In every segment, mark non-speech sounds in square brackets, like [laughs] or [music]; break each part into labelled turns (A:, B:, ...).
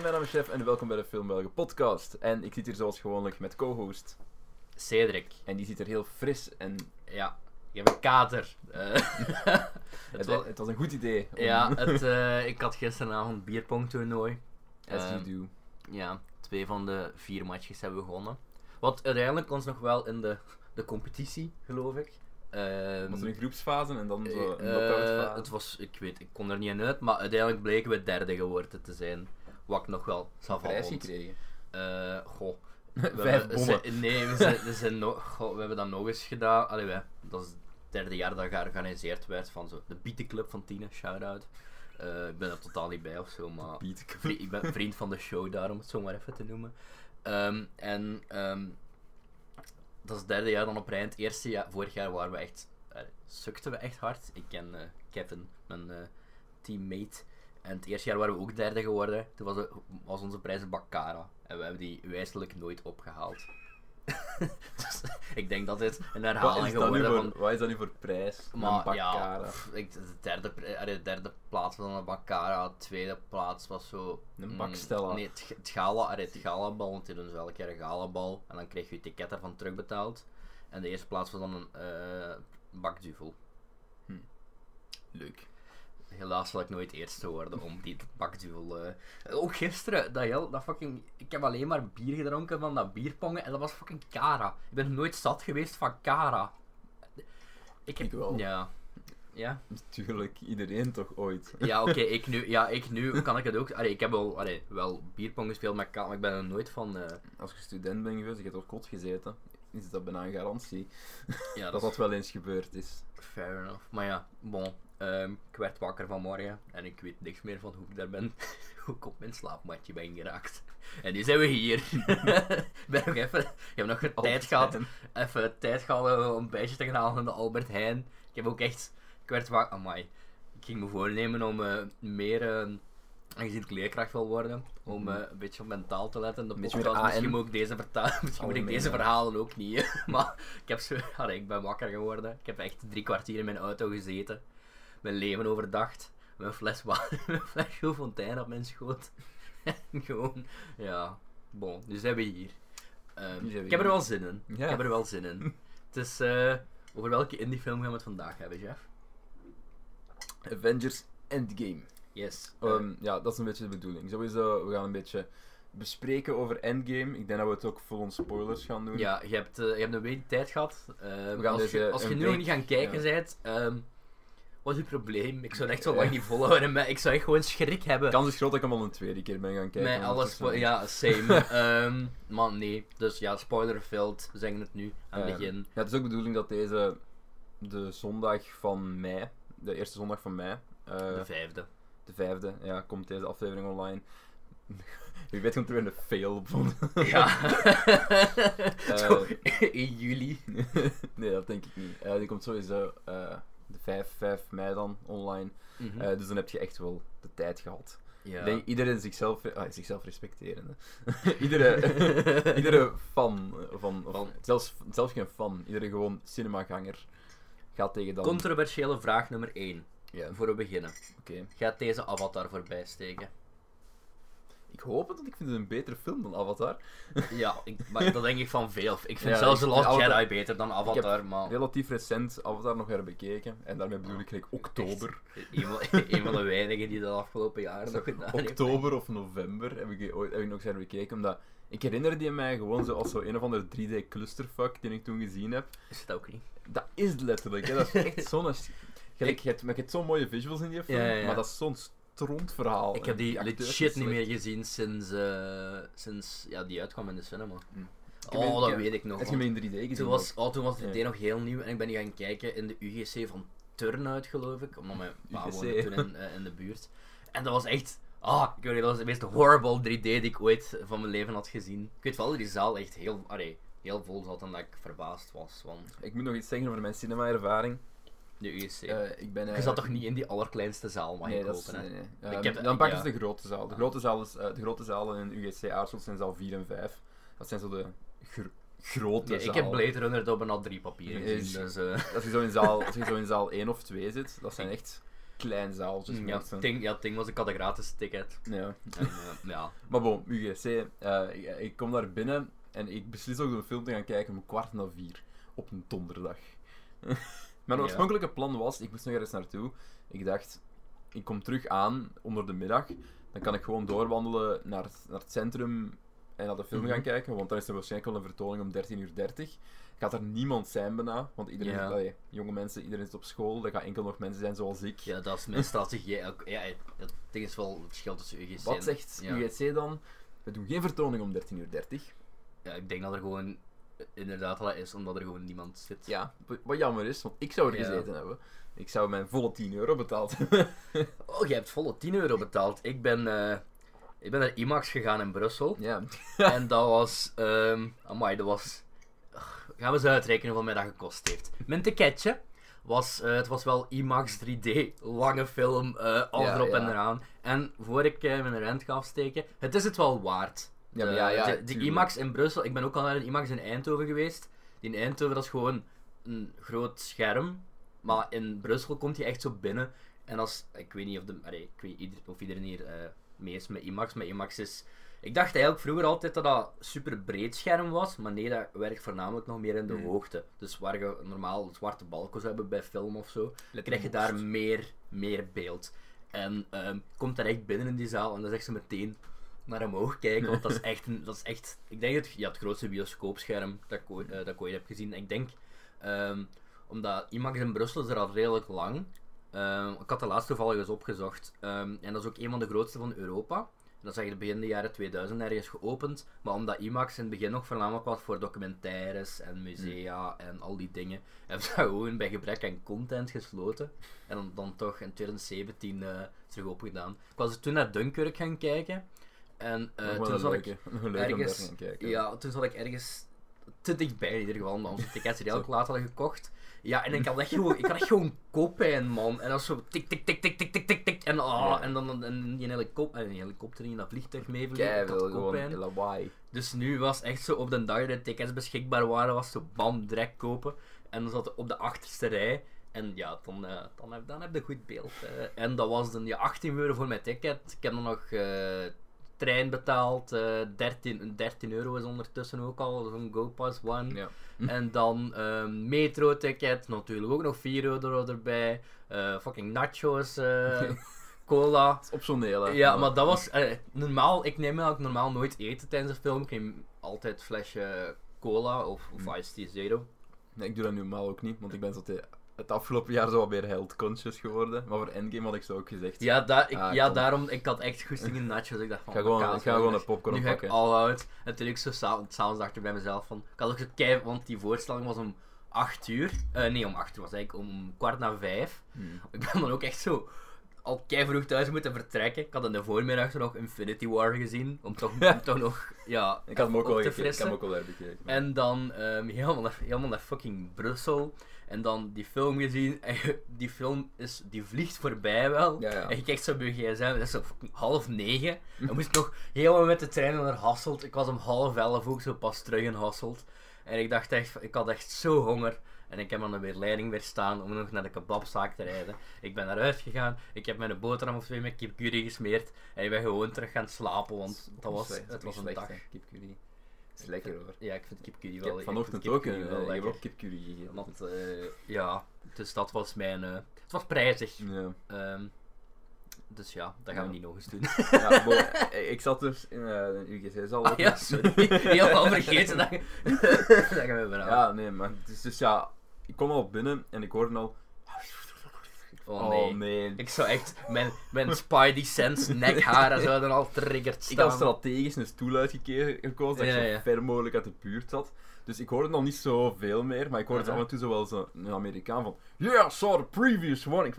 A: mijn naam is Chef en welkom bij de Film Belgen podcast. En ik zit hier zoals gewoonlijk met co-host.
B: Cedric.
A: En die zit er heel fris en
B: Ja, je hebt een kater. Eh, [laughs]
A: het,
B: het
A: wa-
B: was,
A: het was een goed idee. om- [laughs]
B: ja, het, eh, ik had gisteravond bierpongtoernooi.
A: As you
B: eh,
A: do.
B: Ja, twee van de vier matchjes hebben we gewonnen. Wat uiteindelijk ons nog wel in de, de competitie, geloof ik. Ehm,
A: Was er een groepsfase en dan zo een
B: eh,
A: knockoutfase.
B: het was, ik weet, ik kon er niet in uit, maar uiteindelijk bleken we derde geworden te zijn. Wat ik nog wel zou van
A: prijs
B: vond.
A: gekregen.
B: Eh, goh.
A: [laughs]
B: We
A: Vijf
B: hebben-
A: bommen.
B: ze- nee, we, zijn, we, zijn nog- goh, we hebben dat nog eens gedaan. Allee, wij, dat is het derde jaar dat georganiseerd werd van zo, de Bietenclub van Tine, shout-out. Eh, ik ben er totaal niet bij of zo, maar
A: Piet.
B: vri- ik ben vriend van de show daar, om het zo maar even te noemen. Ehm, en ehm, dat is het derde jaar dan op rij. Het eerste jaar, vorig jaar waren we echt, eh, sukten we echt hard. Ik ken eh, Kevin, mijn eh, teammate. En het eerste jaar waren we ook derde geworden. Toen was, het- was onze prijs Baccara. En we hebben die wijselijk nooit opgehaald. [laughs] dus ik denk dat dit een
A: Wat
B: herhaling
A: is, dat nu
B: geworden
A: voor,
B: van...
A: wat is dat nu voor prijs? Een
B: Maar ja,
A: Baccara.
B: pff, ik, de, derde, pri- allee, de derde plaats was dan een Baccara. De tweede plaats was zo...
A: Een
B: mm,
A: Bakstella.
B: Nee, het, ge- het gala, allee, het galabal. Want die doen zo elke keer een galabal. En dan kreeg je je ticket daarvan terugbetaald. En de eerste plaats was dan een eh bakduvel.
A: Leuk.
B: Helaas zal ik nooit eerste worden om die bakduvel. eh, Ook gisteren, dat heel, dat fucking... Ik heb alleen maar bier gedronken van dat bierpongen en dat was fucking Cara. Ik ben nog nooit zat geweest van Cara. Ik heb...
A: Ik wel.
B: Ja. Ja,
A: Natuurlijk, iedereen toch ooit.
B: ja oké, ik nu, ja, ik nu kan ik het ook... Allee, ik heb wel, allee, wel bierpong gespeeld met Cara, maar ik ben er nooit van... eh,
A: Als je student bent geweest, je hebt op kot gezeten, is dat bijna een garantie
B: ja,
A: dat dat wel eens gebeurd is.
B: Fair enough. Maar ja, bon. ehm, ik werd wakker vanmorgen en ik weet niks meer van hoe ik daar ben. [laughs] hoe ik op mijn slaapmatje ben geraakt. En nu zijn we hier. [laughs] ben nog even, ik heb nog tijd gehad, even tijd gehad om een bijtje te gaan halen in de Albert Heijn. Ik heb ook echt, ik werd wakker, amai. Ik ging me voornemen om eh, meer, eh, aangezien ik leerkracht wil worden, om eh, een beetje op mentaal te letten.
A: Mhm.
B: De
A: Een beetje meer
B: podcast, misschien
A: AM.
B: moet ik deze, verta- [laughs] misschien moet ik
A: Algemeen,
B: deze
A: ja.
B: verhalen ook niet. [laughs] eh, maar ik, heb zo, allee, ik ben wakker geworden. Ik heb echt drie kwartier in mijn auto gezeten. Mijn leven overdacht. Mijn fles, wa- [laughs] mijn fles Jules Fontaine op mijn schoot. [laughs] en gewoon, ja. Bon, nu zijn we hier. Ehm,
A: Nu zijn Dus we
B: ik heb er
A: hier.
B: wel zin in.
A: Ja.
B: Ik heb er wel zin in. Het is, eh, over welke indiefilm gaan we het vandaag hebben, Jeff?
A: Avengers Endgame.
B: Yes. Eh,
A: Ehm, ja, dat is een beetje de bedoeling. Sowieso, we gaan een beetje bespreken over Endgame. Ik denk dat we het ook vol on spoilers gaan doen.
B: ja, je hebt, eh, je hebt een week tijd gehad. Ehm,
A: We gaan
B: als
A: dus,
B: je,
A: eh,
B: als je
A: een
B: nu nog
A: week-
B: niet gaan kijken bent, ehm, wat is je probleem? Ik zou het echt zo lang niet volhouden, maar ik zou echt gewoon schrik hebben.
A: De kans is groot dat ik hem al een tweede keer ben gaan kijken.
B: Met alles,
A: ondertussen.
B: spo- ja,
A: [laughs]
B: same. Ehm maar nee, dus ja, spoiler filled, we zeggen het nu aan het
A: Ehm,
B: begin.
A: Ja, het is ook de bedoeling dat deze de zondag van mei, de eerste zondag van mei, eh,
B: de
A: [laughs]
B: vijfde.
A: de vijfde, ja, komt deze aflevering online. [laughs] Wie weet komt er weer een fail op.
B: Ja.
A: Eh,
B: [laughs] Zo, in juli.
A: [laughs] nee, dat denk ik niet. Eh, die komt sowieso eh, de 5, 5 mei dan online.
B: Mhm.
A: Eh, dus dan heb je echt wel de tijd gehad.
B: ja.
A: Ik denk iedereen zichzelf, ah, zichzelf respecteren.
B: [laughs]
A: hè. iedere, iedere fan eh, van, of
B: Fan.
A: Zelfs, zelfs geen fan, iedere gewoon cinemaganger gaat tegen dan.
B: Controversiële vraag nummer 1,
A: Ja, oké.
B: voor we beginnen. Gaat deze avatar voorbij steken?
A: Ik hoop het, want ik vind het een betere film dan Avatar.
B: [laughs] Ja, ik, maar dat denk ik van veel. Ik vind
A: Ja,
B: zelfs
A: ik-
B: The Last
A: Avatar-
B: Jedi beter dan Avatar, maar...
A: Relatief recent Avatar nog herbekeken. En daarmee bedoel ik gelijk oktober.
B: Een van- een van de [laughs] weinigen die dat afgelopen jaar nog gedaan heeft.
A: Oktober of november heb ik, die ooit- heb ik nog eens herbekeken. Omdat ik herinner die mij gewoon zo als zo een of andere 3D clusterfuck die ik toen gezien heb.
B: Is het ook niet?
A: Dat is het letterlijk. Hè.
B: [laughs]
A: Dat is echt zo'n... Gelijk, je hebt, maar je hebt zo'n mooie visuals in die film,
B: Ja, ja, ja.
A: maar dat is zo'n strontverhaal.
B: Ik heb die,
A: En acteurs
B: shit
A: zijn
B: niet meer
A: slecht.
B: gezien sinds, eh, sinds ja, die uitkwam in de cinema.
A: Hm. Ik heb
B: Oh,
A: hem-
B: dat
A: ik heb-
B: weet ik nog.
A: Heb je
B: want
A: hem in 3D gezien?
B: Toen was, oh, toen was het
A: Ja.
B: idee nog heel nieuw en ik ben die gaan kijken in de UGC van Turnhout, geloof ik. Omdat mijn pa
A: UGC.
B: woonde toen
A: [laughs]
B: in, eh, in de buurt. En dat was echt... Ah, ik weet niet, dat was de meest horrible 3D die ik ooit van mijn leven had gezien. Ik weet wel dat die zaal echt heel, allee, heel vol zat en dat ik verbaasd was van
A: Ik moet nog iets zeggen over mijn cinema-ervaring.
B: de UGC.
A: Eh, ik ben...
B: je
A: eh,
B: zat toch niet in die allerkleinste zaal, mag
A: Nee,
B: ik
A: dat is,
B: hopen, hè?
A: nee, nee.
B: Ik
A: Ehm,
B: heb-
A: dan pakken
B: ja.
A: ze de grote zaal. De grote, zaal is, eh, de grote zalen in UGC Aarschot zijn zaal 4 en 5. Dat zijn zo de gr- grote
B: Nee, ik
A: zalen.
B: heb Blade Runner op een al drie papieren
A: Nee,
B: gezien, dus... eh,
A: Als je, zo in zaal, als je zo in zaal 1 of 2 zit, dat zijn echt klein zaaltje.
B: [laughs] Ja, Ting, ja, Ting was ik had een gratis ticket.
A: Ja.
B: En, eh, ja.
A: Maar bon, UGC, eh, ik, ik kom daar binnen en ik beslis ook een film te gaan kijken om kwart na vier op een donderdag. [laughs] Mijn
B: Ja.
A: oorspronkelijke plan was, ik moest nog ergens naartoe. Ik dacht, ik kom terug aan onder de middag, dan kan ik gewoon doorwandelen naar, het- naar het centrum en naar de film
B: Mhm.
A: gaan kijken, want dan is er waarschijnlijk wel een vertoning om 13.30 uur. Gaat er niemand zijn bijna, want iedereen,
B: Ja.
A: allee, jonge mensen, iedereen zit op school, er gaan enkel nog mensen zijn zoals ik.
B: ja, dat is mijn strategie. Ja, ik- ja, het ding is wel het verschil tussen UGC en-
A: Wat zegt
B: ja.
A: UGC dan? We doen geen vertoning om 13.30 uur.
B: Ja, ik denk dat er gewoon eh, inderdaad wel is, omdat er gewoon niemand zit.
A: Ja, wa- wat jammer is, want ik zou er
B: Ja.
A: gezeten hebben. Ik zou mijn volle 10 euro betaald [laughs]
B: Oh, je hebt volle 10 euro betaald. Ik ben, eh, ik ben naar IMAX gegaan in [laughs] Brussel.
A: ja.
B: En dat was. ehm amai, dat was. Ugh, Gaan we eens uitrekenen hoeveel mij dat gekost heeft. Mijn ticketje was. eh, het was wel IMAX 3D. Lange film. eh alles
A: Ja,
B: erop
A: ja.
B: en eraan. En voor ik eh, mijn rent ga afsteken. Het is het wel waard.
A: Ja, maar
B: Eh,
A: ja, ja,
B: de, de
A: tuurlijk.
B: IMAX in Brussel. Ik ben ook al naar een IMAX in Eindhoven geweest. Die in Eindhoven dat is gewoon een groot scherm. Maar in Brussel komt je echt zo binnen. En als. Ik weet niet of, de, allee, ik weet ieder- of iedereen hier eh, mee is met IMAX. Maar IMAX is. Ik dacht eigenlijk vroeger altijd dat dat super breed scherm was, maar nee, dat werkt voornamelijk nog meer in de
A: Hmm.
B: hoogte. Dus waar je normaal zwarte balken zou hebben bij film of zo,
A: Let
B: krijg je
A: op.
B: daar meer, meer beeld. En ehm, komt daar echt binnen in die zaal en dan zegt ze meteen naar omhoog kijken, want dat is echt, een, dat is echt ik denk het, ja, het grootste bioscoopscherm dat ik ooit, eh, dat ik ooit heb gezien. En ik denk, ehm, omdat IMAX in Brussel is er al redelijk lang. Ehm, ik had de laatste toevallig eens opgezocht. Ehm, en dat is ook een van de grootste van Europa. Dat is eigenlijk begin de jaren 2000 ergens geopend. Maar omdat IMAX in het begin nog voornamelijk was voor documentaires en musea
A: Hmm.
B: en al die dingen, [laughs] hebben ze dat gewoon bij gebrek aan content gesloten. En dan, dan toch in 2017 eh terug opgedaan. Ik was toen naar Dunkirk gaan kijken. En eh,
A: Nog wel
B: toen
A: een
B: zat ik
A: leuke. Nog een leuke om daar te
B: ergens,
A: gaan kijken.
B: ja, toen zat ik ergens te dichtbij in ieder geval, omdat onze tickets
A: [laughs]
B: redelijk laat hadden gekocht. Ja, en ik had echt gewoon, ik had echt gewoon kooppijn, man. En dat is zo tik, tik, tik, tik, tik, tik, tik, tik. En, ah,
A: Ja.
B: en dan en die helikopter, een helikopter die in dat vliegtuig meevliegt. Ik
A: Kei
B: had
A: veel
B: koppijn.
A: gewoon eh, lawaai.
B: Dus nu was echt zo op de dag dat de tickets beschikbaar waren, was zo bam, direct kopen. En dan zat ik op de achterste rij. En ja, dan, eh, dan, heb, dan heb je een goed beeld. eh. En dat was dan ja, 18 euro voor mijn ticket. Ik heb dan nog eh, trein betaald. eh 13, 13 euro is ondertussen ook al zo'n GoPass One.
A: Ja.
B: En dan ehm metro-ticket, natuurlijk ook nog 4 euro erbij. Eh, fucking nachos, eh, cola.
A: Het is optioneel. hè.
B: Ja, maar dat was eh, normaal. Ik neem eigenlijk normaal nooit eten tijdens een film. Ik neem altijd een flesje cola of,
A: Mm.
B: of iced tea zero.
A: Nee, ik doe dat nu normaal ook niet, want ik ben zo te- het afgelopen jaar zo wat meer health conscious geworden. Maar voor Endgame had ik zo ook gezegd.
B: Ja, daar, ik,
A: Ah,
B: ja
A: kom.
B: daarom. Ik had echt goesting in nachos. Ik dacht van.
A: Ik ga gewoon-
B: kaas,
A: ik ga gewoon
B: man,
A: een popcorn
B: Nu ga ik
A: oppakken.
B: all out. En toen ik zo sa- s'avonds dacht ik bij mezelf van. Ik had ook zo kei, want die voorstelling was om 8 uur. Eh, nee, om 8 uur was eigenlijk om kwart na 5.
A: Hmm.
B: Ik ben dan ook echt zo al kei vroeg thuis moeten vertrekken. Ik had in de voormiddag zo nog Infinity War gezien.
A: [laughs]
B: Om toch, om toch nog. Ja,
A: Ik had hem ook
B: op
A: al
B: te
A: gekeken. Ik had hem
B: frissen.
A: ook al uitgekeken.
B: En dan ehm, [laughs] helemaal, naar, helemaal naar fucking Brussel. En dan die film gezien. En je- die film is, die vliegt voorbij wel.
A: Ja, ja.
B: En je kijkt zo op je gsm. en Dat is zo fucking half negen. En moest ik nog helemaal met de trein naar Hasselt. Ik was om half elf ook zo pas terug in Hasselt. En ik dacht echt, van- ik had echt zo honger. En ik heb aan de weerleiding weer staan om nog naar de kebabzaak te rijden. Ik ben naar huis gegaan. Ik heb mijn boterham of twee met kipcurry gesmeerd. En ik ben gewoon terug gaan slapen, want dat was,
A: Slecht,
B: het was een
A: slecht,
B: dag.
A: hè. Kipcurry. Is lekker hoor.
B: Ja, ik vind kipcurry
A: Ik
B: wel
A: heb vanochtend
B: ik vind
A: ook
B: kipcurry
A: een.
B: wel
A: eh, Ik heb
B: lekker.
A: ook kipcurry gegeten.
B: Want, eh, ja, dus dat was mijn... eh, het was [laughs] prijzig.
A: Ja.
B: Ehm, dus ja, dat gaan we
A: Ja.
B: niet nog eens
A: [laughs]
B: doen.
A: Ja, bon, eh, ik zat dus in eh, een UGC-zaal.
B: Ah, ja,
A: [laughs]
B: sorry. Helemaal vergeten dat, je- [laughs] dat gaan we weer aan.
A: Ja, nee, maar het is dus ja, ik kom al binnen en ik hoorde al.
B: Oh nee.
A: nee.
B: Ik zou echt... Mijn, mijn Spidey
A: [laughs]
B: sense nekharen zouden al triggerd
A: Ik
B: staan.
A: had strategisch een stoel uitgekozen dat ik
B: Ja,
A: zo
B: ja.
A: ver mogelijk uit de buurt zat. Dus ik hoorde nog niet zoveel meer, maar ik hoorde
B: Aha.
A: af en toe zo wel zo een Amerikaan van. Yeah, I saw the previous one.
B: [laughs]
A: Ik...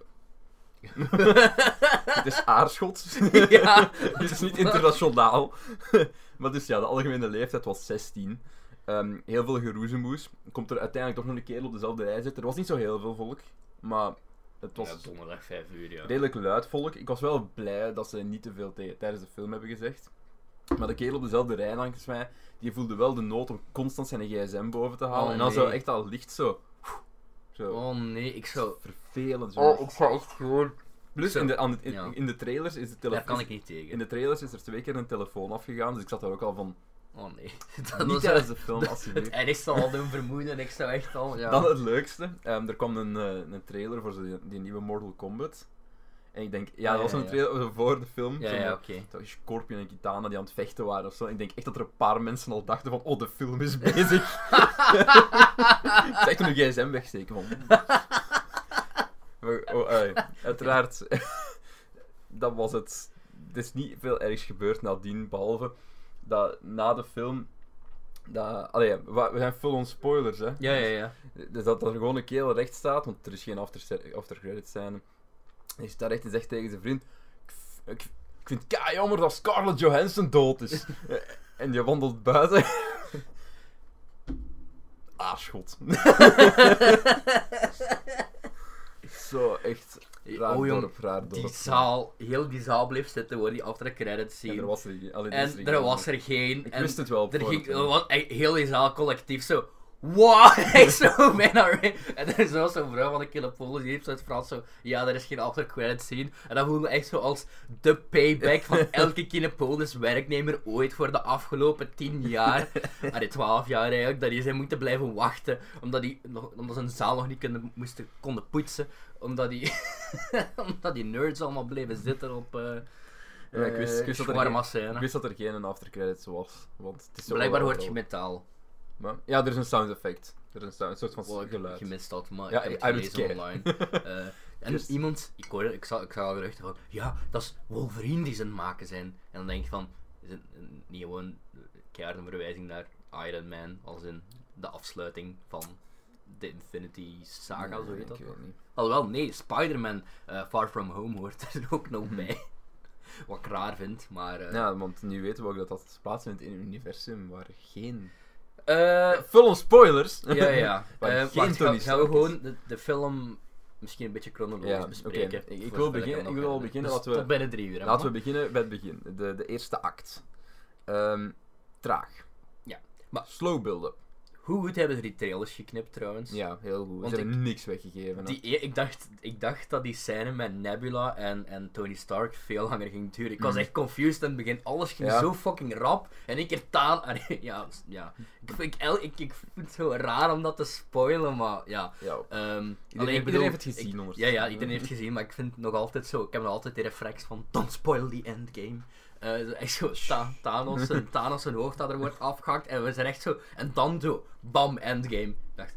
A: [laughs] het is aarschot.
B: [laughs] Ja.
A: [laughs] het is niet internationaal. [laughs] maar dus ja, de algemene leeftijd was 16. Ehm, heel veel geroezemoes. Komt er uiteindelijk toch nog een keer op dezelfde rij zitten. Er was niet zo heel veel volk, maar het was
B: Ja, donderdag 5 uur, ja.
A: redelijk luid volk. Ik was wel blij dat ze niet te veel tegen- tijdens de film hebben gezegd. Maar de kerel op dezelfde rij langs mij, die voelde wel de nood om constant zijn gsm boven te halen.
B: Oh,
A: en dan
B: nee.
A: zo echt al licht zo. Zo.
B: Oh nee, ik zou...
A: Vervelend. Zo.
B: Oh, ik zou echt gewoon...
A: Plus,
B: Zo.
A: in de, aan de- in,
B: Ja.
A: in de trailers is de
B: Daar
A: telefoon...
B: kan ik niet
A: In
B: tegen.
A: de trailers is er twee keer een telefoon afgegaan, dus ik zat daar ook al van...
B: Oh nee. [laughs] Dat
A: niet
B: was
A: tijdens
B: het,
A: de film, alsjeblieft.
B: het [laughs] ergste al doen vermoeden. Ik zou echt al. Ja.
A: Dan het leukste. Ehm, er kwam een, eh, een trailer voor zo die, die nieuwe Mortal Kombat. En ik denk, ja,
B: Ah,
A: dat was
B: ja,
A: een
B: ja.
A: trailer voor de film.
B: ja,
A: Zo
B: ja,
A: met-
B: oké.
A: dat is Scorpion en Kitana die aan het vechten waren of zo. Ik denk echt dat er een paar mensen al dachten van, oh, de film is bezig. Het is echt een gsm wegsteken van... Maar, oh, ui, uiteraard, [laughs] dat was het. Er is niet veel ergs gebeurd nadien, behalve dat na de film... Dat, allee, we we zijn vol on spoilers, hè.
B: Ja, ja, ja.
A: Dus dat er gewoon een kerel recht staat, want er is geen after, aftercredit scène. Hij staat recht en zegt tegen zijn vriend: "Ik v- Ik, ik vind het kei jammer dat Scarlett Johansson dood
B: [laughs]
A: is. Eh, en die wandelt buiten. [laughs] Aarschot. [laughs] Zo echt raar
B: Oh, jong,
A: dorp, raar dorp.
B: Die zaal, heel die zaal bleef zitten voor die after credits
A: En er
B: scene.
A: was er, geen- allee, is
B: En
A: geen-
B: er was er geen.
A: Ik
B: en
A: wist het wel. op
B: Er
A: voorhand,
B: ging,
A: hè.
B: er was echt heel die zaal collectief zo. [laughs] Wow, echt
A: [laughs]
B: zo bijna. re- En er is wel zo'n vrouw van de Killapolis die heeft zo in het Frans zo. Ja, er is geen after credit scene. En dat voelde me echt zo als de payback
A: [laughs]
B: van elke Killapolis werknemer ooit voor de afgelopen 10
A: [laughs]
B: jaar. Allee, 12 jaar eigenlijk. Dat die zijn moeten blijven wachten. Omdat, die, nog, omdat ze een zaal nog niet konden, moesten, konden poetsen. Omdat die, [laughs] omdat die nerds allemaal bleven zitten op. eh
A: Ja, ik wist- ik wist dat er
B: shawarma
A: geen-
B: scène.
A: Ik wist dat er geen aftercredits was. Want het is zo
B: Blijkbaar hoort
A: overal.
B: je metaal.
A: Maar- ja, er is een sound effect. Er is een, sound, een soort van
B: Wat ik
A: geluid.
B: gemist had, maar
A: Ja,
B: ik
A: I
B: heb
A: don't
B: het gelezen
A: care. [laughs]
B: online. Eh, en
A: Just-
B: iemand, ik hoorde, ik zag, ik zag al geruchten van, ja, dat is Wolverine die ze aan het maken zijn. En dan denk ik van, is het een- niet gewoon keihard een verwijzing naar Iron Man, als in de afsluiting van de Infinity Saga,
A: Nee,
B: zo heet dat.
A: Ik weet niet.
B: Alhoewel, nee, Spider-Man eh, Far From Home hoort [laughs] er ook nog bij. Wat ik raar vind, maar... eh,
A: Mhm. Ja, want nu weten we ook dat dat plaatsvindt in een universum waar geen...
B: eh,
A: Full on spoilers!
B: Ja, ja.
A: Waar
B: Eh,
A: geen
B: wacht,
A: Tony
B: gaan, gaan we
A: Stark is.
B: gewoon de, de film misschien een beetje chronologisch
A: Ja,
B: bespreken?
A: oké. Ik- ik
B: Voor
A: wil
B: zover
A: beginnen-
B: hem
A: ik
B: nog
A: wil al
B: herinner.
A: beginnen
B: Dus
A: dat we-
B: Tot binnen drie uur.
A: [laughs]
B: hè,
A: Laten we
B: man?
A: beginnen bij het begin. De, de eerste act. Ehm, traag.
B: Ja, maar-
A: Slow build-up.
B: Hoe goed hebben ze die trailers geknipt trouwens?
A: Ja, heel goed.
B: Want
A: Ze hebben niks weggegeven. hè.
B: Die, e- ik, dacht, ik dacht dat die scène met Nebula en, en Tony Stark veel langer ging duren. Ik was
A: Mhm.
B: echt confused aan het begin. Alles ging
A: Ja.
B: zo fucking rap. En ik keer taan. en- [laughs] Ja, s- ja. Ik, vind- ik, el- ik, ik vind het zo raar om dat te spoilen, maar ja.
A: Ja.
B: Ehm,
A: Iedereen,
B: ik
A: iedereen
B: bedoel,
A: heeft het gezien,
B: Ja,
A: ondertussen.
B: ja, iedereen heeft het gezien, maar ik vind het nog altijd zo. Ik heb nog altijd die reflex van: don't spoil the endgame. Eh, zo echt zo, Ta-
A: [laughs]
B: Thanos, en Thanos zijn hoofd dat er wordt afgehakt en we zijn echt zo. En dan zo, bam, endgame. Ik dacht,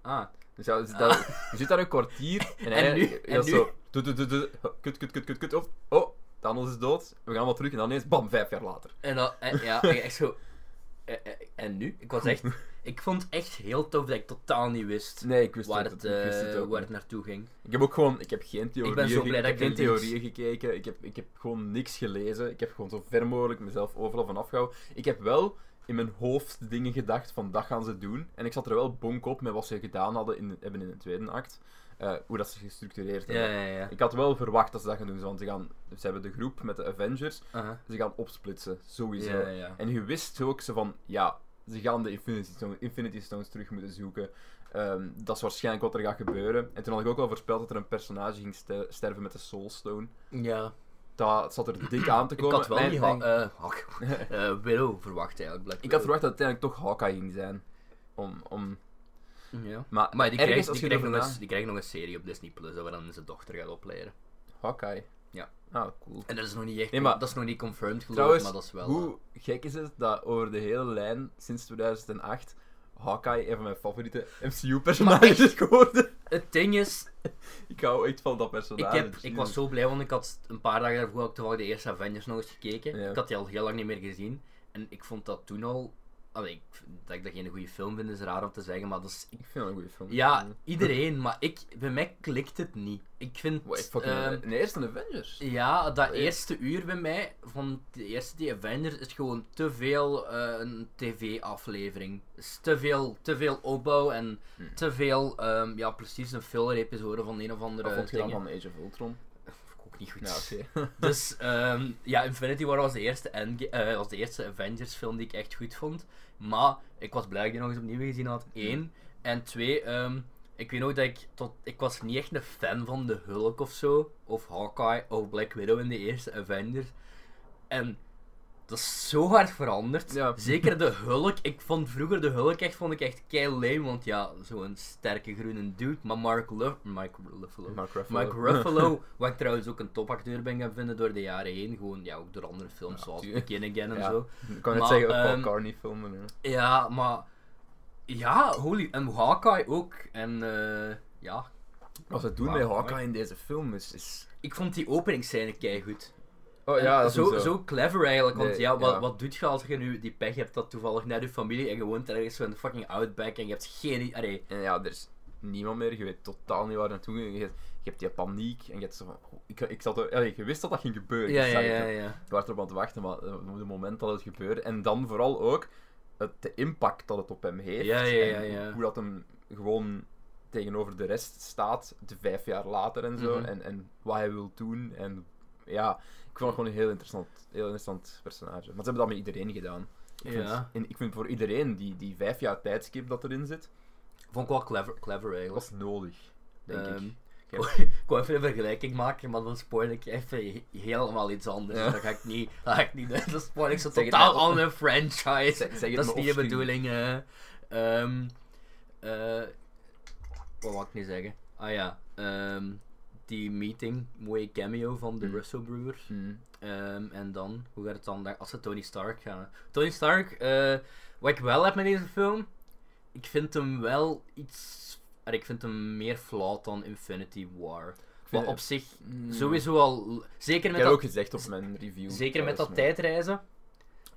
B: ah,
A: Dus ja, dus
B: [laughs]
A: dat- je zit daar een kwartier en, hij
B: nu?
A: hij
B: [laughs] En
A: was
B: nu?
A: zo... doet, doet, doet, doet, Kut, kut, kut, kut, kut. Of, oh, Thanos is dood. We gaan wel terug en dan ineens, bam, vijf jaar later.
B: En dan, en-
A: [laughs]
B: ja, en echt zo. eh, eh, En nu? Ik was echt. Ik vond het echt heel tof dat ik totaal niet wist
A: Nee, ik wist,
B: waar
A: het,
B: het,
A: ik wist het
B: eh,
A: ook
B: waar
A: niet.
B: het naartoe ging.
A: Ik heb ook gewoon, ik heb geen theorieën,
B: ben zo
A: ge-
B: blij dat
A: heb
B: ik
A: geen
B: de links-
A: theorieën gekeken, ik heb, ik heb gewoon niks gelezen, ik heb gewoon zo ver mogelijk mezelf overal van afgehouden. Ik heb wel in mijn hoofd dingen gedacht van dat gaan ze doen, en ik zat er wel bonk op met wat ze gedaan hadden in, de- hebben in de tweede act, eh, hoe dat ze gestructureerd
B: Ja,
A: hebben.
B: ja, ja.
A: Ik had wel verwacht dat ze dat gaan doen, want ze, gaan, ze hebben de groep met de Avengers,
B: Aha.
A: ze gaan opsplitsen, sowieso.
B: Ja, ja.
A: En je wist ook zo van, ja, ze gaan de Infinity, Stone- Infinity Stones terug moeten zoeken. Ehm, dat is waarschijnlijk wat er gaat gebeuren. En toen had ik ook al voorspeld dat er een personage ging ste- sterven met de Soul Stone.
B: ja.
A: Dat zat er dik aan te
B: Ik
A: komen.
B: had wel
A: Mijn-
B: niet.
A: mijn-
B: ha- eh, hak. Eh, Willow verwacht eigenlijk. Black
A: ik had
B: Widow.
A: verwacht dat het uiteindelijk toch Hawkeye ging zijn. Om, om...
B: Ja.
A: Maar,
B: Maar die
A: ergens
B: krijgt,
A: als
B: die,
A: je
B: krijgt
A: erover
B: nog eens,
A: na-
B: die krijgt nog een serie op Disney Plus dat we dan zijn dochter gaat opleiden.
A: Hawkeye.
B: Ja.
A: Ah, cool.
B: En dat is nog niet echt,
A: Nee, maar-
B: dat is nog niet confirmed geloof ik,
A: Trouwens,
B: maar dat is wel.
A: hoe gek is het dat over de hele lijn sinds 2008 Hawkeye een van mijn favoriete MCU-personages is geworden?
B: Het ding is,
A: Ik hou echt van dat
B: ik,
A: personage.
B: heb, ik was zo blij, want ik had een paar dagen daarvoor ook toevallig de eerste Avengers nog eens gekeken.
A: Ja.
B: Ik had die al heel lang niet meer gezien. En ik vond dat toen al, allee, ik, dat ik dat geen goede film vind is raar om te zeggen, maar dat is...
A: Ik vind het een goede film. Mm.
B: Ja, iedereen, maar ik, bij mij klikt het niet. Ik vind...
A: Wat, fucking eh,
B: ehm,
A: een eerste Avengers? Eh,
B: Ja, dat
A: Ja.
B: eerste uur bij mij van de eerste die Avengers is gewoon te veel eh, een tv-aflevering. Is te veel, te veel opbouw en
A: Hmm.
B: te veel, ehm, ja, precies een filler-episode van een of andere.
A: Wat vond je dan
B: dingen.
A: van Age of Ultron?
B: Vond ik ook niet goed.
A: Ja, oké. [laughs]
B: Dus ehm, ja, Infinity War was de eerste, Endga- eh, was de eerste Avengers film die ik echt goed vond. Maar ik was blij dat ik die nog eens opnieuw gezien had. Eén. En twee, ehm, Ik weet ook dat ik tot... Ik was niet echt een fan van de Hulk of zo. Of Hawkeye of Black Widow in de eerste Avengers. En dat is zo hard veranderd.
A: Ja.
B: Zeker de Hulk. Ik vond vroeger de Hulk echt, vond ik echt kei lame. Want ja, zo'n sterke groene dude. Maar Mark Luff... Mark Ruffalo.
A: Mark Ruffalo.
B: Mark Ruffalo, wat ik trouwens ook een topacteur ben gaan vinden door de jaren heen. Gewoon, ja, ook door andere films
A: Ja,
B: zoals
A: tuurlijk.
B: Begin Again en
A: Ja.
B: zo.
A: [laughs] Ik kan net
B: Maar,
A: zeggen, ook Paul
B: ehm,
A: Carney filmen. hè.
B: Ja, maar... Ja, holy... En Hawkeye ook. En eh, ja,
A: Wat ze doen
B: Wauw,
A: met
B: mooi.
A: Hawkeye in deze film is... is...
B: ik vond die openingsscène keigoed.
A: Oh
B: En
A: ja, dat
B: zo,
A: is
B: zo.
A: zo.
B: clever eigenlijk, want
A: Nee,
B: ja, wat,
A: ja.
B: wat doet je als je nu die pech hebt dat toevallig naar je familie en je woont ergens zo in de fucking outback en je hebt geen... i- Allee,
A: En ja, er is niemand meer. Je weet totaal niet waar naartoe. Je, je hebt die paniek. En je hebt zo van... oh, ik, ik zat er, allee, je wist dat dat ging gebeuren.
B: ja,
A: je
B: ja,
A: zag het,
B: ja,
A: hè.
B: ja.
A: Ik was erop aan het wachten, maar eh, op het moment dat het gebeurde. En dan vooral ook het, de impact dat het op hem heeft.
B: Ja, ja, ja,
A: en
B: ja.
A: Hoe dat hem gewoon tegenover de rest staat, de vijf jaar later en zo.
B: Mhm.
A: en, en wat hij wil doen. En ja, ik vond het gewoon een heel interessant, heel interessant personage. Maar ze hebben dat met iedereen gedaan. Ik,
B: Ja.
A: vind, en ik vind voor iedereen die, die vijf jaar tijdskip dat erin zit,
B: Vond ik wel clever, clever eigenlijk.
A: was nodig. Denk
B: Ehm,
A: ik.
B: Ik wou- ik wou even een vergelijking maken, maar dan spoil ik even he- helemaal iets anders.
A: Ja.
B: Dat ga ik niet, dat ga ik niet [laughs] doen. Dat spoil ik zo'n
A: Zeg het
B: totaal
A: maar op-
B: andere franchise.
A: Zeg- zeg het
B: dat is
A: maar
B: niet de
A: opsturen.
B: bedoeling. eh. Ehm, eh, wat wou ik nu zeggen? Ah ja, ehm, die meeting, mooie cameo van de
A: Hmm.
B: Russo Brothers.
A: Hm.
B: Ehm, en dan, hoe gaat het dan daar- als ze Tony Stark gaan? Tony Stark, eh, wat ik wel heb met deze film, ik vind hem wel iets. allee, Ik vind hem meer flauw dan Infinity War. Wat
A: vind-
B: op zich
A: Mm.
B: sowieso al. l- Zeker
A: Ik
B: met
A: heb
B: dat,
A: ook gezegd op mijn review.
B: zeker
A: thuis,
B: met dat
A: maar-
B: tijdreizen.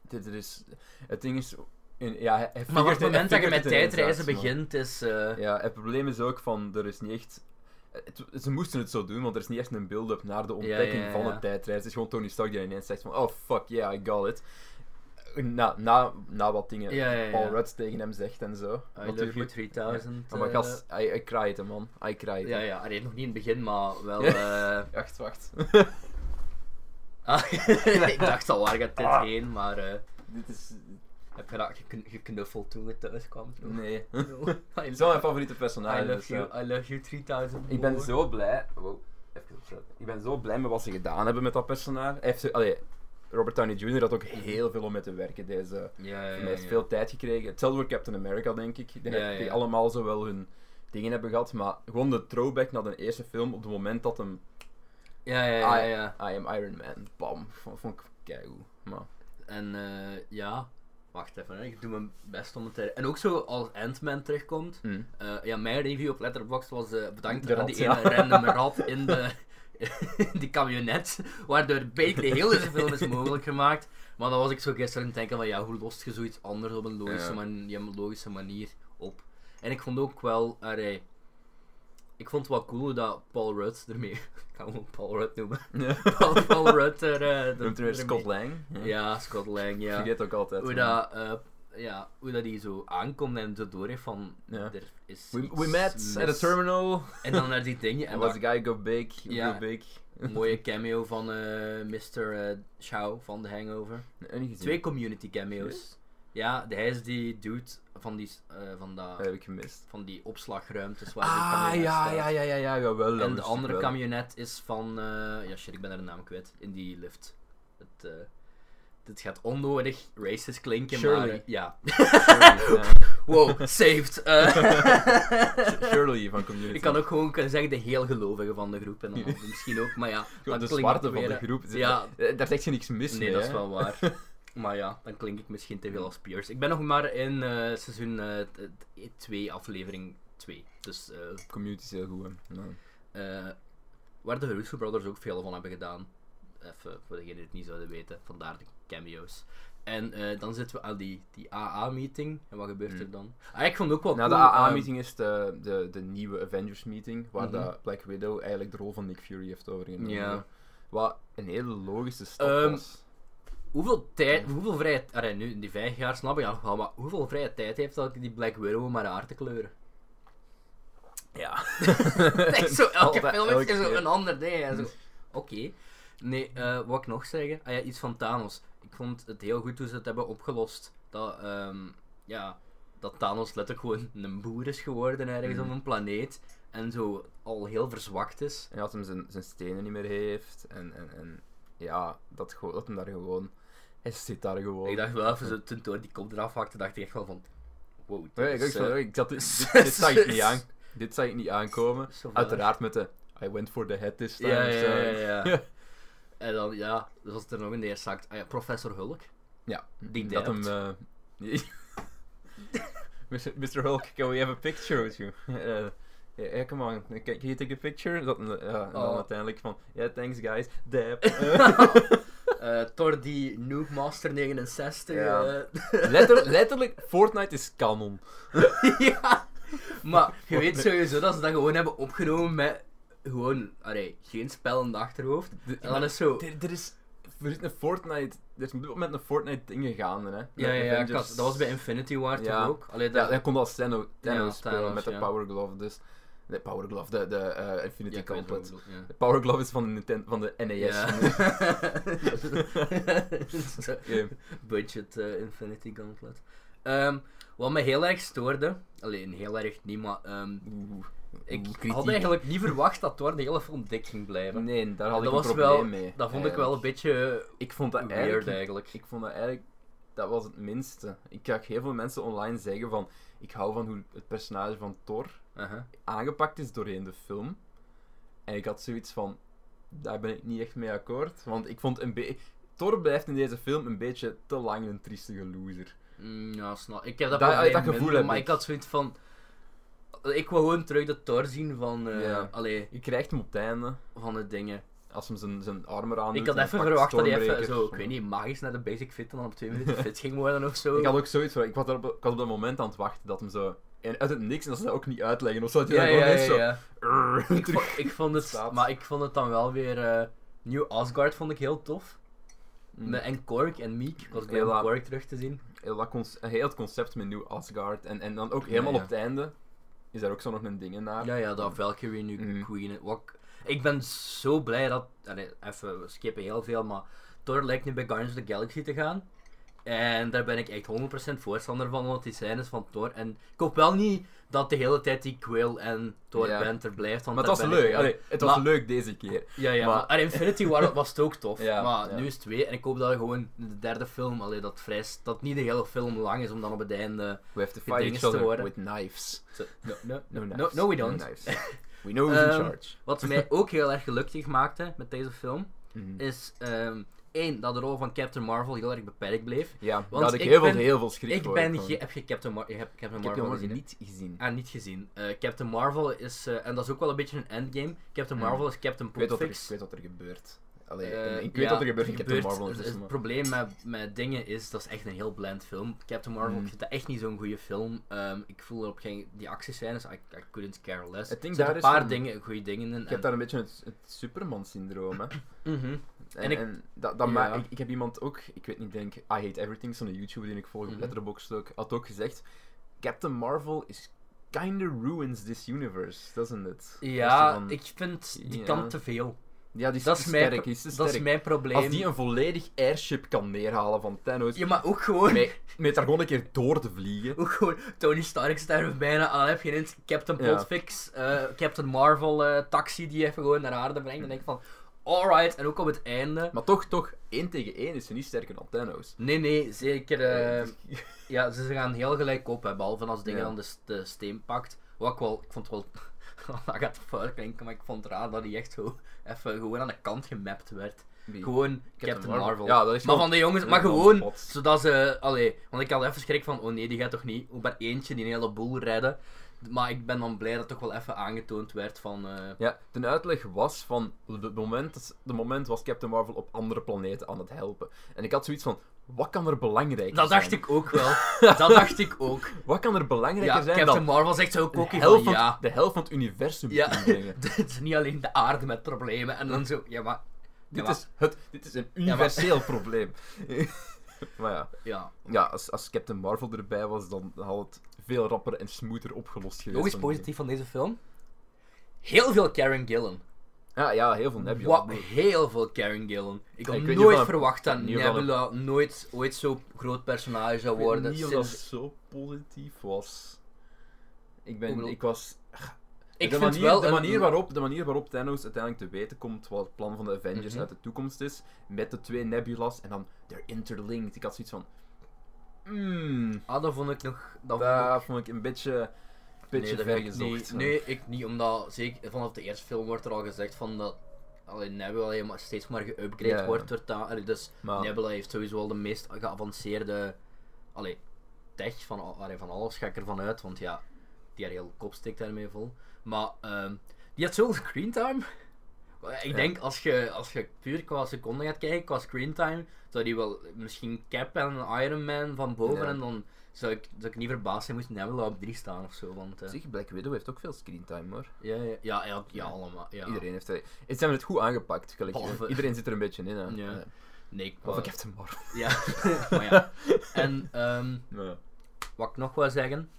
A: Dit is, het ding is. in- ja, hij- hij [laughs]
B: Maar op
A: figuurt-
B: het moment
A: hij
B: dat je
A: figuurt
B: met
A: het ineens
B: tijdreizen
A: uit, maar-
B: begint, is. eh,
A: Ja, het probleem is ook van. Er is niet echt. het- ze moesten het zo doen, want er is niet echt een build-up naar de ontdekking
B: ja,
A: van
B: ja.
A: het tijdreis. Het is gewoon Tony Stark die ineens zegt: van, Oh fuck, yeah, I got it. Na, na, na wat dingen
B: Ja, ja, ja.
A: Paul Rudd tegen hem zegt en zo.
B: I love you 3000.
A: Ja, maar
B: eh,
A: gast, Oh I, I cried, hè, man. I cried.
B: ja, ja, allee, nog niet in het begin, maar
A: [laughs]
B: wel. eh,
A: Wacht,
B: [laughs]
A: wacht.
B: ah, [laughs] ik dacht al, waar gaat dit
A: Ah.
B: heen? Maar eh,
A: Dit is.
B: heb je dat gekn- geknuffeld toen je thuis kwam?
A: [laughs] Nee.
B: No. [laughs] I
A: Het is wel mijn
B: love,
A: favoriete
B: I
A: personage.
B: love
A: dus,
B: you,
A: eh.
B: I love you 3000.
A: Ik ben
B: more.
A: zo blij. Wow, even opzetten. Ik ben zo blij met wat ze gedaan hebben met dat personage. Hij heeft zo- allee, Robert Downey Jr. had ook heel veel om mee te werken. Deze
B: Ja, ja,
A: hij heeft
B: ja.
A: veel tijd gekregen. Hetzelfde voor Captain America, denk ik. Ik denk
B: Ja,
A: dat
B: ja.
A: die allemaal zo wel hun dingen hebben gehad. Maar gewoon de throwback naar de eerste film op het moment dat hem
B: Ja, ja, ja.
A: Ah,
B: ja, ja.
A: I am Iron Man, bam, vond, vond ik keigoed. Maar
B: En eh, ja, wacht even, hè. ik doe mijn best om het te... En ook zo als Ant-Man terugkomt.
A: [laughs] mm.
B: eh, ja, mijn review op Letterboxd was eh, bedankt
A: De
B: aan
A: rat,
B: die
A: ja.
B: ene random
A: [laughs]
B: rat in de [laughs] in die camionet, waardoor basically heel deze film is mogelijk gemaakt. Maar dan was ik zo gisteren aan het denken van ja, hoe lost je zoiets anders op een logische,
A: Ja.
B: man- ja, logische manier op? En ik vond ook wel, allee, ik vond het wel cool dat Paul Rudd ermee, [laughs] ik ga hem Paul Rudd noemen, [laughs] Paul, Paul Rudd er... eh,
A: Noemt hij weer
B: ermee-
A: Scott Lang.
B: Ja, Scott Lang,
A: Ik
B: ja
A: Vergeet ook altijd.
B: hoe
A: hè.
B: dat, eh, ja, hoe dat hij zo aankomt en zo door heeft van
A: Ja.
B: er is
A: We,
B: iets
A: we met
B: mis.
A: at a terminal.
B: En dan naar die
A: [laughs]
B: dingen en
A: And was
B: dat
A: the guy go big,
B: Ja.
A: go big.
B: mooie cameo van eh Mr. eh Chow van The Hangover.
A: Nee, niet gezien.
B: Twee community cameo's. Ja, hij is die dude van die, eh, van dat,
A: Dat heb ik gemist.
B: van die opslagruimtes waar die
A: Ah,
B: camionet
A: ja,
B: staat.
A: ja, ja, ja, ja, jawel. dat
B: En de
A: wist ik
B: andere
A: wel.
B: camionet is van. eh, ja, shit, ik ben haar naam kwijt. In die lift. Het, eh, dit gaat onnodig racist klinken, maar.
A: Shirley.
B: eh, Ja.
A: Shirley,
B: [laughs]
A: ja.
B: Wow, saved.
A: [laughs]
B: Eh,
A: Shirley van Community.
B: ik kan ook gewoon kunnen zeggen de heel gelovige van de groep. En dan
A: [laughs]
B: anderen misschien ook, maar ja.
A: Gewoon
B: dan
A: de
B: klinkt
A: zwarte
B: het
A: van de
B: weer-
A: groep. Zit-
B: Ja,
A: eh, Daar zegt je niks mis
B: nee,
A: mee,
B: dat
A: hè.
B: is wel
A: [laughs]
B: waar. Maar ja, dan klink ik misschien te veel als Piers. Ik ben nog maar in eh, seizoen 2, aflevering 2. Dus eh,
A: Community is heel goed, hè. Ja.
B: eh, waar de Russo Brothers ook veel van hebben gedaan. Even voor degenen die het niet zouden weten, vandaar de cameo's. En eh, dan zitten we aan die, die AA-meeting. En wat gebeurt er dan? Ah, ik vond het ook wel
A: Mm. Na Nou, de
B: cool, ehm,
A: AA-meeting is de, de, de nieuwe Avengers-meeting, waar
B: Mhm.
A: dat Black Widow eigenlijk de rol van Nick Fury heeft overgenomen.
B: Ja.
A: Wat een hele logische stap
B: Ehm,
A: was.
B: Hoeveel tijd, hoeveel vrije tijd, nu in die vijf jaar snap ik dat nog wel, maar hoeveel vrije tijd heeft dat die Black Widow om haar haar te [laughs] kleuren?
A: [laughs] Ja.
B: [laughs] Echt [laughs] zo, elke
A: Altijd,
B: film
A: elke
B: is zo
A: keer.
B: een ander ding. en zo. Oké. Nee, eh, wat ik nog zeggen? Ah ja, iets van Thanos. Ik vond het heel goed hoe ze het hebben opgelost. Dat, ehm, ja, dat Thanos letterlijk gewoon een boer is geworden ergens
A: Mhm.
B: op een planeet. En zo al heel verzwakt is.
A: En dat hem zijn, zijn stenen niet meer heeft. En, en, en ja, dat, gewoon- dat hem daar gewoon. Hij zit daar gewoon.
B: Ik dacht wel even, zo, toen Thor die kop eraf hakte, dacht ik echt wel van... Wow, dit
A: Nee, ik,
B: is,
A: ik,
B: eh,
A: zat- ik zat,
B: [laughs]
A: dit, dit zag ik niet aan. Dit zag ik niet aankomen.
B: zo ver.
A: Uiteraard met de I went for the head this time.
B: Ja,
A: of
B: ja,
A: zo.
B: ja, ja, [laughs] ja. En dan, ja, dus als het er nog een neer zakt. Ah ja, Professor Hulk. [laughs]
A: Ja,
B: Die
A: dat hem.
B: deugt.
A: eh, [laughs] Mr. Mr. Hulk, can we have a picture with you? [laughs] Eh, yeah, yeah, come on, can, can you take a picture? Dat, hem, eh, ja, en dan
B: Oh.
A: uiteindelijk van, yeah, thanks guys, dab.
B: [laughs] Eh, Thor die Noob Master 69.
A: Ja.
B: eh, [laughs]
A: Letter- letterlijk, Fortnite is canon.
B: ja. Maar je [laughs] weet sowieso dat ze dat gewoon hebben opgenomen met gewoon, allee, geen spel in de achterhoofd.
A: De-
B: En dan is zo.
A: Er, er is, er is een Fortnite, er is op dit moment een Fortnite ding gaande, hè?
B: Ja,
A: Met
B: ja, ja,
A: Avengers.
B: ik had- dat was bij Infinity War toch
A: Ja.
B: ook. Allee,
A: Ja,
B: dat,
A: hij kon als Thanos, Thanos spelen
B: Thanos,
A: met de
B: ja.
A: Power Glove, dus... De Power Glove, de, de eh, Infinity
B: ja, ik weet wat
A: Gauntlet.
B: je bedoelt, ja.
A: De Power Glove is van de, Nintendo, van de E NES. [laughs]
B: [laughs] Ja.
A: Game.
B: Budget eh, Infinity Gauntlet. Ehm, wat me heel erg stoorde, alleen heel erg niet, maar ehm,
A: Oeh.
B: ik
A: Oeh, kritiek.
B: had eigenlijk niet verwacht dat Thor de hele film dik ging blijven.
A: Nee, daar had
B: dat
A: ik
B: was
A: een probleem
B: wel-
A: mee.
B: Dat vond ik wel een beetje eh,
A: Ik vond dat
B: weird
A: eigenlijk...
B: eigenlijk.
A: Ik vond dat eigenlijk... Dat was het minste. Ik zag heel veel mensen online zeggen van... Ik hou van hoe het personage van Thor
B: Aha.
A: aangepakt is doorheen de film. En ik had zoiets van... Daar ben ik niet echt mee akkoord. Want ik vond een beetje... Thor blijft in deze film een beetje te lang een triestige loser.
B: Mm, ja, snap. Ik heb dat,
A: Dat-
B: probleem
A: dat gevoel
B: minder,
A: heb
B: maar
A: ik.
B: ik had zoiets van... Ik wou gewoon terug de Thor zien van, eh
A: Ja.
B: allee,
A: Je krijgt hem op het einde,
B: van de dingen.
A: als hem zijn, zijn armor aan
B: ik had even verwacht dat hij even zo, ik weet niet, magisch naar de basic fit en dan op twee [laughs] minuten fit ging worden of zo.
A: Ik had ook zoiets van, ik was, daar op, ik was op dat moment aan het wachten dat hem zo... En uit het niks, en dat ze dat ook niet uitleggen, of zo, dat hij
B: ja,
A: dan gewoon
B: ja, ja,
A: eens zo...
B: [laughs] ja.
A: "Urgh",
B: Ik,
A: terug-
B: vond, ik vond het,
A: staat.
B: maar ik vond het dan wel weer, eh, New Asgard vond ik heel tof.
A: Mm.
B: Met- En Kork en Meek, ik was blij
A: Heel
B: om
A: laat.
B: Kork terug te zien.
A: Heel, dat conce- heel het concept met New Asgard, en, en dan ook helemaal
B: Ja, ja.
A: op het einde is daar ook zo nog een ding naar.
B: Ja, ja, dat Valkyrie nu
A: Mhm.
B: Queen. Wat, ik- ik ben zo blij dat. allee, even, we skippen heel veel, maar Thor lijkt nu bij Guardians of the Galaxy te gaan. En daar ben ik echt 100% voorstander van, want die scènes van Thor. En ik hoop wel niet dat de hele tijd die Quill en Thor
A: Ja.
B: Banter blijft. Want
A: Maar het was
B: daar ben ik
A: leuk,
B: wel-
A: allee, het was
B: Maar-
A: leuk deze keer.
B: Ja, ja.
A: maar-
B: Maar, en Infinity War was het ook tof.
A: [laughs] Ja,
B: maar
A: ja.
B: nu is het twee. En ik hoop dat we gewoon de derde film, allee, dat, vrij, s- dat niet de hele film lang is om dan op het einde.
A: We have to
B: Die
A: fight
B: dingen
A: each
B: te
A: other
B: worden.
A: with knives.
B: te- No, no,
A: No,
B: no,
A: knives.
B: no, we don't. [laughs]
A: knives. We know who's in
B: Ehm,
A: charge.
B: Wat mij ook heel erg gelukkig maakte met deze film,
A: Mhm.
B: is ehm één, dat de rol van Captain Marvel heel erg beperkt bleef.
A: Ja, daar
B: want
A: had ik,
B: ik
A: heel, veel,
B: ben-
A: heel veel schrik
B: Ik
A: voor,
B: ben
A: gewoon.
B: ge- heb je Captain, Mar- je hebt Captain
A: Ik heb
B: Marvel
A: hem nog
B: gezien? hè?
A: niet gezien.
B: Ah, niet gezien. Eh, Captain Marvel is, eh, en dat is ook wel een beetje een endgame. Captain
A: Hmm.
B: Marvel is Captain
A: Ik weet, wat er, ik
B: Potfix.
A: weet wat er gebeurt. Allee,
B: Eh,
A: ik weet
B: ja,
A: wat er gebeurt in
B: er
A: Captain
B: gebeurt-
A: Marvel.
B: het-
A: intussen,
B: Het
A: maar-
B: probleem met, met dingen is, dat is echt een heel bland film. Captain Marvel,
A: Hmm.
B: ik vind dat echt niet zo'n goede film. Ehm, ik voel erop geen... Die actiescènes, I, I couldn't care less.
A: Het ding
B: er zitten
A: daar
B: een
A: is
B: paar
A: van-
B: dingen, goede dingen in.
A: Ik
B: en-
A: heb daar een beetje het, het Superman-syndroom, hè.
B: Mhm.
A: En,
B: En ik-
A: en dat, dat
B: Ja.
A: ma- ik, ik heb iemand ook, ik weet niet, denk I Hate Everything, zo'n YouTuber die ik volg op
B: Mhm.
A: Letterboxd ook, had ook gezegd, Captain Marvel is kinda ruins this universe, doesn't it? Dat
B: Ja,
A: is zo van-
B: ik vind die
A: Ja.
B: kan te veel.
A: Ja, die is,
B: dat
A: te
B: is mijn
A: sterk,
B: pro-
A: die is te
B: Dat is
A: sterk.
B: mijn probleem.
A: Als die een volledig airship kan neerhalen van Thanos, [laughs]
B: Ja, maar ook gewoon,
A: met, met daar gewoon een keer door te vliegen.
B: ook gewoon Tony Stark sterft bijna aan. Dan heb je ineens Captain
A: Ja.
B: Potfix, eh, Captain Marvel eh, taxi die even gewoon naar aarde brengt. Dan denk ik van, alright. En ook op het einde.
A: Maar toch, toch, één tegen één is ze niet sterker dan Thanos.
B: Nee, nee, zeker. eh,
A: Eh, [laughs]
B: ja, ze ze gaan heel gelijk op, hè, behalve als dingen
A: Ja.
B: dan de, s- de steen pakt. Wat ik wel, ik vond het wel, [laughs] dat gaat fout klinken, maar ik vond het raar dat hij echt zo even gewoon aan de kant gemapt werd.
A: wie?
B: Gewoon Captain Marvel.
A: Ja, dat is
B: Maar
A: gewoon-
B: van de jongens,
A: een
B: maar
A: random
B: gewoon,
A: pot.
B: zodat ze, allee, want ik had even schrik van, oh nee, die gaat toch niet op maar eentje die een hele boel redden. Maar ik ben dan blij dat toch wel even aangetoond werd van, eh,
A: Ja, de uitleg was van. Het moment, de moment was Captain Marvel op andere planeten aan het helpen. En ik had zoiets van. Wat kan er belangrijker
B: dat
A: zijn?
B: dacht ik ook wel, [laughs] dat dacht ik ook.
A: Wat kan er belangrijker
B: Ja,
A: zijn
B: Captain
A: dan
B: Marvel zegt zo
A: de
B: kokkie
A: helft
B: van,
A: van,
B: ja,
A: de helft van het universum
B: [laughs] Ja.
A: te brengen?
B: [laughs] het is niet alleen de aarde met problemen, en dan zo, ja maar, ja,
A: Dit,
B: maar-
A: is het, dit is een universeel [laughs] probleem. maar ja,
B: ja.
A: ja als, als Captain Marvel erbij was, dan had het veel rapper en smoother opgelost geweest.
B: Nog iets
A: dan-
B: positief van deze film, heel veel Karen Gillan.
A: Ja, ja heel veel Nebula.
B: Wat heel veel Karen Gillan. Ik had
A: Ik weet niet
B: nooit
A: of dat-
B: verwacht dat
A: niet of dat-
B: Nebula nooit ooit zo'n groot personage zou
A: Ik weet
B: worden.
A: niet of dat
B: sinds-
A: zo positief was. Ik, ben,
B: Hoe bedoel-
A: ik was...
B: Ik
A: de
B: vind
A: manier,
B: wel
A: de,
B: een-
A: manier waarop, de manier waarop Thanos uiteindelijk te weten komt wat het plan van de Avengers
B: Mhm.
A: uit de toekomst is, met de twee nebulas en dan they're interlinked. Ik had zoiets van... Mm,
B: Ah, dat vond ik nog... Dat vond ik...
A: dat vond ik een beetje, een beetje
B: nee, dat vind ik
A: vergezocht.
B: niet. Nee, ik niet, omdat zeker vanaf de eerste film wordt er al gezegd van dat allee, Nebula alleen maar steeds maar geüpgrade
A: Ja.
B: wordt. Door ta- allee, dus
A: Maar-
B: Nebula heeft sowieso al de meest geavanceerde allee, tech van, al- allee, van alles, ga ik ervan uit, want ja, die haar heel kop steekt daarmee vol. Maar ehm, die had zoveel screentime. Ik denk als je, als je puur qua seconden gaat kijken, qua screentime, zou die wel misschien Cap en Iron Man van boven
A: Ja.
B: en dan zou ik, zou ik niet verbaasd zijn moest Nebula op 3 staan of zo. Want, eh,
A: Zeg, Black Widow heeft ook veel screentime hoor.
B: ja, ja, ja, ja, ja, allemaal. Ja.
A: Iedereen heeft... Het ze hebben het goed aangepakt, gelukkig.
B: Behalve-
A: Iedereen zit er een beetje in. Hè.
B: Ja.
A: Ja.
B: Nee, ik
A: Behalve
B: wou-
A: Captain Marvel. [laughs]
B: Ja, maar ja. En ehm,
A: Ja.
B: wat ik nog wil zeggen.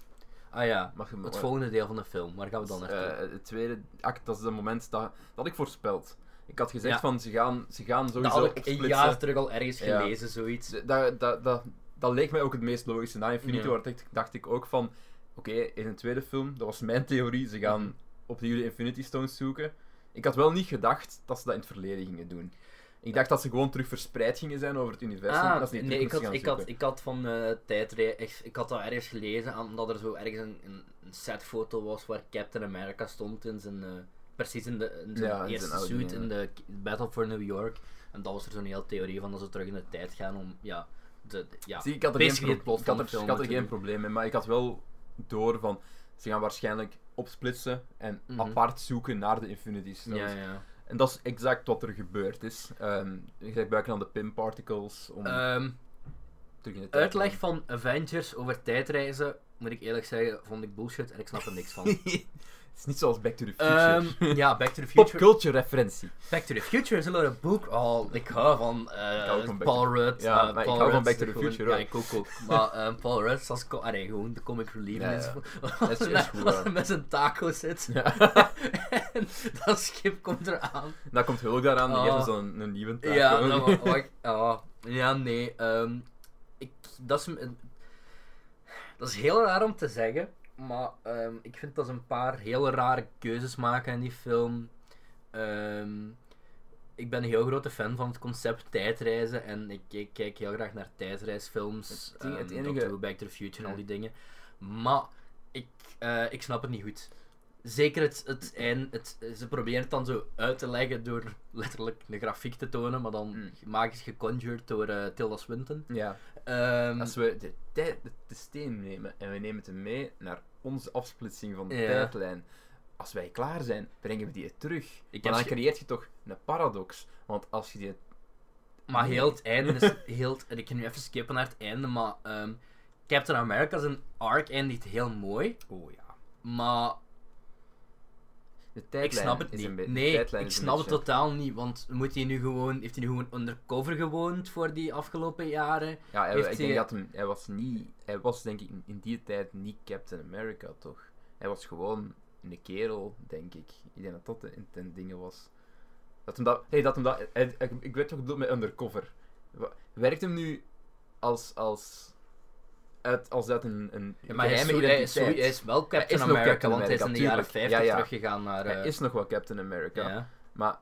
B: Ah ja,
A: Mag je
B: het volgende deel van de film, waar gaan we dan
A: Eh,
B: naartoe?
A: het tweede act, dat is het moment dat, dat ik voorspeld. Ik had gezegd
B: Ja.
A: van, ze gaan, ze gaan
B: dat
A: sowieso
B: had ik een
A: opsplitsen.
B: jaar terug al ergens
A: Ja.
B: gelezen, zoiets.
A: Z- Dat, dat, dat, dat leek mij ook het meest logische. Na Infinity
B: Ja.
A: War dacht, ik- dacht ik ook van... Oké, in een tweede film, dat was mijn theorie, ze
B: Mhm.
A: gaan opnieuw de Infinity Stones zoeken. Ik had wel niet gedacht dat ze dat in het verleden gingen doen. Ik dacht dat ze gewoon terug verspreid gingen zijn over het universum. en dat
B: Ah,
A: ze niet
B: nee, ik had,
A: gaan
B: ik, had,
A: zoeken.
B: ik had van eh tijdrij, ik, ik had dat ergens gelezen, aan- omdat er zo ergens een, een, een setfoto was waar Captain America stond in zijn, eh, precies in, de, in zijn
A: Ja, in zijn
B: eerste
A: oude
B: suit
A: dingen.
B: in de k- Battle for New York. En dat was er zo'n hele theorie van dat ze terug in de tijd gaan om, ja, de, de- ja.
A: Zie, ik had er,
B: Basically
A: geen, pro-
B: het plot
A: ik
B: van
A: had er,
B: de film
A: ik had er geen
B: natuurlijk.
A: probleem mee, maar ik had wel door van... Ze gaan waarschijnlijk opsplitsen en
B: Mhm.
A: apart zoeken naar de Infinity Stones.
B: ja, ja.
A: En dat is exact wat er gebeurd is. Ehm ze gebruiken dan de pin particles om
B: Ehm,
A: terug in de tijd te
B: uitleg van Avengers over tijdreizen, moet ik eerlijk zeggen, vond ik bullshit en ik snap er niks van.
A: [laughs] Het is niet zoals Back to the [laughs] Future.
B: Ehm, ja, Back to the Future.
A: Popculture referentie.
B: Back to the Future is een leuk boek. Oh, ik hou van eh,
A: hou ook van Back
B: Paul Rudd.
A: Ja,
B: eh,
A: maar ik
B: Paul
A: hou van
B: Rudd
A: Back
B: is
A: to the
B: gewoon-
A: Future
B: Ja,
A: ook.
B: ik ook ook.
A: [laughs]
B: Maar eh, Paul Rudd als co- allee, gewoon de comic relief.
A: Ja, ja.
B: en zo.
A: is-
B: [laughs] Als
A: is
B: hij-
A: goed,
B: als
A: ja.
B: hij met zijn taco zit. [laughs] en dat schip komt eraan.
A: [laughs] Dan komt Hulk daaraan, die
B: Oh.
A: geeft ons dan een, een nieuwe taak. [laughs]
B: Ja, dan wa- wacht. ah, ja, nee. ehm, ik, dat, is, een- dat is heel raar om te zeggen. Maar ehm, ik vind dat ze een paar hele rare keuzes maken in die film. Ehm, ik ben een heel grote fan van het concept tijdreizen. En ik, ik kijk heel graag naar tijdreisfilms.
A: Het ding- het
B: ehm,
A: enige-
B: Doctor Who, Back to the Future en al
A: Ja.
B: die dingen. Maar ik, eh, ik snap het niet goed. Zeker het, het eind. Het, ze proberen het dan zo uit te leggen door letterlijk een grafiek te tonen, maar dan
A: Mm.
B: magisch geconjured door eh, Tilda Swinton.
A: Ja.
B: Ehm,
A: Als we de, tijd, de, de steen nemen en we nemen het mee naar onze afsplitsing van de
B: Ja.
A: tijdlijn. Als wij klaar zijn, brengen we die terug.
B: Ik
A: maar
B: heb
A: dan
B: ge-
A: creëert je toch een paradox. Want als je die...
B: maar heel het einde is. Heel het- en ik kan nu even skippen naar het einde, maar ehm, Captain America zijn arc eindigt heel mooi,
A: Oh ja.
B: maar
A: De
B: ik
A: tijdlijn
B: snap het
A: is
B: niet.
A: een beetje...
B: nee, ik snap het totaal niet, want moet hij nu gewoon, heeft hij nu gewoon undercover gewoond voor die afgelopen jaren?
A: Ja, hij,
B: Heeft
A: ik
B: hij-
A: denk dat hem, hij was niet... Hij was denk ik in, in die tijd niet Captain America, toch? Hij was gewoon een kerel, denk ik. Ik denk dat dat de intent dingen was. Dat hem dat... Hey, dat hem dat... hij- ik, ik weet wat ik bedoel met undercover. Wa- Werkt hem nu als... als uit, als uit een, een
B: Ja, maar hij is,
A: geheime
B: zo- hij is zo-
A: identiteit.
B: hij is wel Captain
A: nog
B: America,
A: Captain
B: want hij is in
A: America,
B: de jaren
A: tuurlijk.
B: 50
A: Ja, ja.
B: teruggegaan naar... eh,
A: Hij is nog wel Captain America.
B: ja.
A: Maar...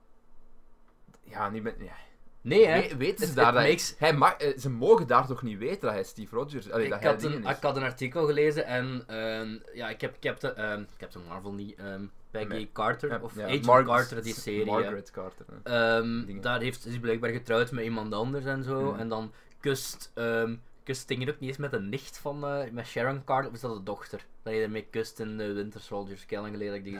A: Ja, niet met... Ja.
B: Nee, hè?
A: We- weten
B: Het-
A: ze daar
B: het
A: dat hij-
B: makes-
A: hij mag, eh, Ze mogen daar toch niet weten dat hij Steve Rogers... allee, dat
B: ik,
A: hij
B: had een,
A: dingen is.
B: ik had een artikel gelezen en ehm, ja, ik heb Captain, ehm Captain Marvel niet, ehm Peggy
A: Nee.
B: Carter,
A: Ja,
B: of
A: ja,
B: Agent
A: Margaret-
B: Carter, die serie. hè.
A: Margaret Carter. hè.
B: Ehm,
A: Dingen.
B: daar heeft, is hij blijkbaar getrouwd met iemand anders en zo.
A: Mhm.
B: En dan kust, ehm kust Dingen ook niet eens met de nicht van eh, met Sharon Carter, of is dat de dochter? Dat je ermee kust in de Winter Soldier, ik heb lang geleden dat ik die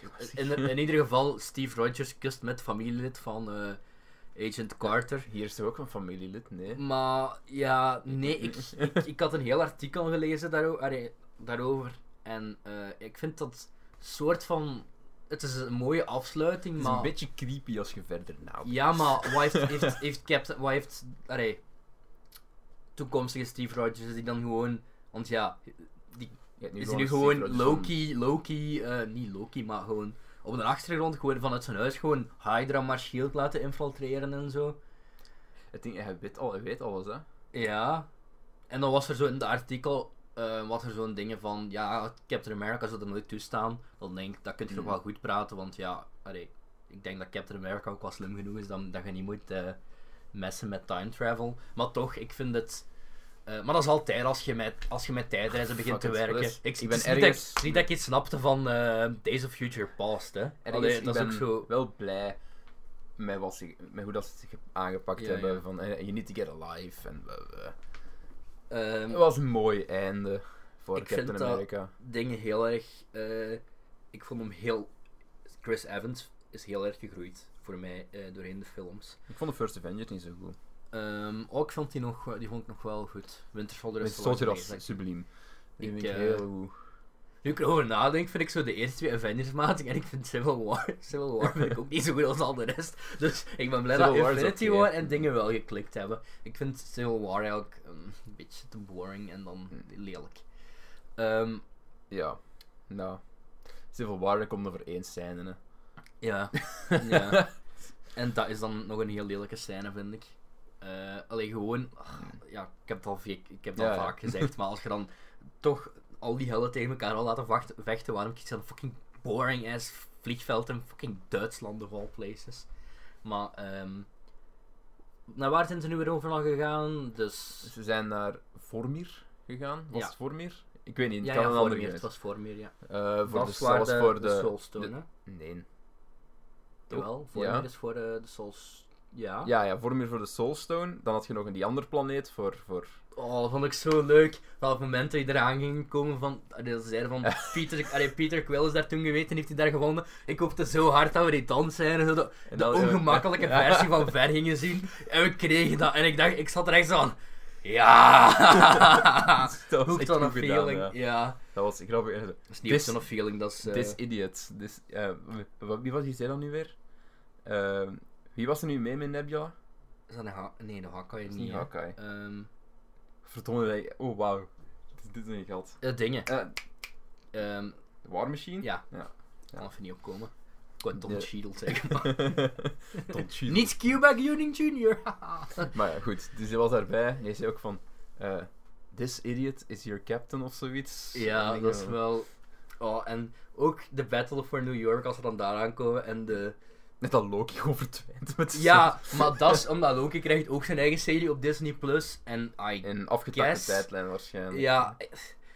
B: gezien heb. In, in ieder geval, Steve Rogers kust met familielid van eh, Agent Carter.
A: Hier is toch ook een familielid? Nee.
B: Maar ja, nee, ik, ik, ik had een heel artikel gelezen daarover. allee, daarover en eh, ik vind dat soort van. Het is een mooie afsluiting,
A: Het is
B: maar.
A: een beetje creepy als je verder nadenkt.
B: Ja, maar wat heeft, heeft, heeft Captain. Wat heeft. Allee, toekomstige Steve Rogers is die dan gewoon. Want ja,
A: Je hebt
B: is hij nu
A: Steve
B: gewoon
A: Rogers
B: Loki, Loki, eh, niet Loki, maar gewoon op de achtergrond gewoon vanuit zijn huis gewoon Hydra maar Shield laten infiltreren en zo.
A: Het ding, hij weet, al, hij weet alles, hè.
B: Ja. En dan was er zo in het artikel eh wat er zo'n dingen van, ja, Captain America zou er nooit toestaan. Dan denk ik, dat kun je nog
A: Mhm.
B: wel goed praten, want ja, allee, ik denk dat Captain America ook wel slim genoeg is dat, dat je niet moet eh, messen met time travel. Maar toch, ik vind het... eh, maar dat is altijd als je met, als je met tijdreizen begint te
A: Ah, Fuck it,
B: werken.
A: dat is-
B: ik,
A: ik
B: ben
A: ben
B: het is niet dat ik-
A: ergens-
B: het is niet dat ik iets snapte van eh, Days of Future Past, hè.
A: En
B: Allee,
A: ik
B: dat is
A: ben
B: ook zo...
A: wel blij met, wat ze, met hoe dat ze het aangepakt
B: Ja,
A: hebben.
B: ja.
A: Van, eh, you need to get alive. En, eh, eh.
B: ehm,
A: Het was een mooi einde voor
B: Ik
A: Captain
B: vind dat-
A: America.
B: dingen heel erg. eh, ik vond hem heel. Chris Evans is heel erg gegroeid voor mij eh, doorheen de films.
A: Ik vond de First Avengers niet zo goed.
B: Ehm, ook ik vond die nog, wel- die vond ik nog wel goed. Winter Soldier
A: Met
B: is te lang
A: Soldier
B: geleden.
A: was subliem. Die
B: Ik,
A: vind ik
B: eh,
A: heel goed.
B: Nu ik erover nadenk, vind ik zo de eerste twee Avengers matig en ik vind Civil War, [laughs] Civil War vind ik ook niet zo goed als al de rest. Dus ik ben blij
A: Civil
B: dat
A: War is
B: Infinity
A: oké.
B: War en dingen wel geklikt hebben. Ik vind Civil War eigenlijk een beetje te boring en dan
A: Hmm.
B: lelijk. Ehm,
A: Ja. Nou. Civil War, daar komt over één scène. Hè. [laughs]
B: ja. ja. En dat is dan nog een heel lelijke scène, vind ik. Eh alleen gewoon, ah, ja, ik heb het al, ve- ik heb het al
A: Ja, ja.
B: vaak gezegd, maar als je dan toch al die helden tegen elkaar al laten vacht- vechten, waarom kies je dan fucking boring ass vliegveld in fucking Duitsland of all places? Maar, ehm naar waar zijn ze nu weer overal gegaan? Dus.
A: Ze zijn naar Vormir gegaan. Was
B: Ja.
A: het Vormir? Ik weet niet.
B: Ja,
A: ik kan
B: ja,
A: een
B: voor
A: andere
B: meer.
A: keer.
B: Het was voor meer, ja.
A: Eh, voor
B: dat
A: de,
B: is waar
A: zelfs
B: de,
A: voor de,
B: de Soulstone,
A: de-
B: hè?
A: Nee.
B: Jawel, voor
A: ja.
B: meer is voor eh, de Souls. Ja.
A: Ja, ja, Vormir voor de Soulstone. Dan had je nog een die andere planeet voor... voor...
B: Oh, dat vond ik zo leuk. Welk moment dat hij eraan ging komen van... Ze zeiden
A: [laughs]
B: van, Peter, allee, Peter Quill is daar toen geweten, heeft hij daar gewonnen. Ik hoopte zo hard dat we die dansscène, zo de,
A: En
B: de
A: dan- eh, [laughs]
B: ongemakkelijke versie van Ver gingen zien. En we kregen dat. En ik dacht, ik zat er echt zo aan.
A: [laughs]
B: Ja!
A: Dat was
B: Hooked
A: echt
B: on a
A: goed gedaan,
B: feeling.
A: ja.
B: ja.
A: Dat was grappig. Eh, En zo,
B: Dat is niet
A: This-
B: Hooked on a feeling, dat is... eh,
A: This idiot. This, eh, w- w- wie was die zei dan nu weer? Ehm, wie was er nu mee met Nebula?
B: is dat een ha- Nee, dat kan je
A: Dat is niet
B: niet. hè.
A: Hawkeye.
B: Ehm,
A: Verdomme, dat- oh wauw. Dit, dit is een gat.
B: eh, dingen.
A: Eh,
B: Ehm,
A: War Machine? [laughs]
B: ja.
A: Ja.
B: Ik kan even niet opkomen. Ik wou Don
A: De- [laughs]
B: Cheadle zeggen, maar...
A: Tot shit.
B: Niet Cuba Gooding Jr.
A: Maar ja, goed. Dus hij was daarbij. En hij zei ook van... eh, This idiot is your captain of zoiets. En
B: ja,
A: ik
B: dat is
A: dacht,
B: wel. Oh, en ook de Battle for New York, als we dan daar aankomen. En de...
A: Net dat Loki [laughs] overtwijnt met zijn-
B: Ja, maar dat is omdat Loki krijgt ook zijn eigen serie op Disney Plus. En I.
A: In een afgetakte
B: Yes.
A: tijdlijn waarschijnlijk.
B: Ja,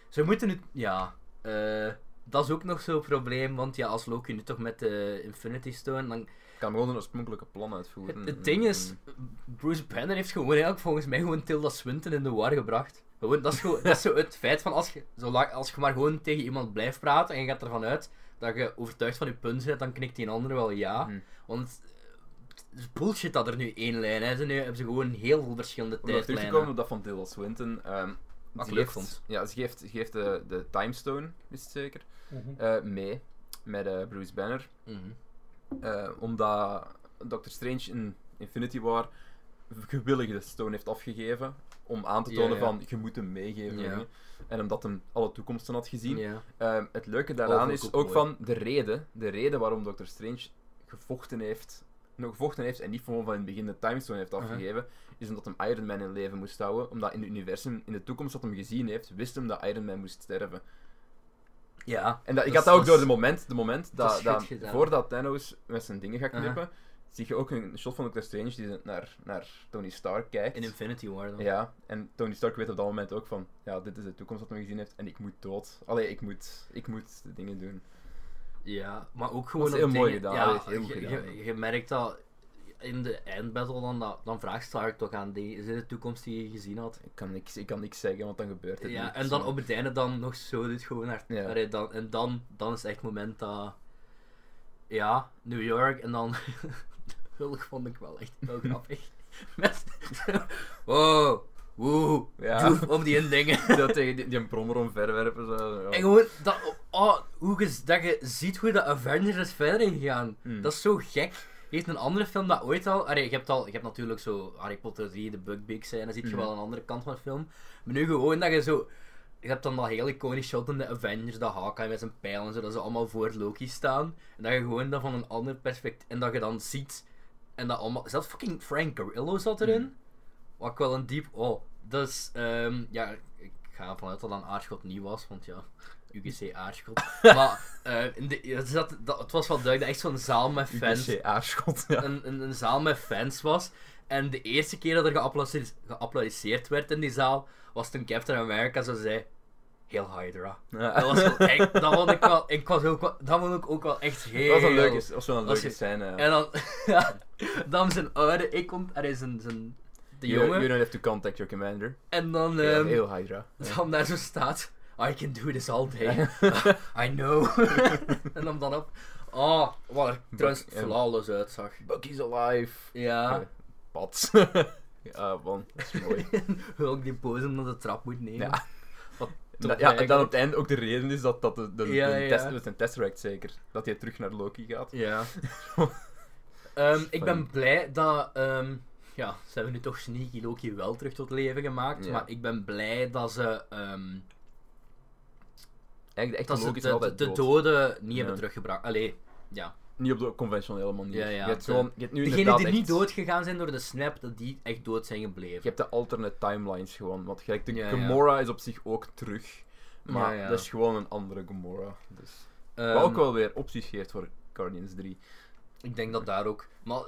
B: ze moeten het. Ja, eh, dat is ook nog zo'n probleem. Want ja, als Loki nu toch met de Infinity Stone. Dan...
A: Kan gewoon een oorspronkelijke plan uitvoeren.
B: Het, het ding is, Bruce Banner heeft gewoon eigenlijk volgens mij gewoon Tilda Swinton in de war gebracht. Gewoon, dat is, gewoon, dat is zo het feit van als je, zolang, als je maar gewoon tegen iemand blijft praten en je gaat ervan uit dat je overtuigd van je punt bent, dan knikt die een ander wel ja.
A: Mhm.
B: Want eh, het is bullshit dat er nu één lijn is. En nu hebben ze gewoon heel veel verschillende
A: Om nog terug te komen
B: tijdlijnen.
A: op dat van Tilda Swinton. ehm,
B: Wat
A: ze
B: leuk
A: geeft-
B: vond.
A: Ja, ze geeft, ze geeft de, de Timestone, is het zeker, eh, mee met eh, Bruce Banner.
B: Mhm.
A: Eh, omdat Doctor Strange in Infinity War gewillig de stone heeft afgegeven om aan te
B: Ja,
A: tonen
B: ja.
A: van je moet hem meegeven.
B: Ja.
A: jongen. En omdat hem alle toekomsten had gezien.
B: Ja.
A: Ehm, het leuke
B: Oh,
A: daaraan
B: vond ik
A: is ook,
B: ook mooi.
A: van de reden, de reden waarom Doctor Strange gevochten heeft, nog gevochten heeft en niet gewoon van in het begin de timestone heeft
B: Uh-huh.
A: afgegeven, is omdat hem Iron Man in leven moest houden, omdat in het universum, in de toekomst dat hem gezien heeft, wist hem dat Iron Man moest sterven.
B: ja.
A: En dat, ik had
B: Dat is-
A: dat ook
B: dat
A: door
B: is-
A: de moment, de moment
B: dat
A: dat,
B: is
A: dat
B: goed gedaan.
A: voordat Thanos met zijn dingen gaat
B: Uh-huh.
A: knippen, zie je ook een shot van Doctor Strange die naar, naar Tony Stark kijkt.
B: In Infinity War dan.
A: ja, en Tony Stark weet op dat moment ook van, ja, dit is de toekomst dat hij gezien heeft en ik moet dood. Allee, ik moet, ik moet de dingen doen.
B: Ja, maar ook gewoon
A: Dat is heel
B: op
A: mooi
B: dingen-
A: gedaan, dat is heel goed
B: je-
A: gedaan.
B: je- Je merkt dat in de eindbattle dan, dat, dan vraagt Stark toch aan die, is dit de toekomst die je gezien had?
A: Ik kan niks, ik kan niks zeggen, want dan gebeurt het
B: Ja,
A: niet.
B: en dan op het einde dan nog zo dit gewoon naar,
A: Ja.
B: allee, dan, en dan, dan is het echt het moment dat, ja, New York en dan, [laughs] Hulk vond ik wel [laughs] echt heel grappig. Met, [laughs] wow, woe,
A: Ja.
B: doef op die dingen.
A: [laughs] Zo tegen die, die een brommer omverwerpen. Zo, ja.
B: En gewoon, dat, oh, hoe je, dat je ziet hoe de Avengers is verder ingegaan.
A: Mm.
B: Dat is zo gek. Heeft een andere film dat ooit al... Allee, je hebt al, je hebt natuurlijk zo Harry Potter 3, de Buckbeak zijn, dan ziet je
A: Mhm.
B: wel een andere kant van de film. Maar nu gewoon dat je zo... je hebt dan dat hele iconisch shot in de Avengers, dat Hawkeye met zijn pijl en zo, dat ze allemaal voor Loki staan. En dat je gewoon dat van een ander perspectief, en dat je dan ziet, en dat allemaal, zelfs fucking Frank Grillo zat erin. Wat ik wel een diep, oh, dat is, ehm, ja, ik ga ervan uit dat dat een aardschot nieuw was, want ja, UGC
A: [laughs]
B: aardschot. maar, eh, in de, het, zat, dat, het was wel duidelijk, dat echt zo'n zaal met fans
A: UGC aarschot, ja.
B: een, een, een zaal met fans was. En de eerste keer dat er geapplaudis- geapplaudisseerd werd in die zaal, was toen Captain America zo zei... Heel Hydra.
A: Ja.
B: Dat was wel echt... Dat vond ik wel... Ik was ook wel dat vond ik ook wel echt
A: [laughs]
B: heel...
A: Dat was een leuke, dat was wel een
B: Als je-
A: leuke scène. ja.
B: En dan... [laughs] ja, dan zijn oude... Ik kom... Er is een... zijn de
A: You-
B: jongen.
A: You don't have to contact your commander.
B: En dan...
A: Ja,
B: ehm,
A: heel Hydra.
B: [laughs] dan daar zo staat... I can do this all day. [laughs] I know.
A: [laughs]
B: en dan dan op... Oh, wat er trouwens
A: Bak- en-
B: flawless uitzag.
A: Bucky's alive.
B: Ja.
A: Eh, Pats. [laughs] ja, man, dat is
B: [laughs]
A: mooi.
B: Hulk die pose omdat de trap moet nemen.
A: Ja.
B: Wat
A: En
B: top
A: dat- ja, en dan
B: eigenlijk.
A: op het einde ook de reden is dat dat de, de,
B: Ja,
A: de
B: ja.
A: Test, dat is een Tesseract zeker. Dat hij terug naar Loki gaat. [laughs]
B: Ja. Ehm, ik ben
A: Fijn.
B: blij dat. ehm, ja, ze hebben nu toch Sneaky Loki wel terug tot leven gemaakt.
A: Ja.
B: Maar ik ben blij dat ze. ehm,
A: Eigenlijk de echte
B: dat ze
A: Loki
B: de,
A: is nog
B: de,
A: altijd
B: de
A: dood.
B: doden niet
A: Ja.
B: hebben teruggebracht. Allee, ja.
A: Niet op de conventionele manier.
B: Ja, ja,
A: je hebt,
B: de-
A: gewoon, je hebt nu
B: Degenen
A: inderdaad
B: die niet
A: echt-
B: dood gegaan zijn door de snap, dat die echt dood zijn gebleven.
A: Je hebt de alternate timelines gewoon. Want gelijk, de
B: Ja, ja.
A: Gamora is op zich ook terug. Maar
B: Ja, ja.
A: dat is gewoon een andere Gamora. Dus.
B: Ehm,
A: Wat ook wel weer opties geeft voor Guardians 3.
B: Ik denk dat daar ook. Maar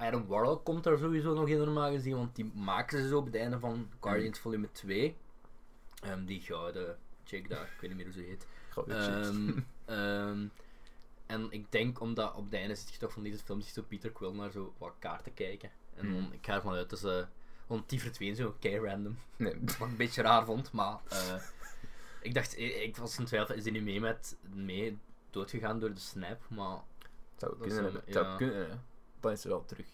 B: Iron Warlock komt daar sowieso nog in normaal gezien, want die maken ze zo op het einde van
A: Mm.
B: Guardians Volume 2. Ehm, die gouden chick daar, ik weet niet meer hoe ze
A: [laughs]
B: heet.
A: Ga weer checken. [laughs]
B: Ehm, ehm, en ik denk omdat op het einde zit je toch van deze film, zit zo Peter Quill naar zo wat kaarten kijken.
A: Mm.
B: En dan, ik ga ervan uit dat ze. Want die verdween zo, kei random.
A: Nee.
B: Wat ik een beetje raar vond, maar eh,
A: [laughs]
B: ik dacht, ik, ik was in twijfel, is die nu mee met mee doodgegaan door de snap? Maar
A: Het zou
B: Dat
A: kunnen,
B: zou-
A: hè. Het zou
B: ja.
A: kunnen, hè. Dan is ze wel terug.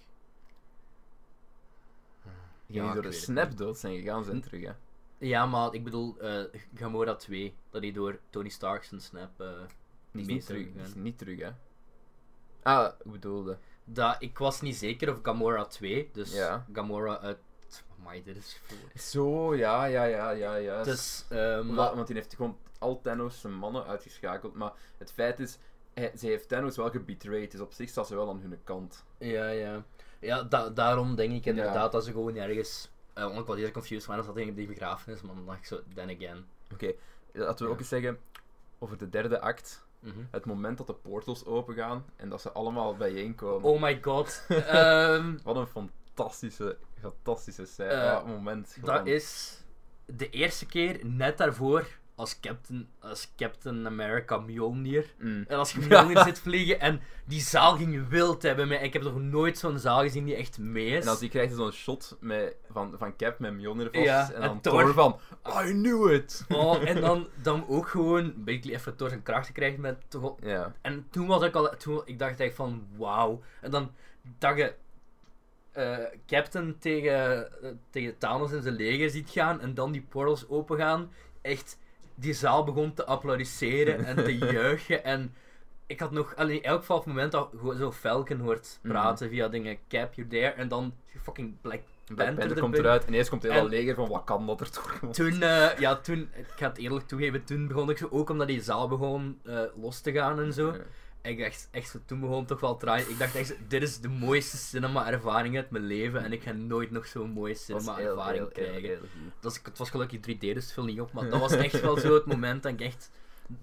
A: Die
B: ik
A: door de
B: weet het
A: snap dood zijn gegaan,
B: Hm.
A: zijn terug, hè.
B: Ja, maar ik bedoel eh, Gamora 2, dat die door Tony Stark zijn snap. eh,
A: Die is
B: Mee
A: niet terug,
B: terug,
A: die is
B: hè.
A: niet terug, hè. Ah, ik bedoelde.
B: dat, ik was niet zeker of Gamora 2, dus
A: Ja.
B: Gamora uit. Amai, dit is.
A: Zo, ja, ja, ja, ja, ja.
B: Dus, ehm,
A: Omdat-
B: maar-
A: want die heeft gewoon al Thanos zijn mannen uitgeschakeld. Maar het feit is, hij- ze heeft Thanos wel gebetrayed. Dus op zich staat ze wel aan hun kant.
B: ja, ja. Ja, da- daarom denk ik
A: Ja.
B: inderdaad dat ze gewoon ergens. eh, want ik was heel confused, maar dat zat in die begrafenis, maar dan dacht ik zo, then again.
A: Oké, laten we
B: Ja.
A: ook eens zeggen over de derde act.
B: Mhm.
A: Het moment dat de portals opengaan en dat ze allemaal bijeenkomen.
B: Oh my [laughs] god. Ehm,
A: Wat een fantastische, fantastische scène.
B: Eh,
A: Ja, moment.
B: Dat
A: gewoon.
B: is de eerste keer net daarvoor als Captain, als Captain America Mjolnir.
A: Mm.
B: En als je Mjolnir zit vliegen en die zaal ging wild hebben. Mij. Ik heb nog nooit zo'n zaal gezien die echt mee is.
A: En als die krijgt hij zo'n shot met, van, van Cap met Mjolnir vast.
B: Ja,
A: en
B: en
A: dan
B: Thor.
A: Thor van, I knew it!
B: Oh, en dan, dan ook gewoon basically even door zijn krachten krijgt met toch wel-
A: [laughs] Ja.
B: En toen was ik al, toen, ik dacht echt van wauw. En dan dat je eh, Captain tegen, eh, tegen Thanos en zijn leger ziet gaan en dan die portals opengaan. Echt, die zaal begon te applaudisseren en te juichen. En ik had nog, allee, in elk geval op het moment dat gewoon zo Falcon hoort praten via dingen Cap, you there. En dan fucking Black
A: Black
B: Panther
A: Panther komt
B: erbij.
A: eruit en eerst komt heel
B: En-
A: dat leger van Wakanda er toch.
B: Toen, eh, ja, toen, ik ga het eerlijk toegeven, toen begon ik zo ook omdat die zaal begon eh, los te gaan en zo. En ik dacht echt, zo, toen begon het toch wel traai. Ik dacht echt, zo, dit is de mooiste cinema-ervaring uit mijn leven en ik ga nooit nog zo'n mooie cinema-ervaring krijgen. Dat is, het was gelukkig 3D, dus het viel niet op, maar dat was echt wel zo het moment dat ik echt.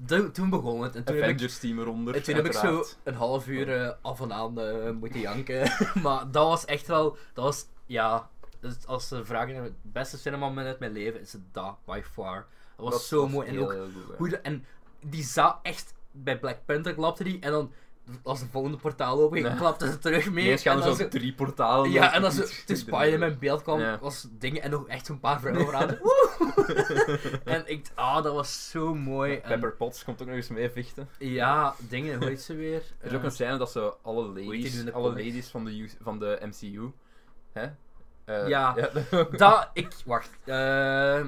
B: Toen- toen begon het en toen heb ik
A: Avengers team eronder.
B: en toen heb ik zo
A: uiteraard.
B: een half uur eh, af en aan eh, moeten janken. [laughs] maar dat was echt wel. Dat was, ja. dus als ze vragen naar het beste cinema uit mijn leven, is het dat, by far. Dat was
A: Dat
B: zo mooi. En
A: heel,
B: ook
A: heel goed, hè.
B: hoe de- En die za echt. Bij Black Panther klapte die. En dan, als de volgende portaal open
A: Ja.
B: ging, klapte ze terug mee.
A: Ineens gaan
B: en
A: er
B: dan
A: zo
B: zo-
A: drie portalen.
B: ja, en
A: dan
B: als
A: [laughs]
B: ze toen Spider-Man in beeld kwam,
A: Ja.
B: was dingen en nog echt zo'n paar vrouwen
A: [laughs]
B: vooraan. Woe! en ik, ah, dat was zo mooi. En-
A: Pepper Potts komt ook nog eens mee vechten.
B: ja, dingen, hoe heet ze weer?
A: Er is ook
B: Eh,
A: een scène dat ze alle
B: heet die nu
A: ladies,
B: in de
A: alle
B: comics?
A: ladies van, de, U- van de MCU. Hè? Eh,
B: Ja.
A: [laughs] dat-
B: Dat, ik, wacht. Ehm,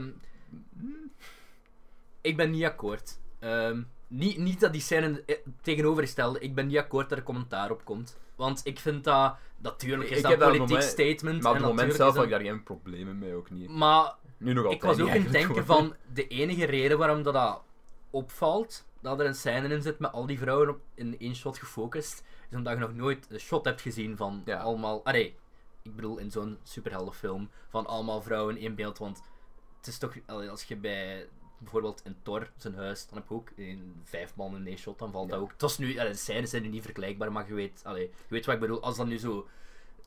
B: ik ben niet akkoord. Ehm, niet, niet dat die scène eh, tegenovergestelde, ik ben niet akkoord dat er commentaar op komt. Want ik vind dat, natuurlijk is
A: Ik
B: dat
A: heb
B: een
A: daar
B: politiek
A: moment-
B: statement.
A: maar op
B: en
A: het moment
B: natuurlijk
A: zelf had
B: is dat-
A: ik daar geen problemen mee ook niet.
B: Maar
A: Nu nog
B: Ik
A: altijd
B: was
A: niet
B: ook in het
A: eigenlijk,
B: denken
A: gewoon.
B: van de enige reden waarom dat, dat opvalt, dat er een scène in zit met al die vrouwen op, in één shot gefocust, is omdat je nog nooit een shot hebt gezien van
A: Ja.
B: allemaal. Allee, ik bedoel in zo'n superheldenfilm van allemaal vrouwen in beeld, want het is toch allee, als je bij bijvoorbeeld in Thor zijn huis, dan heb je ook in vijf man in één shot, dan valt dat
A: Ja.
B: ook. Het was nu, allee, de scènes zijn nu niet vergelijkbaar, maar je weet, allee, je weet wat ik bedoel. Als dat nu zo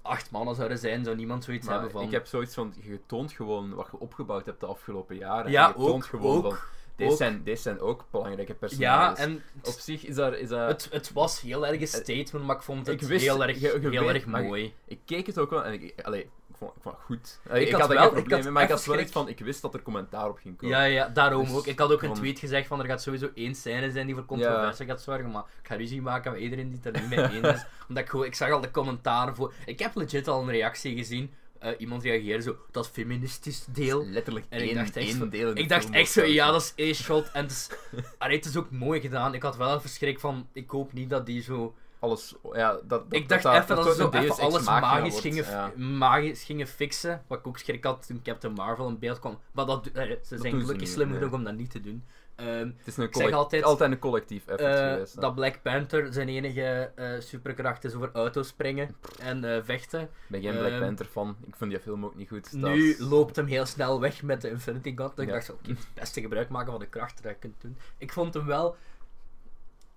B: acht mannen zouden zijn, zou niemand zoiets
A: [laughs] Maar
B: hebben van.
A: Ik heb zoiets van, je toont gewoon wat je opgebouwd hebt de afgelopen jaren.
B: Ja,
A: je toont
B: ook,
A: gewoon
B: ook,
A: van, deze,
B: ook.
A: Zijn, deze zijn ook belangrijke
B: ja,
A: personages.
B: en
A: Op zich is dat... Is dat
B: Het, het was heel erg een statement, maar ik vond het
A: Eh, Ik wist-
B: heel erg,
A: je- je
B: heel
A: weet-
B: erg
A: maar-
B: mooi.
A: Ik keek het ook wel en ik... Allee, ik vond, ik vond het goed. Allee,
B: Ik
A: ik,
B: had
A: had er
B: wel-
A: geen
B: ik
A: probleem
B: had
A: mee, maar ik
B: echt
A: had wel
B: schrik.
A: iets van... Ik wist dat er commentaar op ging komen.
B: Ja, ja, daarom
A: Dus
B: ook. Ik had ook een
A: van-
B: tweet gezegd van er gaat sowieso één scène zijn die voor controverse gaat zorgen, maar ik ga ruzie maken met iedereen die het er niet mee eens
A: [laughs]
B: is. Omdat ik gewoon, ik zag al de commentaar voor. Ik heb legit al een reactie gezien. Eh, iemand reageerde zo, dat feministisch deel.
A: Letterlijk
B: En
A: één,
B: ik dacht echt,
A: één
B: zo-
A: deel in de
B: ik dacht
A: film
B: echt zo,
A: wordt
B: ja, dat is één shot. En het is, [laughs] allee, het is ook mooi gedaan. Ik had wel een verschrik van, ik hoop niet dat die zo
A: Alles... Ja, dat,
B: ik dacht
A: daar-
B: even dat,
A: er
B: ze zo
A: een Deus
B: even
A: Ex
B: alles
A: Machina
B: magisch
A: wordt,
B: gingen,
A: ja.
B: magisch gingen fixen. Wat ik ook schrik had toen Captain Marvel in beeld kwam. Maar dat, eh, ze zijn
A: doen ze
B: gelukkig
A: niet,
B: slim
A: nee.
B: genoeg om dat niet te doen. Ehm,
A: Het is een
B: zeg
A: collect-
B: altijd,
A: altijd, een collectief effort
B: eh,
A: geweest. hè.
B: dat Black Panther zijn enige eh, superkracht is over auto's springen en eh, vechten.
A: Ik ben geen Black
B: ehm,
A: Panther fan. Ik vond die film ook niet goed.
B: Nu
A: Dat-
B: loopt hem heel snel weg met de Infinity Gauntlet. Ik
A: Ja.
B: dacht, zo, oké, het beste gebruik maken van de kracht dat je kunt doen. Ik vond hem wel...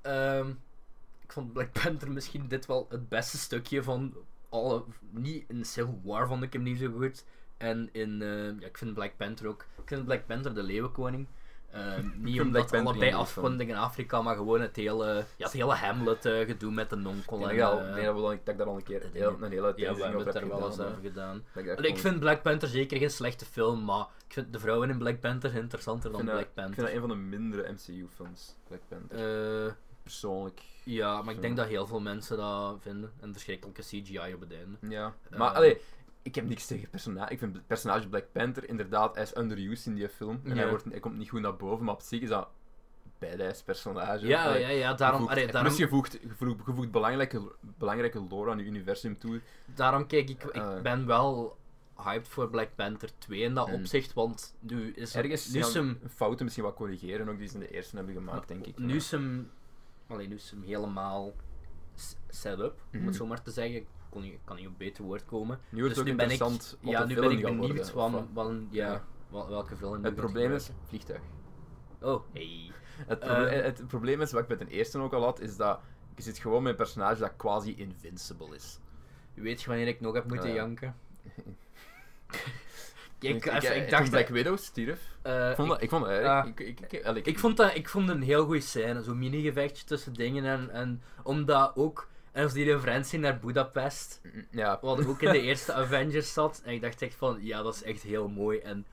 B: ehm, ik vond Black Panther misschien dit wel het beste stukje van alle... Niet in Civil War vond ik hem niet zo goed. En in... eh, ja, ik vind Black Panther ook... Ik vind Black Panther de leeuwenkoning. Ehm,
A: [laughs]
B: niet
A: Black
B: omdat
A: Panther
B: allebei
A: niet
B: afkonden in Afrika, maar gewoon het hele, ja, het hele Hamlet-gedoe met de
A: Ik
B: non-colin.
A: denk dat,
B: eh,
A: ik denk dat, we dan, dat ik daar al een keer
B: dat
A: heel,
B: ding-
A: een hele
B: ja, we
A: uitzending
B: hebben
A: over
B: het
A: heb
B: daar wel eens
A: gedaan.
B: over gedaan.
A: hè. Dat ik echt
B: Allee, ik
A: gewoon-
B: vind Black Panther zeker geen slechte film, maar ik vind de vrouwen in Black Panther interessanter dan
A: vind dat-
B: Black
A: Ik
B: Panther.
A: vind dat een van de mindere MCU-films, Black Panther.
B: Eh,
A: Persoonlijk.
B: ja, maar ik denk
A: Zo.
B: dat heel veel mensen dat vinden. En verschrikkelijke CGI op het einde.
A: Ja.
B: Eh,
A: maar allee, ik heb niks tegen personage. Ik vind het personage Black Panther inderdaad, hij is underused in die film. En
B: Ja.
A: hij, wordt, hij komt niet goed naar boven, maar op zich is dat een badass personage.
B: Ja,
A: Allee,
B: ja, ja, daarom,
A: gevoegt-
B: allee, daarom,
A: Plus je voegt, je voegt, je voegt belangrijke, belangrijke lore aan je universum toe.
B: daarom kijk ik, ik
A: Eh.
B: ben wel hyped voor Black Panther 2 in dat
A: Mm.
B: opzicht, want nu is
A: Ergens
B: nu
A: gaan
B: is hem,
A: fouten misschien wat corrigeren, ook die ze in de eerste hebben gemaakt, denk ik.
B: nu is hem, allee, nu is hem helemaal s- set up, om
A: Mhm.
B: het zo maar te zeggen. Ik kon niet, ik kan niet op beter woord komen.
A: Nu wordt
B: dus
A: het
B: nu
A: ook
B: ben ik,
A: interessant wat
B: ja,
A: de
B: nu
A: film
B: ben ik
A: gaat
B: benieuwd
A: worden,
B: van,
A: of wat.
B: van- ja,
A: Ja.
B: wel- welke film nu
A: Het
B: gaat
A: probleem is,
B: gebruiken.
A: vliegtuig.
B: Oh, hey.
A: Het, proble-
B: Eh.
A: het probleem is, wat ik met de eerste ook al had, is dat je zit gewoon met een personage dat quasi invincible is.
B: Weet je wanneer ik nog heb moeten
A: Eh. [laughs]
B: janken? ik,
A: ik,
B: even-
A: eh,
B: ik
A: toen
B: dacht
A: Black
B: dat...
A: Widow stierf.
B: eh,
A: Ik vond dat, ik vond dat erg.
B: ah.
A: ik, ik, ik, allee, ik-
B: Ik vond, dat, ik vond het een heel goede scène, zo'n mini-gevechtje tussen dingen en, en omdat ook, en als die referentie naar Budapest,
A: mm, Ja,
B: wat ook in de eerste Avengers zat, en ik dacht echt van, ja, dat is echt heel mooi en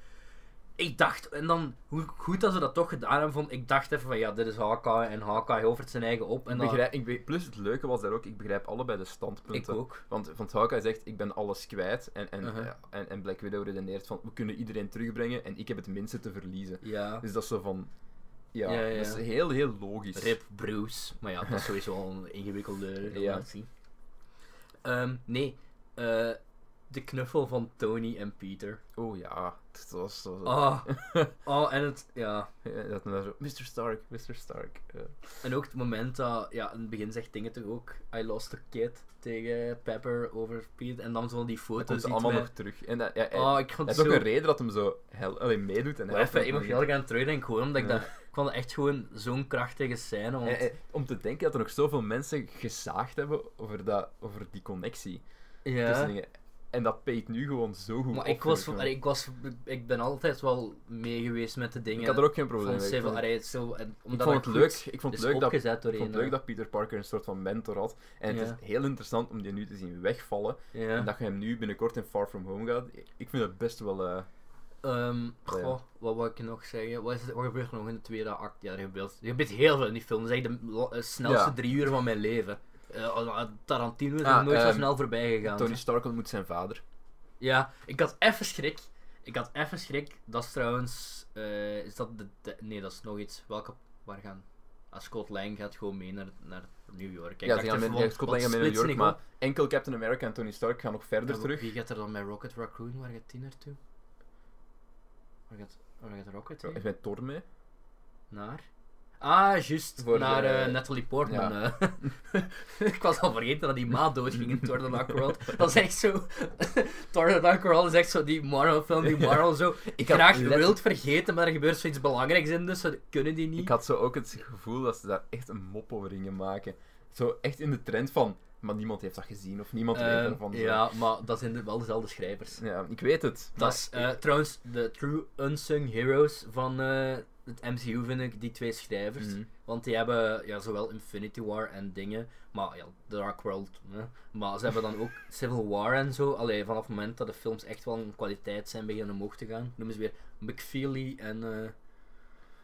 B: ik dacht, en dan, hoe goed dat ze dat toch gedaan hebben, vond, ik dacht even van, ja, dit is Hawkeye en Hawkeye overt zijn eigen op en
A: ik
B: dan,
A: begrijp, ik be- plus het leuke was daar ook, ik begrijp allebei de
B: ik
A: standpunten.
B: ook.
A: Want, want Hawkeye zegt, ik ben alles kwijt. En, en,
B: Uh-huh.
A: eh, en, en Black Widow redeneert van, we kunnen iedereen terugbrengen en ik heb het minste te verliezen.
B: Ja.
A: Dus dat is zo van... Ja,
B: Ja, ja.
A: dat is heel, heel logisch.
B: Rip Bruce. Maar ja, dat is sowieso al een ingewikkelde relatie. Ehm, nee, eh, de knuffel van Tony en Peter.
A: Oh ja, dat was zo...
B: Oh, oh en het, ja.
A: Ja, Dat nou zo, Mr. Stark, Mr. Stark. eh.
B: En ook het moment dat, ja, in het begin zegt dingen toch ook, I lost a kid tegen Pepper over Peter. En dan zo die
A: dat
B: foto
A: komt
B: ziet
A: allemaal
B: met-
A: nog terug. En dat, ja, hij,
B: Oh, ik
A: hij
B: vond het
A: heeft ook
B: zo...
A: een reden dat hem zo hel, allee, meedoet. En
B: Maar even, ik
A: helpt
B: moet
A: hem
B: heel erg aan terugdenken, gewoon omdat ik
A: Ja.
B: dat... Ik vond het echt gewoon zo'n krachtige scène, want...
A: Eh, eh, om te denken dat er nog zoveel mensen gezaagd hebben over, dat, over die connectie.
B: ja.
A: tussen dingen. En dat peet nu gewoon zo goed
B: Maar
A: op,
B: ik was,
A: vind ik
B: allee,
A: wel.
B: ik was, ik ben altijd wel mee geweest met de dingen.
A: Ik had er ook geen probleem
B: van
A: mee. Ik
B: Civil
A: vond-
B: allee, het zo, en
A: Ik
B: omdat
A: vond het
B: dat
A: leuk,
B: goed
A: ik vond het
B: is
A: leuk dat
B: opgezet door
A: Ik vond
B: een,
A: het leuk
B: eh,
A: dat Peter Parker een soort van mentor had. En
B: Ja.
A: het is heel interessant om die nu te zien wegvallen.
B: Ja.
A: En dat je hem nu binnenkort in Far From Home gaat. Ik vind het best wel... eh,
B: Ehm,
A: Ja.
B: goh, wat wil ik nog zeggen? Wat, is het, wat gebeurt er nog in de tweede act? Ja, er gebeurt, er gebeurt heel veel in die film. Dat is echt de la- eh, snelste
A: Ja.
B: drie uur van mijn leven. Eh, Tarantino is
A: Ah,
B: nog nooit zo
A: ehm,
B: snel voorbij gegaan.
A: Tony Stark ontmoet zijn vader.
B: Ja, ik had even schrik. Ik had even schrik. Dat is trouwens. eh, is dat de, de- Nee, dat is nog iets. Welke. Waar gaan. Ah, Scott Lang gaat gewoon mee naar, naar New York.
A: Ja, ze gaan met ja, Scott Lang en met New York, maar enkel Captain America en Tony Stark gaan nog verder terug.
B: Wie gaat er dan met Rocket Raccoon? Waar gaat die naartoe? Waar gaat, waar gaat Rocket
A: Is
B: heen?
A: mijn Thor mee?
B: Naar? Ah, juist.
A: Voor
B: naar
A: de-
B: eh, Natalie Portman. eh. [laughs] ik was al vergeten dat die maat dood ging in Thor
A: [laughs]
B: The World. Dat is echt zo... [laughs] Thor The World is echt zo die Marvel-film,
A: [laughs]
B: die Marvel zo... Ik
A: had
B: graag
A: net-
B: wild vergeten, maar er gebeurt zoiets belangrijks in, dus ze kunnen die
A: Ik
B: niet.
A: had zo ook het gevoel dat ze daar echt een mop over gingen maken. Zo echt in de trend van, maar niemand heeft dat gezien of niemand weet
B: Eh,
A: ervan. Zo.
B: ja, maar dat zijn de- wel dezelfde schrijvers.
A: Ja, ik weet het.
B: Dat
A: maar
B: is eh, trouwens de True Unsung Heroes van eh, het MCU, vind ik, die twee schrijvers.
A: Mhm.
B: Want die hebben ja, zowel Infinity War en dingen, maar ja, Dark World. Hè. Maar ze hebben dan
A: [laughs]
B: ook Civil War en zo. Allee, vanaf het moment dat de films echt wel een kwaliteit zijn, beginnen omhoog te gaan. Noemen ze weer McFeely en eh,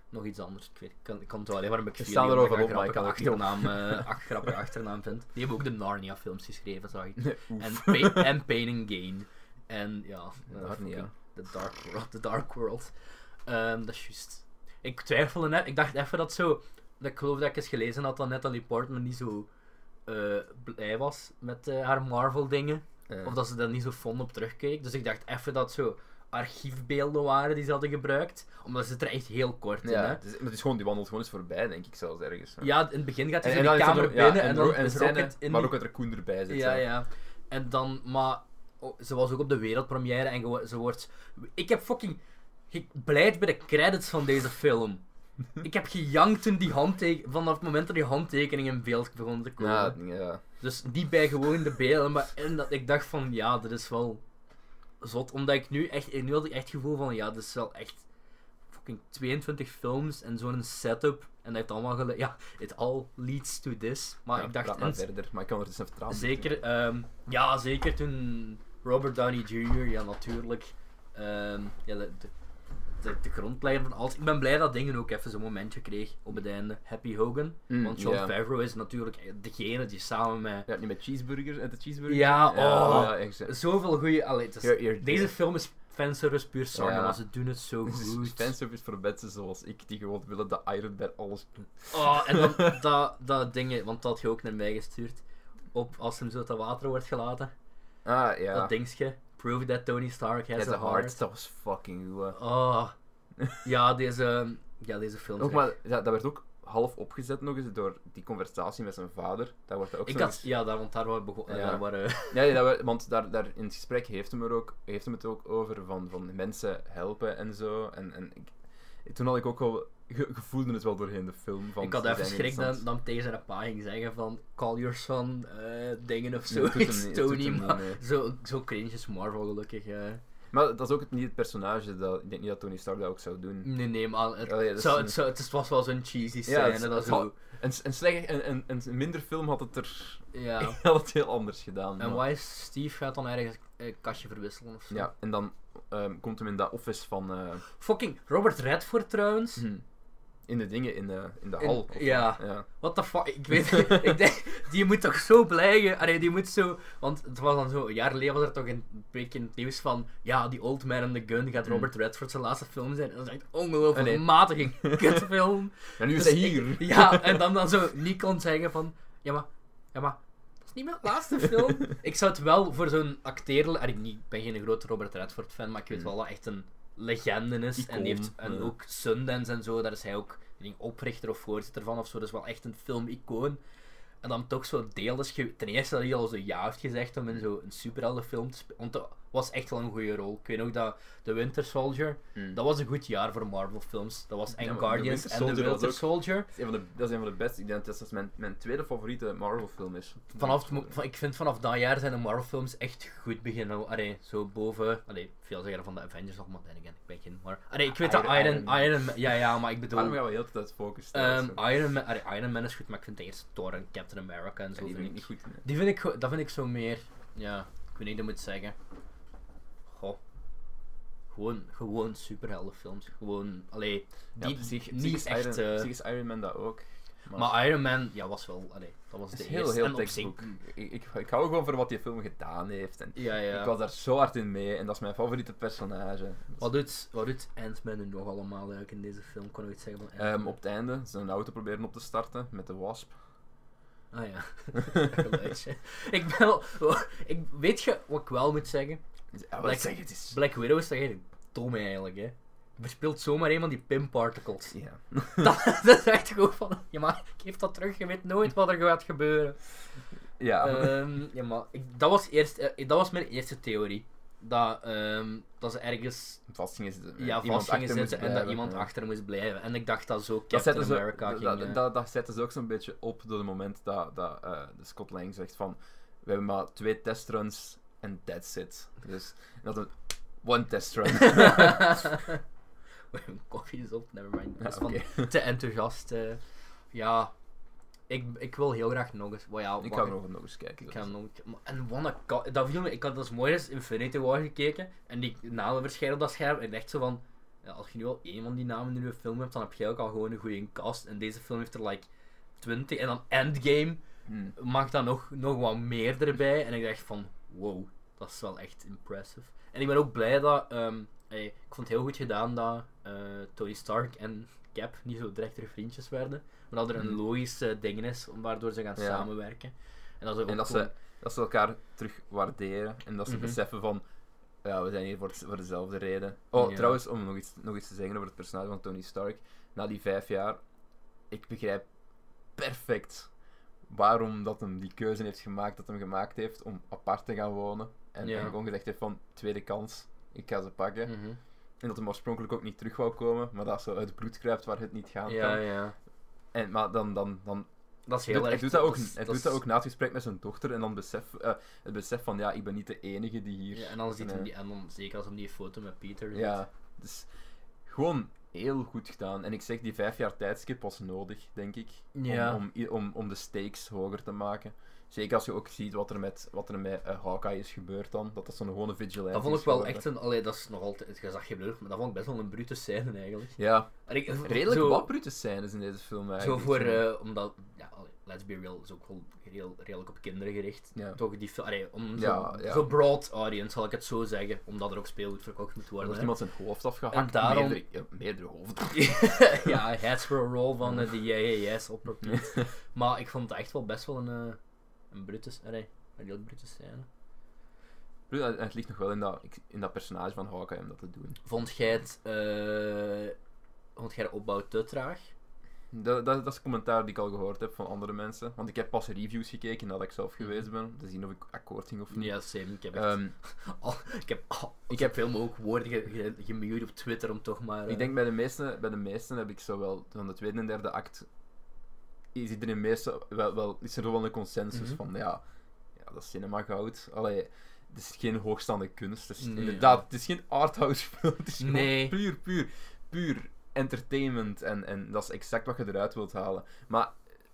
B: nog iets anders. Ik, weet, ik, kan, ik kan het wel alleen maar McFeely.
A: staan er
B: omdat
A: overal
B: een
A: op, maar ik
B: grappige
A: kan het
B: achternaam, eh, ach-
A: [laughs]
B: grappige achternaam vind. Die hebben ook de Narnia films geschreven, zag ik.
A: Nee,
B: En,
A: oef. [laughs]
B: pa- en Pain and Gain. En ja, eh,
A: Narnia.
B: fucking The Dark World. The Dark World. Ehm, dat is juist. Ik twijfelde net. Ik dacht even dat zo. Dat ik geloof dat ik eens gelezen had dat Natalie Portman niet zo eh, blij was met eh, haar Marvel-dingen.
A: Eh,
B: Of dat ze daar niet zo fond op terugkeek. Dus ik dacht even dat zo archiefbeelden waren die ze hadden gebruikt. Omdat ze het er echt heel kort in,
A: ja,
B: hè.
A: het is, maar het is gewoon, die wandelt gewoon eens voorbij, denk ik zelfs ergens.
B: Ja, in het begin gaat hij
A: En-
B: zo
A: en
B: die
A: dan is er
B: kamer
A: nog- ja,
B: binnen en,
A: en
B: dan
A: Ro- en
B: is
A: scène
B: Rocket in
A: Waar
B: die-
A: ook het er Koen erbij zit.
B: Ja,
A: zo.
B: ja. En dan, maar oh, ze was ook op de wereldpremière en gewo- ze wordt. Ik heb fucking gebleid bij de credits van deze film. Ik heb gejankt toen die handtekening, vanaf het moment dat die handtekening in beeld begon te komen.
A: Ja, ja.
B: Dus niet bij gewoon de beelden, maar in dat ik dacht van ja, dit is wel zot. Omdat ik nu echt, eh, nu had ik echt het gevoel van ja, dit is wel echt fucking 22 films en zo'n setup. En dat heeft allemaal gele- ja, it all leads to this. Maar
A: Ja,
B: Ah, ik dacht,
A: praat maar
B: en-
A: verder, maar ik kan er dus even vertrouwen.
B: Zeker, ehm, ja, zeker toen Robert Downey Jr., ja, natuurlijk. ehm, ja, de, de, de, de grondlegger van alles. Ik ben blij dat dingen ook even zo'n momentje kreeg op het einde. Happy Hogan.
A: Mm,
B: want John
A: ja.
B: Favreau is natuurlijk degene die samen met.
A: Ja, niet met cheeseburgers en de cheeseburger.
B: Ja, oh,
A: ja, echt. [laughs] zo.
B: zoveel goede. Allee, het is-
A: Hier- hier-
B: deze film is fanservice puur zang,
A: Ja.
B: maar ze doen het
A: [laughs]
B: zo goed.
A: Fanservice voor mensen zoals ik, die gewoon willen dat Iron Man alles doet.
B: Oh, en dan dat, dat ding, want dat had je ook naar mij gestuurd. Op als hem zo uit dat water wordt gelaten.
A: Ah, ja.
B: Dat dingetje. Prove that Tony Stark has,
A: That's
B: a heart.
A: Dat was fucking goed. hè.
B: Oh. Ja, deze, ja, deze film.
A: Ook maar, dat, dat werd ook half opgezet nog eens door die conversatie met zijn vader. Daar wordt dat ook
B: ik
A: zo
B: had, ja, daar, want daar waren we begonnen.
A: Ja.
B: Daar waren,
A: Ja, ja, dat werd- want daar, daar in het gesprek heeft hem, er ook, heeft hem het ook over van, van mensen helpen en zo. En, en ik, toen had ik ook al ge, gevoelde het wel doorheen de film. Van,
B: [laughs] ik had
A: ze
B: even
A: zijn
B: schrik dat
A: interessant.
B: dat hem tegen zijn pa ging zeggen van call your son eh, dingen of
A: Nee, dat doet
B: [laughs]
A: hem
B: zoiets.
A: niet, dat doet
B: Tony,
A: hem niet,
B: maar
A: nee.
B: zo, zo cringe is Marvel gelukkig. eh.
A: Maar dat is ook het, niet het personage. Dat, ik denk niet dat Tony Stark dat ook zou doen.
B: Nee, nee, maar het,
A: Allee, dat is
B: zou-
A: een-
B: het, zou- het is- was wel zo'n cheesy
A: Ja,
B: scène.
A: het is-
B: dat
A: het
B: zo,
A: had- Een, een, slecht, een, een, een minder film had het er
B: ja.
A: [laughs] had het heel anders gedaan.
B: En
A: maar-
B: why Steve gaat dan ergens een kastje verwisselen of zo.
A: Ja, en dan ehm, komt hem in dat office van... eh,
B: Fucking Robert Redford trouwens.
A: in de dingen, in de, in de
B: Hmm. In-
A: hal. Mhm. of wat.
B: ja.
A: ja.
B: What the fuck? Ik weet ik denk, die moet toch zo blijven. Allee, die moet zo... Want het was dan zo, een jaar geleden was er toch een beetje in het nieuws van... Ja, die Old Man and the Gun gaat Robert Redford zijn laatste film zijn. En dat is echt ongelooflijk
A: Allee.
B: matig een kutfilm.
A: En nu is
B: Dus
A: hij hier. [laughs]
B: ik- ja, en dan dan zo niet kon zeggen van... Ja, maar... Ja, maar... Dat is niet mijn laatste film.
A: [laughs]
B: ik zou het wel voor zo'n acteerle... allee, ik niet- ik ben geen grote Robert Redford fan, maar ik weet wel dat hij echt een legende is. En, die
A: Mm. Icoon,
B: heeft, en
A: ja.
B: ook Sundance en zo, daar is hij ook ik denk, oprichter of voorzitter van of zo. Dus wel echt een filmicoon. En dan toch zo deel is ge- Ten eerste dat hij al zo ja heeft gezegd om in zo'n superheldenfilm te spelen. Want dat was echt wel een goede rol. Ik weet ook dat The Winter Soldier,
A: Mm.
B: dat was een goed jaar voor Marvel films. Dat was en
A: maar The
B: Guardians
A: Winter
B: en The
A: Soldier was
B: Winter
A: ook-
B: Soldier.
A: Dat is een van de, dat is een van de beste. Ik denk dat dat mijn, mijn tweede favoriete Marvel-film is.
B: Vanaf, het mo- van, ik vind vanaf dat jaar zijn de Marvel films echt goed beginnen. Allee, zo boven... Allee, veel zeggen van de Avengers nog, maar dan again, ik ben geen... Maar, allee, ik weet
A: Iron-
B: dat Iron,
A: Iron
B: Iron,
A: Man.
B: Man... Ja, ja, maar ik bedoel...
A: Waarom gaan we heel de tijd focussen?
B: Ehm,
A: Dat is
B: Iron, Man, allee, Iron Man is goed, maar ik vind de eerste Thor en Captain America en zo.
A: zo- die
B: vind
A: vind
B: ik-
A: ik niet goed. nee.
B: die vind ik, go- dat vind ik zo meer. Ja, ik weet niet hoe ik het moet zeggen. Goh. Gewoon, gewoon superheldenfilms. Gewoon, allee,
A: Ja,
B: die
A: op zich- op zich
B: niet
A: is
B: echt.
A: Iron,
B: eh,
A: op zich is Iron Man dat ook.
B: maar Iron Man, ja, was wel, allee, dat was
A: het
B: de
A: is heel,
B: eerste.
A: heel
B: en op zich-
A: textbook. Ik, ik, ik hou gewoon voor wat die film gedaan heeft. En
B: Ja, ja.
A: Ik was daar zo hard in mee en dat is mijn favoriete personage. Dus,
B: Wat doet, wat doet Ant-Man nu nog allemaal eigenlijk in deze film? Kon ik iets zeggen van Ant-Man?
A: Ehm, op het einde, zijn auto proberen op te starten met de Wasp.
B: Ah ja, [laughs] Dat geluidje. ik ben wel, ik, weet je wat ik wel moet zeggen?
A: Ja, wat
B: Black-
A: zeg het is.
B: Black Widow is toch eigenlijk dom eigenlijk, hè? verspilt zomaar een van die pin particles.
A: Ja.
B: dat, dat is echt gewoon van, ja maar, geef dat terug, je weet nooit wat er gaat gebeuren.
A: Ja. [laughs]
B: Ehm, ja, maar ik, dat, was eerst, eh, dat was mijn eerste theorie. Dat, ehm, dat ze ergens
A: vastgingen zitten. eh,
B: ja,
A: iemand
B: vast gingen
A: achter moest
B: zitten en dat
A: blijven,
B: iemand
A: ja.
B: achter moest blijven. En ik dacht dat zo
A: Dat
B: Captain
A: zetten, ze,
B: America
A: dat-
B: ging...
A: dat,
B: eh,
A: dat, dat zetten ze ook zo'n beetje op door het moment dat, dat eh, de Scott Lang zegt van we hebben maar twee testruns en that's it. Dus en dat een one
B: [laughs]
A: testrun.
B: We hebben koffies op, nevermind.
A: Ja,
B: Dat is van
A: oké.
B: [laughs] te enthousiast. eh. ja, ik, ik wil heel graag nog eens. Well, ja,
A: Ik ga
B: wacht,
A: nog, nog eens kijken.
B: ik ga nog. maar- En wat een ka- dat viel me. Ik had als mooi is Infinity War gekeken en die namen verschijnen op dat scherm. En echt zo van. ja, als je nu al één van die namen in je film hebt, dan heb je ook al gewoon een goede cast. En deze film heeft er like 20. En dan Endgame
A: Hmm.
B: maakt dan nog, nog wat meer erbij. En ik dacht van, wow, dat is wel echt impressive. En ik ben ook blij dat, ehm, ey, ik vond het heel goed gedaan dat eh, Tony Stark en Cap niet zo direct weer vriendjes werden. Maar dat er
A: Mhm.
B: een logische ding is om- waardoor ze gaan
A: Ja.
B: samenwerken. En dat, ze
A: En
B: ook
A: dat
B: gewoon-
A: ze, dat ze elkaar terug waarderen en dat ze
B: Mhm.
A: beseffen van ja, we zijn hier voor, het- voor dezelfde reden. Oh,
B: Ja.
A: trouwens, om nog iets, nog iets te zeggen over het personage van Tony Stark. Na die vijf jaar, ik begrijp perfect waarom dat hem die keuze heeft gemaakt dat hem gemaakt heeft om apart te gaan wonen. En,
B: Ja.
A: en gewoon gezegd heeft van, tweede kans, ik ga ze pakken.
B: Mhm.
A: En dat hem oorspronkelijk ook niet terug wou komen, maar dat zo uit het bloed kruipt waar het niet gaan
B: Ja,
A: kan.
B: ja.
A: En, maar dan, dan, dan,
B: Dat is
A: hij
B: heel
A: doet,
B: erg...
A: hij doet dat ook,
B: is-
A: hij
B: dat
A: doet
B: is-
A: dat ook na het gesprek met zijn dochter en dan besef, eh, het besef van ja, ik ben niet de enige die hier.
B: Ja, en dan ziet
A: en,
B: hem
A: eh,
B: die, en dan zeker als hem die foto met Peter ziet.
A: ja, dus gewoon heel goed gedaan. En ik zeg, die vijf jaar tijdskip was nodig, denk ik. om-
B: Ja.
A: Om, i- om, om, de stakes hoger te maken. Zeker als je ook ziet wat er met, wat er met eh, Hawkeye is gebeurd dan. Dat dat zo'n gewone vigilante
B: Dat vond
A: is
B: ik wel
A: geworden.
B: echt een... Allee, dat is nog altijd... Je zag geen blur, maar dat vond ik best wel een brute scène eigenlijk.
A: Ja,
B: En ik-
A: redelijk
B: zo-
A: wat brute scènes in deze film
B: Zo
A: eigenlijk.
B: voor, eh, omdat, ja, allee, let's be real, is ook wel heel, redelijk op kinderen gericht.
A: Ja.
B: Toch die fil- allee, om zo,
A: Ja, ja.
B: zo broad audience, zal ik het zo zeggen, omdat er ook speelgoed verkocht moet
A: Er
B: worden.
A: eh, wordt
B: hè.
A: iemand zijn hoofd afgehakt.
B: En daarom-
A: Meerdere, ja, meerdere hoofden.
B: [laughs] ja, heads for a roll van eh, die JJS op repeat. maar ik vond het echt wel best wel een, eh, een Brutus, allee, een heel Brutus scène.
A: Plus, en Het ligt nog wel in dat, in dat personage van Hawkeye om dat te doen.
B: Vond jij het, eh, vond jij de opbouw te traag?
A: Dat, dat, dat is commentaar die ik al gehoord heb van andere mensen. Want ik heb pas reviews gekeken nadat ik zelf geweest ben. Om te zien of ik akkoord ging of niet.
B: Mhm. Ja, same. Ik heb, echt-
A: Ehm,
B: al- ik heb, al- ik heb veel ook woorden ge- ge- gemute op Twitter om toch maar... eh,
A: ik denk bij de meesten, bij de meesten heb ik zo wel van de tweede en derde act. Is er in de meeste wel, wel, is er wel een consensus
B: Mhm.
A: van ja, ja, dat is cinema goud. Allee, het is geen hoogstaande kunst. Het is
B: Nee,
A: inderdaad,
B: ja.
A: het is geen arthouse film. Het is gewoon
B: Nee.
A: puur, puur, puur entertainment. En, en dat is exact wat je eruit wilt halen. Maar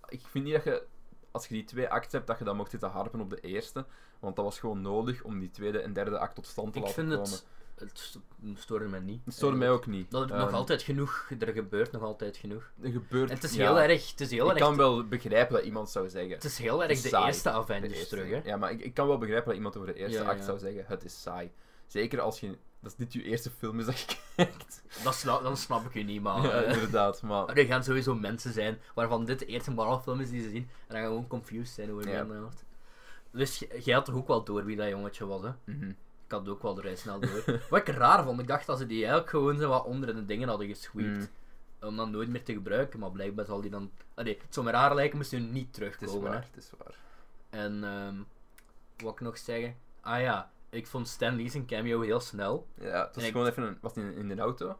A: ik vind niet dat je, als je die twee acten hebt, dat je dan mocht zitten harpen op de eerste. Want dat was gewoon nodig om die tweede en derde act tot stand te
B: Ik
A: laten
B: vind
A: komen.
B: het, het sto- stoorde mij niet.
A: Het stoorde mij
B: eigenlijk.
A: ook niet.
B: Dat het nog
A: Ehm,
B: altijd genoeg, er gebeurt nog altijd genoeg.
A: er gebeurt
B: En het is
A: ja.
B: heel erg, het is heel
A: Ik
B: erg,
A: kan wel begrijpen dat iemand zou zeggen.
B: het is heel
A: het
B: erg
A: is
B: de
A: saai.
B: eerste
A: de
B: Avengers
A: eerste-
B: terug, hè.
A: Ja, maar ik, ik kan wel begrijpen dat iemand over de eerste
B: Ja,
A: act
B: ja.
A: zou zeggen: het is saai. Zeker als je. Dat is niet je eerste film is dat je [laughs] kijkt.
B: Dat sla- dan snap ik je niet, maar...
A: ja, dus-
B: eh,
A: inderdaad. Maar
B: [laughs] er gaan sowieso mensen zijn waarvan dit de eerste Marvel film is die ze zien, en dan gaan gewoon confused zijn hoe je
A: Ja.
B: ja. Dus j- jij had toch ook wel door wie dat jongetje was, hè?
A: mhm.
B: Ik had het ook wel vrij snel door. [laughs] Wat ik raar vond, ik dacht dat ze die eigenlijk gewoon zo wat onder de dingen hadden gesweept.
A: Mm.
B: Om dan nooit meer te gebruiken, maar blijkbaar zal die dan... Allee, het zou me raar lijken moest die niet
A: het is
B: terugkomen, hè.
A: waar. Het is waar.
B: En ehm wat ik nog zeggen? Ah ja, ik vond Stan Lee zijn cameo heel snel.
A: Ja, het was
B: En ik-
A: gewoon even een, was het in, in de auto.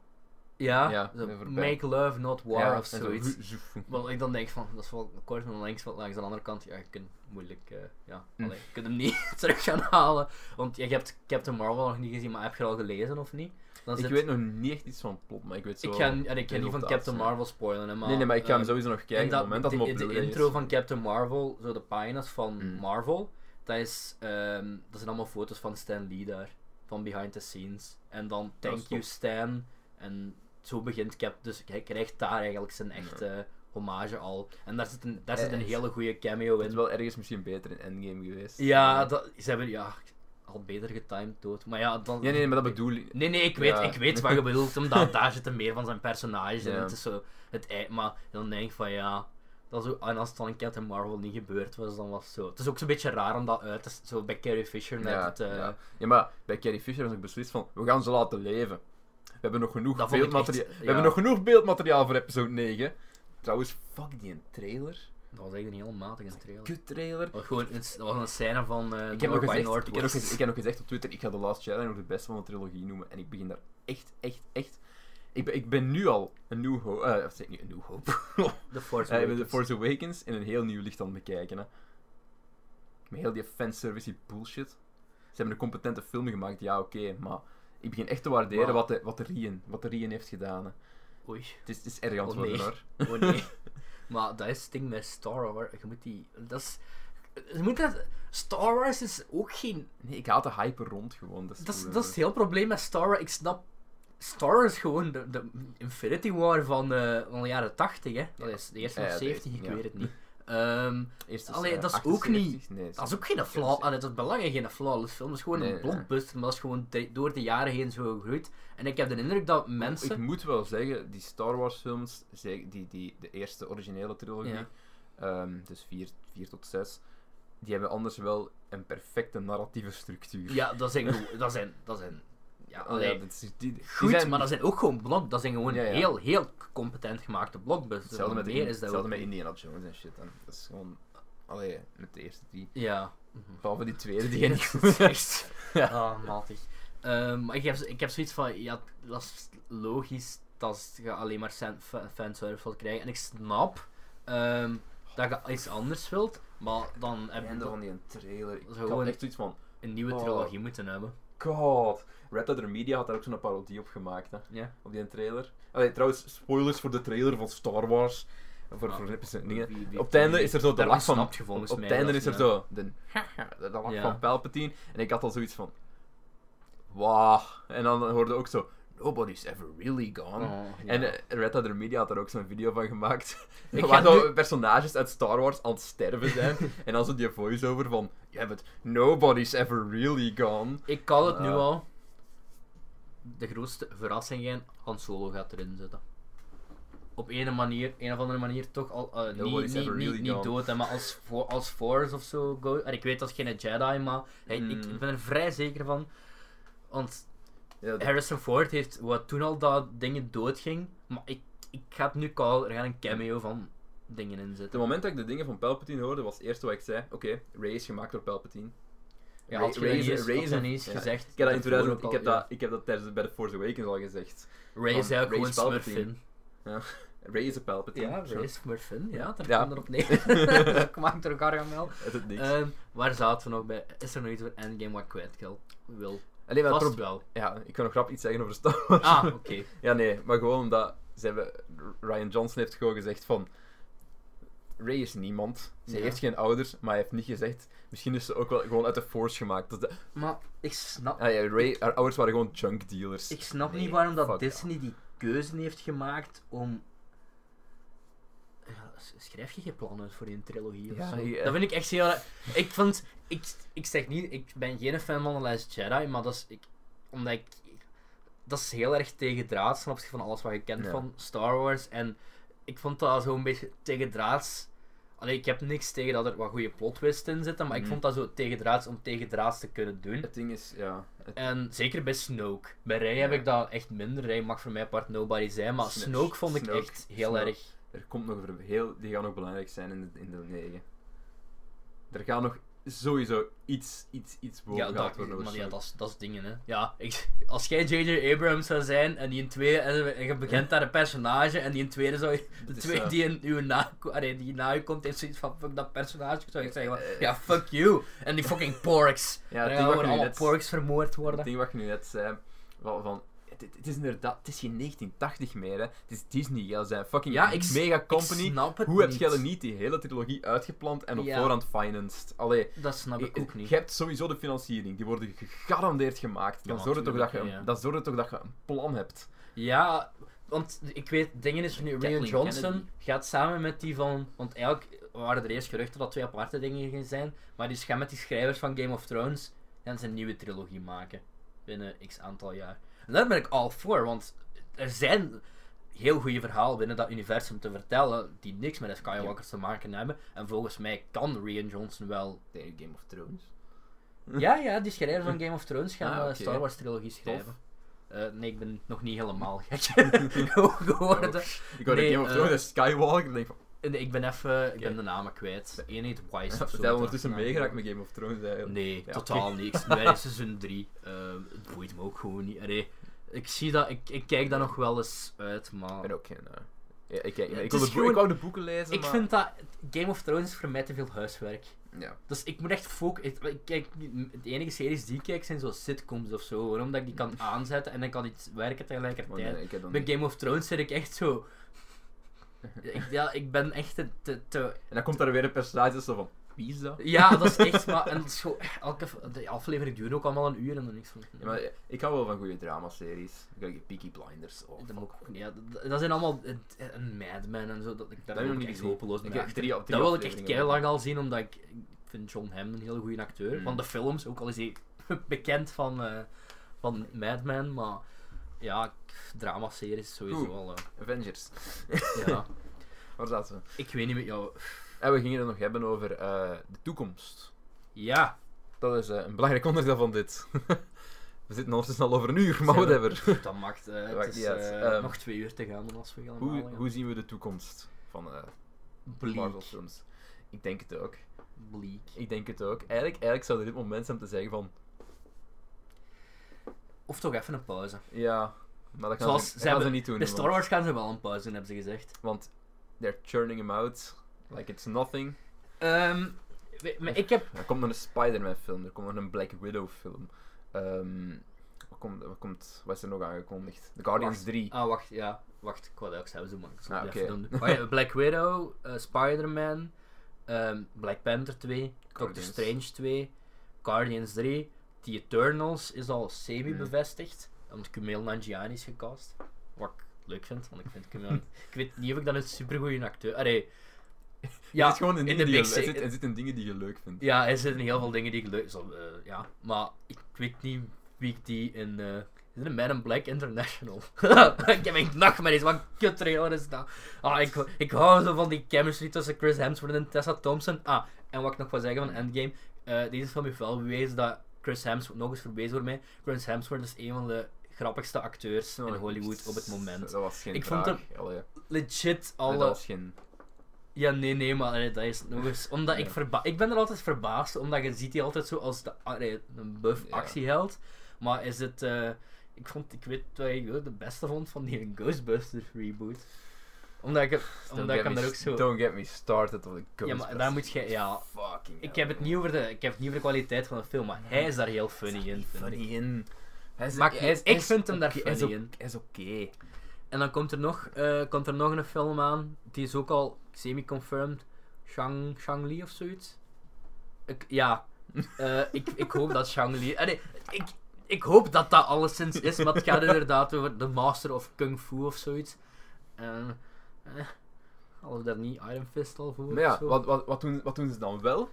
B: Ja,
A: Ja,
B: zo,
A: ben voorbij.
B: make love, not war
A: ja,
B: of
A: en zo,
B: zoiets.
A: hu- zoef.
B: Wat ik dan denk van, dat is wel kort en langs, wat langs de andere kant, ja, je kunt moeilijk, eh, ja,
A: Mm.
B: allee, je kunt hem niet [laughs] terug gaan halen. Want ja, je hebt Captain Marvel nog niet gezien, maar heb je al gelezen of niet? Dan
A: Ik
B: zit-
A: weet nog niet echt iets van het plot, maar ik weet zo.
B: ik ga, en ik ga
A: heel
B: niet van
A: dat,
B: Captain
A: ja.
B: Marvel spoilen, hè, maar...
A: nee, nee, maar ik ga hem
B: ehm,
A: sowieso nog kijken.
B: En
A: Op het moment dat
B: de,
A: hem op
B: de
A: Blu-ray is.
B: intro van Captain Marvel, zo de pagina's van
A: Mm.
B: Marvel, dat, is, ehm, dat zijn allemaal foto's van Stan Lee daar. Van behind the scenes. En dan
A: Dat
B: Thank
A: is
B: You
A: tof.
B: Stan. En zo begint Cap. Dus hij krijgt daar eigenlijk zijn echte hommage al. En daar zit een, daar zit een
A: Eh,
B: hele goede cameo
A: Het is
B: in.
A: wel ergens misschien beter in Endgame geweest.
B: Ja, dat, ze hebben ja, al beter getimed dood. Maar ja, dan.
A: Nee, nee, maar dat bedoel ik.
B: Nee, nee, ik weet,
A: Ja.
B: ik weet wat je
A: [laughs]
B: bedoelt, omdat daar zitten meer van zijn personages in.
A: Ja.
B: Het is zo het ei- maar dan denk ik van ja, dat is ook, en als het dan in Captain Marvel niet gebeurd was, dan was het zo. Het is ook zo'n beetje raar om dat uit te s- zo bij Carrie Fisher net
A: Ja,
B: het, eh,
A: ja. ja, maar bij Carrie Fisher was ik beslist van, we gaan ze laten leven. We hebben nog genoeg
B: Dat vond ik
A: beeldmateriaal.
B: echt,
A: We
B: ja.
A: hebben nog genoeg beeldmateriaal voor episode 9. Trouwens, fuck die trailer.
B: Dat was echt een heel matige trailer.
A: Kut trailer.
B: Dat was gewoon een, dat was een scène van eh
A: Ik heb, nog
B: North by
A: gezegd, ik, heb nog
B: Northwest.
A: gezegd, ik heb nog gezegd op Twitter, ik ga The Last Jedi nog de beste van de trilogie noemen. En ik begin daar echt, echt, echt... Ik ben, ik ben nu al een New Hope... eh, of zeg ik nu een New Hope?
B: The
A: [laughs]
B: Force
A: Eh, ik ben
B: Awakens.
A: The Force Awakens in een heel nieuw licht aan het bekijken. Hè. Met heel die fanservice, die bullshit. Ze hebben een competente film gemaakt, ja oké, maar... Ik begin echt te waarderen
B: Maar-
A: wat, de, wat, de Rien, wat de Rien heeft gedaan. hè.
B: Oei.
A: Het is, het is erg aan het
B: Oh, nee.
A: worden, hoor.
B: Oh nee. [laughs] maar dat is het ding met Star Wars. Je moet die... Dat is... Je moet dat... Star Wars is ook geen...
A: Nee, ik haat de hype er rond gewoon. Dat is,
B: Dat is,
A: cool,
B: dat is het
A: hoor.
B: heel probleem met Star Wars. Ik snap... Star Wars is gewoon de, de Infinity War van, eh, van de jaren 80, hè. Dat is de eerste
A: Ja,
B: of
A: ja, de
B: 70,
A: eerste,
B: ik
A: ja.
B: weet het
A: [laughs]
B: niet. Ehm,
A: Eerst
B: Allee,
A: eh,
B: dat is ook niet-
A: 78, nee,
B: dat is ook geen flaw... Allee, dat is belangrijk geen flawless film. Dat is gewoon
A: Nee,
B: een
A: nee.
B: blockbuster, maar dat is gewoon de- door de jaren heen zo gegroeid. En ik heb de indruk dat mensen...
A: Oh, Ik moet wel zeggen, die Star Wars films, zeker die, die, de eerste originele trilogie,
B: Ja.
A: ehm, dus 4 tot 6, die hebben anders wel een perfecte narratieve structuur.
B: Ja, dat zijn... gewoon- Dat zijn... Dat zijn ja,
A: Oh,
B: allee,
A: ja, dat is- die- die
B: goed,
A: zijn-
B: maar dat zijn ook gewoon blok. Dat zijn gewoon
A: Ja, ja.
B: heel, heel competent gemaakte blockbusters.
A: Hetzelfde
B: Want
A: met, de-
B: meer is dat
A: hetzelfde met
B: ook niet.
A: Indiana Jones en shit. Dan. Dat is gewoon... Allee, met de eerste die...
B: Ja.
A: Behalve die tweede
B: [laughs]
A: die je niet
B: Die is echt... Ah, matig. Ehm, maar ik heb, ik heb zoiets van, ja, dat is logisch dat je alleen maar fan- fa- fanservice wilt krijgen. En ik snap ehm, dat je iets anders wilt, maar dan heb je
A: einde
B: toch
A: van die trailer. Ik
B: Dat is
A: had
B: gewoon-
A: echt zoiets van...
B: een nieuwe
A: Oh.
B: trilogie moeten hebben.
A: God. Red Dead Media had daar ook zo'n parodie op gemaakt, hè.
B: Ja.
A: Op die trailer. Allee, trouwens, spoilers voor de trailer van Star Wars. Voor,
B: Ah,
A: voor episode
B: wie-
A: dingen.
B: wie- wie-
A: Op het einde is er zo de
B: daarom
A: lach van...
B: snapt je volgens
A: op
B: mij
A: het einde
B: dat,
A: is er
B: ja.
A: zo de, [laughs] de lach
B: Ja.
A: van Palpatine. En ik had al zoiets van... Wauw. En dan hoorde ook zo... Nobody's ever really gone.
B: Oh, ja.
A: En eh, Red Dead Media had daar ook zo'n video van gemaakt. [laughs]
B: Ik ga
A: waar zo
B: nu-
A: personages uit Star Wars aan het sterven
B: [laughs]
A: zijn. en dan zo die voice-over van... Ja, but nobody's ever really gone.
B: Ik kan het nu
A: Ja.
B: al. De grootste verrassing zijn, Han Solo gaat erin zitten. Op een manier, een of andere manier toch al, eh, niet,
A: Nobody's
B: niet,
A: ever
B: niet,
A: really
B: niet
A: gone.
B: dood, hè, maar als, fo- als Force of zo. Go, en ik weet dat is geen Jedi, maar hij- ik,
A: Mm.
B: ik ben er vrij zeker van. Want
A: Ja, dat-
B: Harrison Ford heeft wat toen al dat dingen doodging, maar ik, ik ga het nu callen, er gaat een cameo van dingen in
A: Het
B: zitten.
A: moment dat ik de dingen van Palpatine hoorde, was het eerste wat ik zei. Oké, Ray is gemaakt door Palpatine.
B: Ja,
A: Ray-
B: had je
A: Ray
B: dat
A: is-
B: niet eens-
A: Ray
B: had
A: is
B: je
A: een-
B: niet eens
A: ja,
B: gezegd.
A: Ik heb dat, in
B: daarvoor
A: 2000,
B: ook
A: ik
B: al,
A: heb
B: ja.
A: dat, ik heb dat tijdens bij de Force Awakens al gezegd.
B: Ray is
A: van
B: eigenlijk
A: Ray
B: gewoon
A: is
B: Smurf
A: Palpatine.
B: in.
A: Ja. Ray is een Palpatine.
B: Ja,
A: Sure.
B: Ray Smurfin, ja, daar
A: Ja.
B: kwam erop neer. [laughs] dus ik maak er Gargamel.
A: Het is niks.
B: Ehm, waar zaten we nog bij? Is er nog iets voor Endgame wat ik kwijt wil? wil?
A: Alleen maar het
B: Vast
A: proble-
B: wel.
A: Ja, ik kan nog grap iets zeggen over Star Wars.
B: Ah,
A: [laughs]
B: oké.
A: Ja, nee, maar gewoon omdat ze hebben, Ryan Johnson heeft gewoon gezegd van... Ray is niemand. Ze
B: Ja.
A: heeft geen ouders, maar hij heeft niet gezegd... Misschien is ze ook wel gewoon uit de Force gemaakt. Dat de-
B: [laughs] Maar ik snap,
A: ah, ja, Ray, haar ouders waren gewoon junk dealers.
B: ik snap
A: Nee,
B: niet waarom dat
A: fuck
B: Disney die keuze heeft gemaakt om... Ja, s- Schrijf je geen plan uit voor een trilogie of
A: Ja,
B: zo?
A: ja.
B: Dat vind ik echt heel... raar. Ik vond... Ik, ik zeg niet... Ik ben geen fan van The Last Jedi, maar dat is... Ik, omdat ik... Dat is heel erg tegendraads ten opzichte van alles wat je kent
A: Ja.
B: van Star Wars. En ik vond dat zo'n beetje tegendraads... Allee, ik heb niks tegen dat er wat goede plot twists in zitten, maar ik
A: Mhm.
B: vond dat zo tegendraads om tegendraads te kunnen doen.
A: Het ding is, ja... het-
B: En zeker bij Snoke. Bij Rey heb
A: Ja.
B: ik dat echt minder. Rey mag voor mij part nobody zijn, maar
A: Sn-
B: Snoke vond ik
A: Snoke.
B: echt heel
A: Snoke.
B: erg.
A: Er komt nog een heel, die gaan nog belangrijk zijn in de, in de 9. Er gaat nog sowieso iets, iets, iets boven
B: Ja,
A: gaan
B: dat,
A: worden.
B: maar ja,
A: waarschijnlijk.
B: dat is- dat is dingen, hè. Ja, ik, als jij J.J. Abrams zou zijn en die in tweede, en je begint daar een personage en die in tweede
A: [laughs]
B: zou, de
A: is,
B: tweede
A: eh,
B: die in uw na, allee, die na u komt, heeft zoiets van fuck dat personage, zou ik zeggen, van, ja fuck you, en die fucking porks.
A: Eh. Ja,
B: Ja,
A: het ding
B: dan gaan
A: wat
B: we
A: je nu
B: allemaal
A: net-
B: porks vermoord
A: Het
B: worden.
A: ding wat je nu net zei, wel van... Het, het- het is inderdaad, het is geen 1980 meer, hè. Het is Disney, jij zijn fucking
B: Ja, ik s-
A: mega
B: Ik
A: company.
B: snap het
A: Hoe heb
B: niet.
A: jij er niet die hele trilogie uitgeplant en op
B: Ja.
A: voorhand financed? Allee, eh,
B: Dat snap ik ook niet.
A: je hebt sowieso de financiering, die worden gegarandeerd gemaakt. Dan
B: Ja,
A: zorg er toch dat
B: tuurlijk,
A: je, een-
B: ja.
A: dan zorg er toch dat je een plan hebt.
B: Ja, want ik weet, dingen is nu, Ryan
A: Kathleen
B: Johnson
A: Kennedy.
B: gaat samen met die van. Want eigenlijk waren er eerst geruchten dat twee aparte dingen gingen zijn, maar die gaan met die schrijvers van Game of Thrones en zijn nieuwe trilogie maken. Binnen x aantal jaar. En daar ben ik al voor, want er zijn heel goede verhalen binnen dat universum te vertellen die niks met de Skywalkers te maken hebben. En volgens mij kan Rian Johnson wel.
A: Tegen Game of Thrones.
B: Ja, ja, die schrijvers van Game of Thrones gaan
A: Ah,
B: eh,
A: oké.
B: Star Wars trilogie schrijven. Eh, nee, ik ben nog niet helemaal
A: [laughs]
B: gek [laughs] geworden.
A: Ik hoorde
B: Nee,
A: Game of
B: eh,
A: Thrones en Skywalker en denk van...
B: Nee, ik ben even, ik
A: Oké.
B: ben de namen kwijt. Eén heet Wise of zo.
A: Zijn we ondertussen
B: Ja.
A: meegeraakt met Game of Thrones eigenlijk?
B: Nee,
A: Ja,
B: totaal
A: [laughs]
B: niks. Wij zijn seizoen 3. het boeit me ook gewoon niet. Allee, ik zie dat, ik, ik kijk daar nog wel eens uit, maar...
A: Ik ben ook geen... eh, ja, ik, ik,
B: Ja,
A: ik,
B: het
A: wil
B: is
A: de boek- ik
B: gewoon-
A: wou de boeken lezen,
B: Ik
A: maar...
B: vind dat Game of Thrones is voor mij te veel huiswerk.
A: Ja.
B: Dus ik moet echt focussen. Ik kijk, niet- de enige series die ik kijk zijn zo sitcoms of zo. Waarom dat ik die
A: [laughs]
B: kan aanzetten en dan kan iets werken
A: Maar Oh, nee,
B: tegelijkertijd.
A: ik heb dan
B: Bij
A: niet.
B: Game of Thrones zit ik echt zo. Ik, ja, ik ben echt te, te, te-
A: En dan komt daar weer een personage tussen van... Wie is dat?
B: Ja, dat is echt. Maar, en dat is gewoon- elke de aflevering duurt ook allemaal een uur en dan niks van.
A: Ja, maar ik hou wel van goede dramaseries. Ik kijk Peaky Blinders Oh, of...
B: Dat, moet ik- ja, dat, dat zijn allemaal eh, een Mad Men en zo. Dat, ik- daar
A: heb ik nog
B: ben
A: niet
B: ik echt
A: gezien.
B: hopeloos
A: Ik
B: mee.
A: heb
B: achter.
A: drie- drie
B: dat wil ik echt
A: afleveringen
B: keihard lang al zien, omdat ik, ik vind John Hamm een hele goede acteur.
A: Mm.
B: Van de films, ook al is hij [laughs] bekend van, eh, van Mad Men, maar ja, k- drama-series sowieso
A: Oeh.
B: al. eh,
A: Avengers. [laughs]
B: ja.
A: Waar zaten we?
B: Ik weet niet met jou.
A: En we gingen het nog hebben over eh, de toekomst.
B: Ja,
A: Dat is eh, een belangrijk onderdeel van dit. [laughs] we zitten ondertussen al over een uur, maar
B: Zijn we-
A: whatever.
B: dat mag. eh,
A: maakt
B: het is
A: niet uit.
B: eh,
A: Ehm,
B: nog twee uur te gaan dan als we gaan.
A: Hoe,
B: halen, ja.
A: hoe zien we de toekomst van eh Marvel
B: bleak.
A: films? Ik denk het ook.
B: bleak.
A: Ik denk het ook. Eigenlijk, eigenlijk zou dit het moment zijn om te zeggen van...
B: Of toch even een pauze.
A: Ja, maar dat gaan,
B: Zoals
A: ze, dat
B: ze
A: gaan ze
B: hebben-
A: niet doen.
B: Bij
A: want-
B: Star Wars gaan ze wel een pauze doen, hebben ze gezegd.
A: Want they're churning him out like it's nothing.
B: Ehm, we- maar ik heb.
A: Er komt nog een Spider-Man film, er komt nog een Black Widow film. Ehm, wat, komt, wat, komt, wat is er nog aangekondigd? The Guardians
B: Wacht.
A: 3.
B: Ah, wacht, ja. Wacht, ik wou dat ook zelf doen, maar ik zal
A: Ah,
B: het
A: oké.
B: even doen. Oh ja, Black Widow, eh, Spider-Man, ehm, Black Panther 2, Doctor
A: Guardians.
B: Strange 2, Guardians 3, The Eternals is al semi-bevestigd,
A: Mhm.
B: omdat Kumail Nanjiani is gecast. Wat ik leuk vind, want ik vind Kumail... [laughs] ik weet niet of ik dan een supergoeie acteur... Allee...
A: het zit gewoon in dingen, die je,
B: big
A: het
B: six-
A: zit, het zit in dingen die je leuk vindt.
B: Ja, er zitten heel veel dingen die ik leuk zal, eh, ja. Maar ik weet niet wie ik die in. eh is het een Man in Black International? [laughs] ik heb echt nachtmerries, wat kut is dat. Ah, ik, ik hou zo van die chemistry tussen Chris Hemsworth en Tessa Thompson. Ah, en wat ik nog wil zeggen van Endgame. eh, deze film heeft wel bewezen dat Chris Hemsworth, nog eens verwezen voor mij, Chris Hemsworth is een van de grappigste acteurs
A: Oh,
B: in Hollywood op het moment.
A: Dat was geen
B: Ik vond
A: vraag. Allee,
B: Legit,
A: nee,
B: alle
A: dat was geen...
B: ja, nee, nee, maar allee, dat is nog eens. Omdat ik
A: Ja.
B: verba Ik ben er altijd verbaasd, omdat je ziet die altijd zo als de, allee, een buff
A: Ja.
B: actieheld. Maar is het. eh, ik vond, ik weet wat ik de beste vond van die Ghostbusters reboot. Omdat ik, het-
A: Don't
B: omdat ik
A: get
B: hem
A: me
B: daar ook
A: s-
B: zo.
A: Don't get me started on the
B: Ja, maar daar moet je. Ja,
A: Fucking
B: ik heb, het niet over de, ik heb het niet over de kwaliteit van de film, maar hij is daar heel funny in. vind ik.
A: Funny in. Hij is,
B: Maakt
A: hij
B: niet-
A: is-
B: ik
A: hij is
B: vind hem daar
A: oké- hij is
B: funny
A: ook-
B: in.
A: Hij is oké.
B: En dan komt er, nog, eh, komt er nog een film aan. Die is ook al semi-confirmed. Shang, Shang-Li of zoiets. Ik, ja.
A: [laughs]
B: Eh, ik, ik hoop dat Shang-Li... eh, nee, ik, ik hoop dat dat alleszins is. Maar het gaat inderdaad over The Master of Kung Fu of zoiets. En... eh, hadden we daar niet Iron Fist al voor?
A: Maar ja,
B: of zo?
A: wat, wat, wat, doen, wat doen ze dan wel?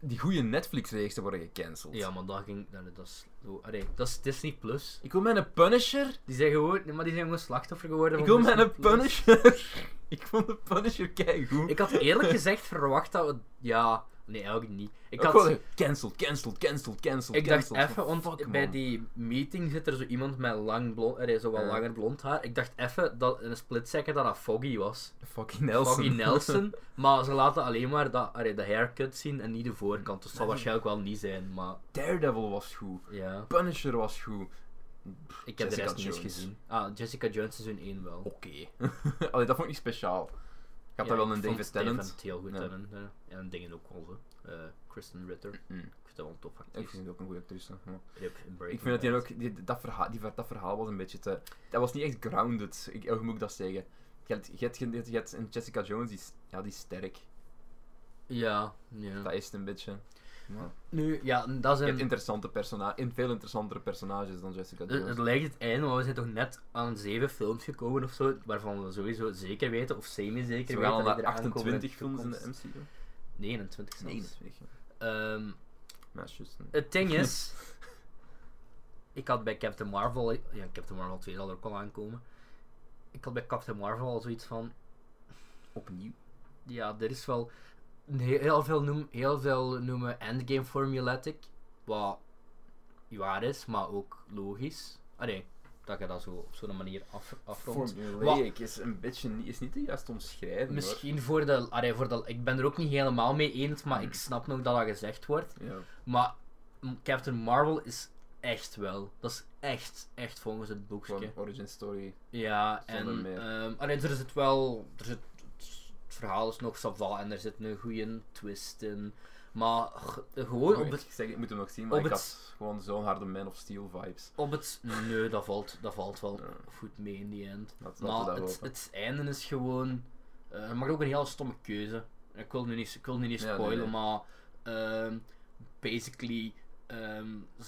A: Die goede Netflix-reeksen worden gecanceld.
B: Ja, maar dat ging... Dat, dat, is, oh, allee, dat is Disney+. Plus.
A: Ik wil mijn Punisher.
B: Die zijn gewoon... nee, Maar die zijn gewoon slachtoffer geworden
A: Ik
B: van
A: wil mijn
B: Disney+.
A: Punisher. [laughs] ik vond de Punisher keigoed.
B: Ik had eerlijk gezegd verwacht dat we... Ja... Nee, eigenlijk niet. Ik had...
A: gewoon gecanceld, cancelled, cancelled, cancelled.
B: Ik dacht
A: cancelled.
B: even, want
A: Fuck,
B: bij
A: man.
B: die meeting zit er zo iemand met lang blond, er is zo wat
A: Ja.
B: langer blond haar. Ik dacht even dat in een split second dat dat Foggy was.
A: Fucking Nelson. [laughs]
B: Foggy Nelson. maar ze laten alleen maar dat, allee, de haircut zien en niet de voorkant. Dus dat zal
A: Nee.
B: waarschijnlijk wel niet zijn, maar
A: Daredevil was goed.
B: ja.
A: Punisher was goed.
B: Ik heb de
A: Jessica
B: rest niet eens
A: Jones.
B: gezien. Ah, Jessica Jones is hun één wel. Ik
A: Oké. [laughs] Allee, dat vond ik niet speciaal. Ik had daar wel een David Tennant.
B: Ik heel goed,
A: Ja.
B: Tennant. ja. En een dingen ook wel zo. Eh, Kristen Ritter. Ik
A: Mm.
B: vind dat wel een tof
A: Ik
B: actrief.
A: vind het ook een goede actrice. maar- Ik
B: Ik
A: vind dat die ook, die- dat, verhaal, die, dat verhaal was een beetje te. Dat was niet echt grounded. Ik, hoe moet ik dat zeggen? Je hebt, je hebt, je hebt een Jessica Jones, die is, ja, die is sterk.
B: Ja, ja.
A: Dat is het een beetje. Maar
B: Nu, ja, dat
A: je
B: zijn...
A: hebt interessante personages, in veel interessantere personages dan Jessica
B: Het, het
A: Jones.
B: lijkt het einde, maar we zijn toch net aan zeven films gekomen of zo, waarvan we sowieso zeker weten, of semi-zeker
A: Ze
B: weten.
A: gaan al
B: dat
A: naar
B: die eraan komen
A: 28 films in
B: toekomst.
A: de MCU.
B: 29 zelfs.
A: 29.
B: Ehm,
A: Ja, is juist, nee.
B: het ding
A: [laughs]
B: is, ik had bij Captain Marvel, ja Captain Marvel 2 zal er ook al aankomen, ik had bij Captain Marvel al zoiets van,
A: Opnieuw.
B: ja, dit is wel een heel, heel veel, noem, heel veel noemen endgame formulatic, wat waar is, maar ook logisch. Ah nee, dat je dat zo op zo'n manier af, afrondt.
A: Formulaic is een beetje niet- is niet de juiste omschrijving.
B: Misschien voor de, allee, voor de... Ik ben er ook niet helemaal mee eens, maar ik snap nog dat dat gezegd wordt.
A: hoor. Ja.
B: Maar m- Captain Marvel is echt wel. Dat is echt, echt volgens het boekje.
A: Gewoon origin story.
B: Ja,
A: Zonder
B: en
A: meer.
B: ehm, alleen er zit wel. Er zit, het verhaal is nog saval en er zit een goede twist in. Maar g- gewoon op
A: ik,
B: het,
A: zeg, ik moet hem nog zien, maar
B: op
A: ik
B: het-
A: had gewoon zo'n harde Man of Steel vibes.
B: op het. Nee, dat valt, dat valt wel
A: Ja.
B: goed mee in die end.
A: Dat, dat
B: Maar
A: dat
B: het,
A: hopen.
B: het einde is gewoon. eh maar ook een heel stomme keuze. Ik wil nu niet, ik wil nu niet
A: Ja, nee,
B: spoilen,
A: nee.
B: maar. ehm, basically. ehm, ze.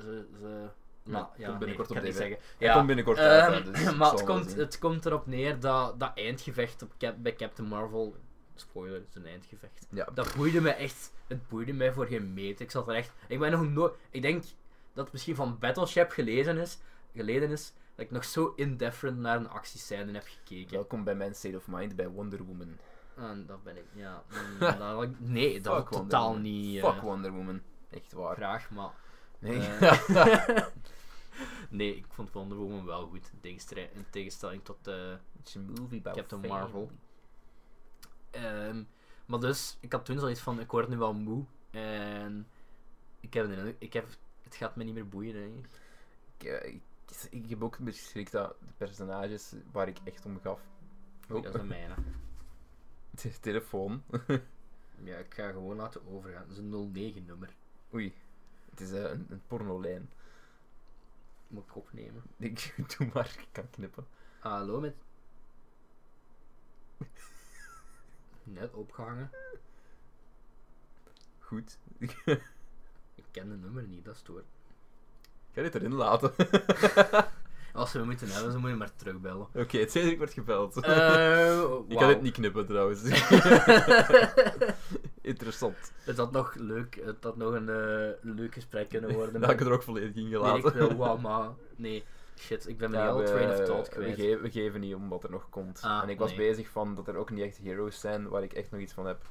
B: ze, ze
A: Ja,
B: nou,
A: komt
B: ja, nee,
A: binnenkort
B: ik
A: op
B: kan
A: DVD.
B: het niet zeggen.
A: Hij
B: Ja.
A: komt binnenkort
B: Ehm, [laughs]
A: uit, hè, dus ik
B: maar
A: zal
B: het
A: wel
B: komt,
A: zien.
B: het komt erop neer dat, dat eindgevecht op Cap, bij Captain Marvel. Spoiler, het is een eindgevecht.
A: Ja.
B: Dat boeide me echt. Het boeide mij voor geen meter. Ik zat er echt. Ik ben nog nooit. Ik denk dat het misschien van Battleship gelezen is, geleden is. Dat ik nog zo indifferent naar een actiescène heb gekeken.
A: Welkom bij mijn state of mind bij Wonder Woman.
B: En dat ben ik. Ja. mm, dat had ik- nee, dat had ik
A: Fuck Wonder
B: totaal
A: Woman.
B: niet. eh,
A: Fuck Wonder Woman. Echt waar.
B: graag, maar.
A: Nee.
B: [laughs]
A: [laughs]
B: eh, nee, ik vond Wonder Woman wel goed. in tegenstrij- In tegenstelling tot. eh,
A: It's a movie about
B: Captain
A: family.
B: Marvel. Ehm, maar dus, ik had toen zoiets van, ik word nu wel moe. En ik heb, de- ik heb het gaat me niet meer boeien. Hè.
A: Ik, eh, ik, ik heb ook een beetje schrik dat de personages waar ik echt om gaf.
B: Dat is
A: Oh,
B: een mijne.
A: [laughs] de telefoon. [laughs]
B: Ja, ik ga gewoon laten overgaan. Dat is een 09-nummer.
A: Oei. Het is eh, een, een pornolijn. [laughs]
B: Moet ik opnemen.
A: Ik [laughs] doe maar, ik kan knippen.
B: Hallo met... [laughs] Net opgehangen.
A: Goed.
B: Ik ken de nummer niet, dat stoort.
A: Ik ga dit erin laten. [laughs] Oké,
B: Als ze me moeten hebben, dan moet je maar
A: [laughs]
B: terugbellen.
A: het Cedric wordt [laughs] gebeld.
B: Eh,
A: Ik kan
B: wauw.
A: dit niet knippen
B: [laughs]
A: trouwens. [laughs] Interessant.
B: Het had nog leuk, het had nog een eh, leuk
A: [laughs]
B: gesprek kunnen worden.
A: Dat had ik er ook volledig in
B: Nee, ik
A: gelaten.
B: wil wauw, maar nee, shit, ik ben mijn
A: Ja,
B: hele
A: we-
B: train of thought
A: We,
B: kwijt.
A: ge- we geven niet om wat er nog komt.
B: Ah,
A: en ik was
B: nee.
A: bezig van dat er ook niet echt heroes zijn waar ik echt nog iets van heb.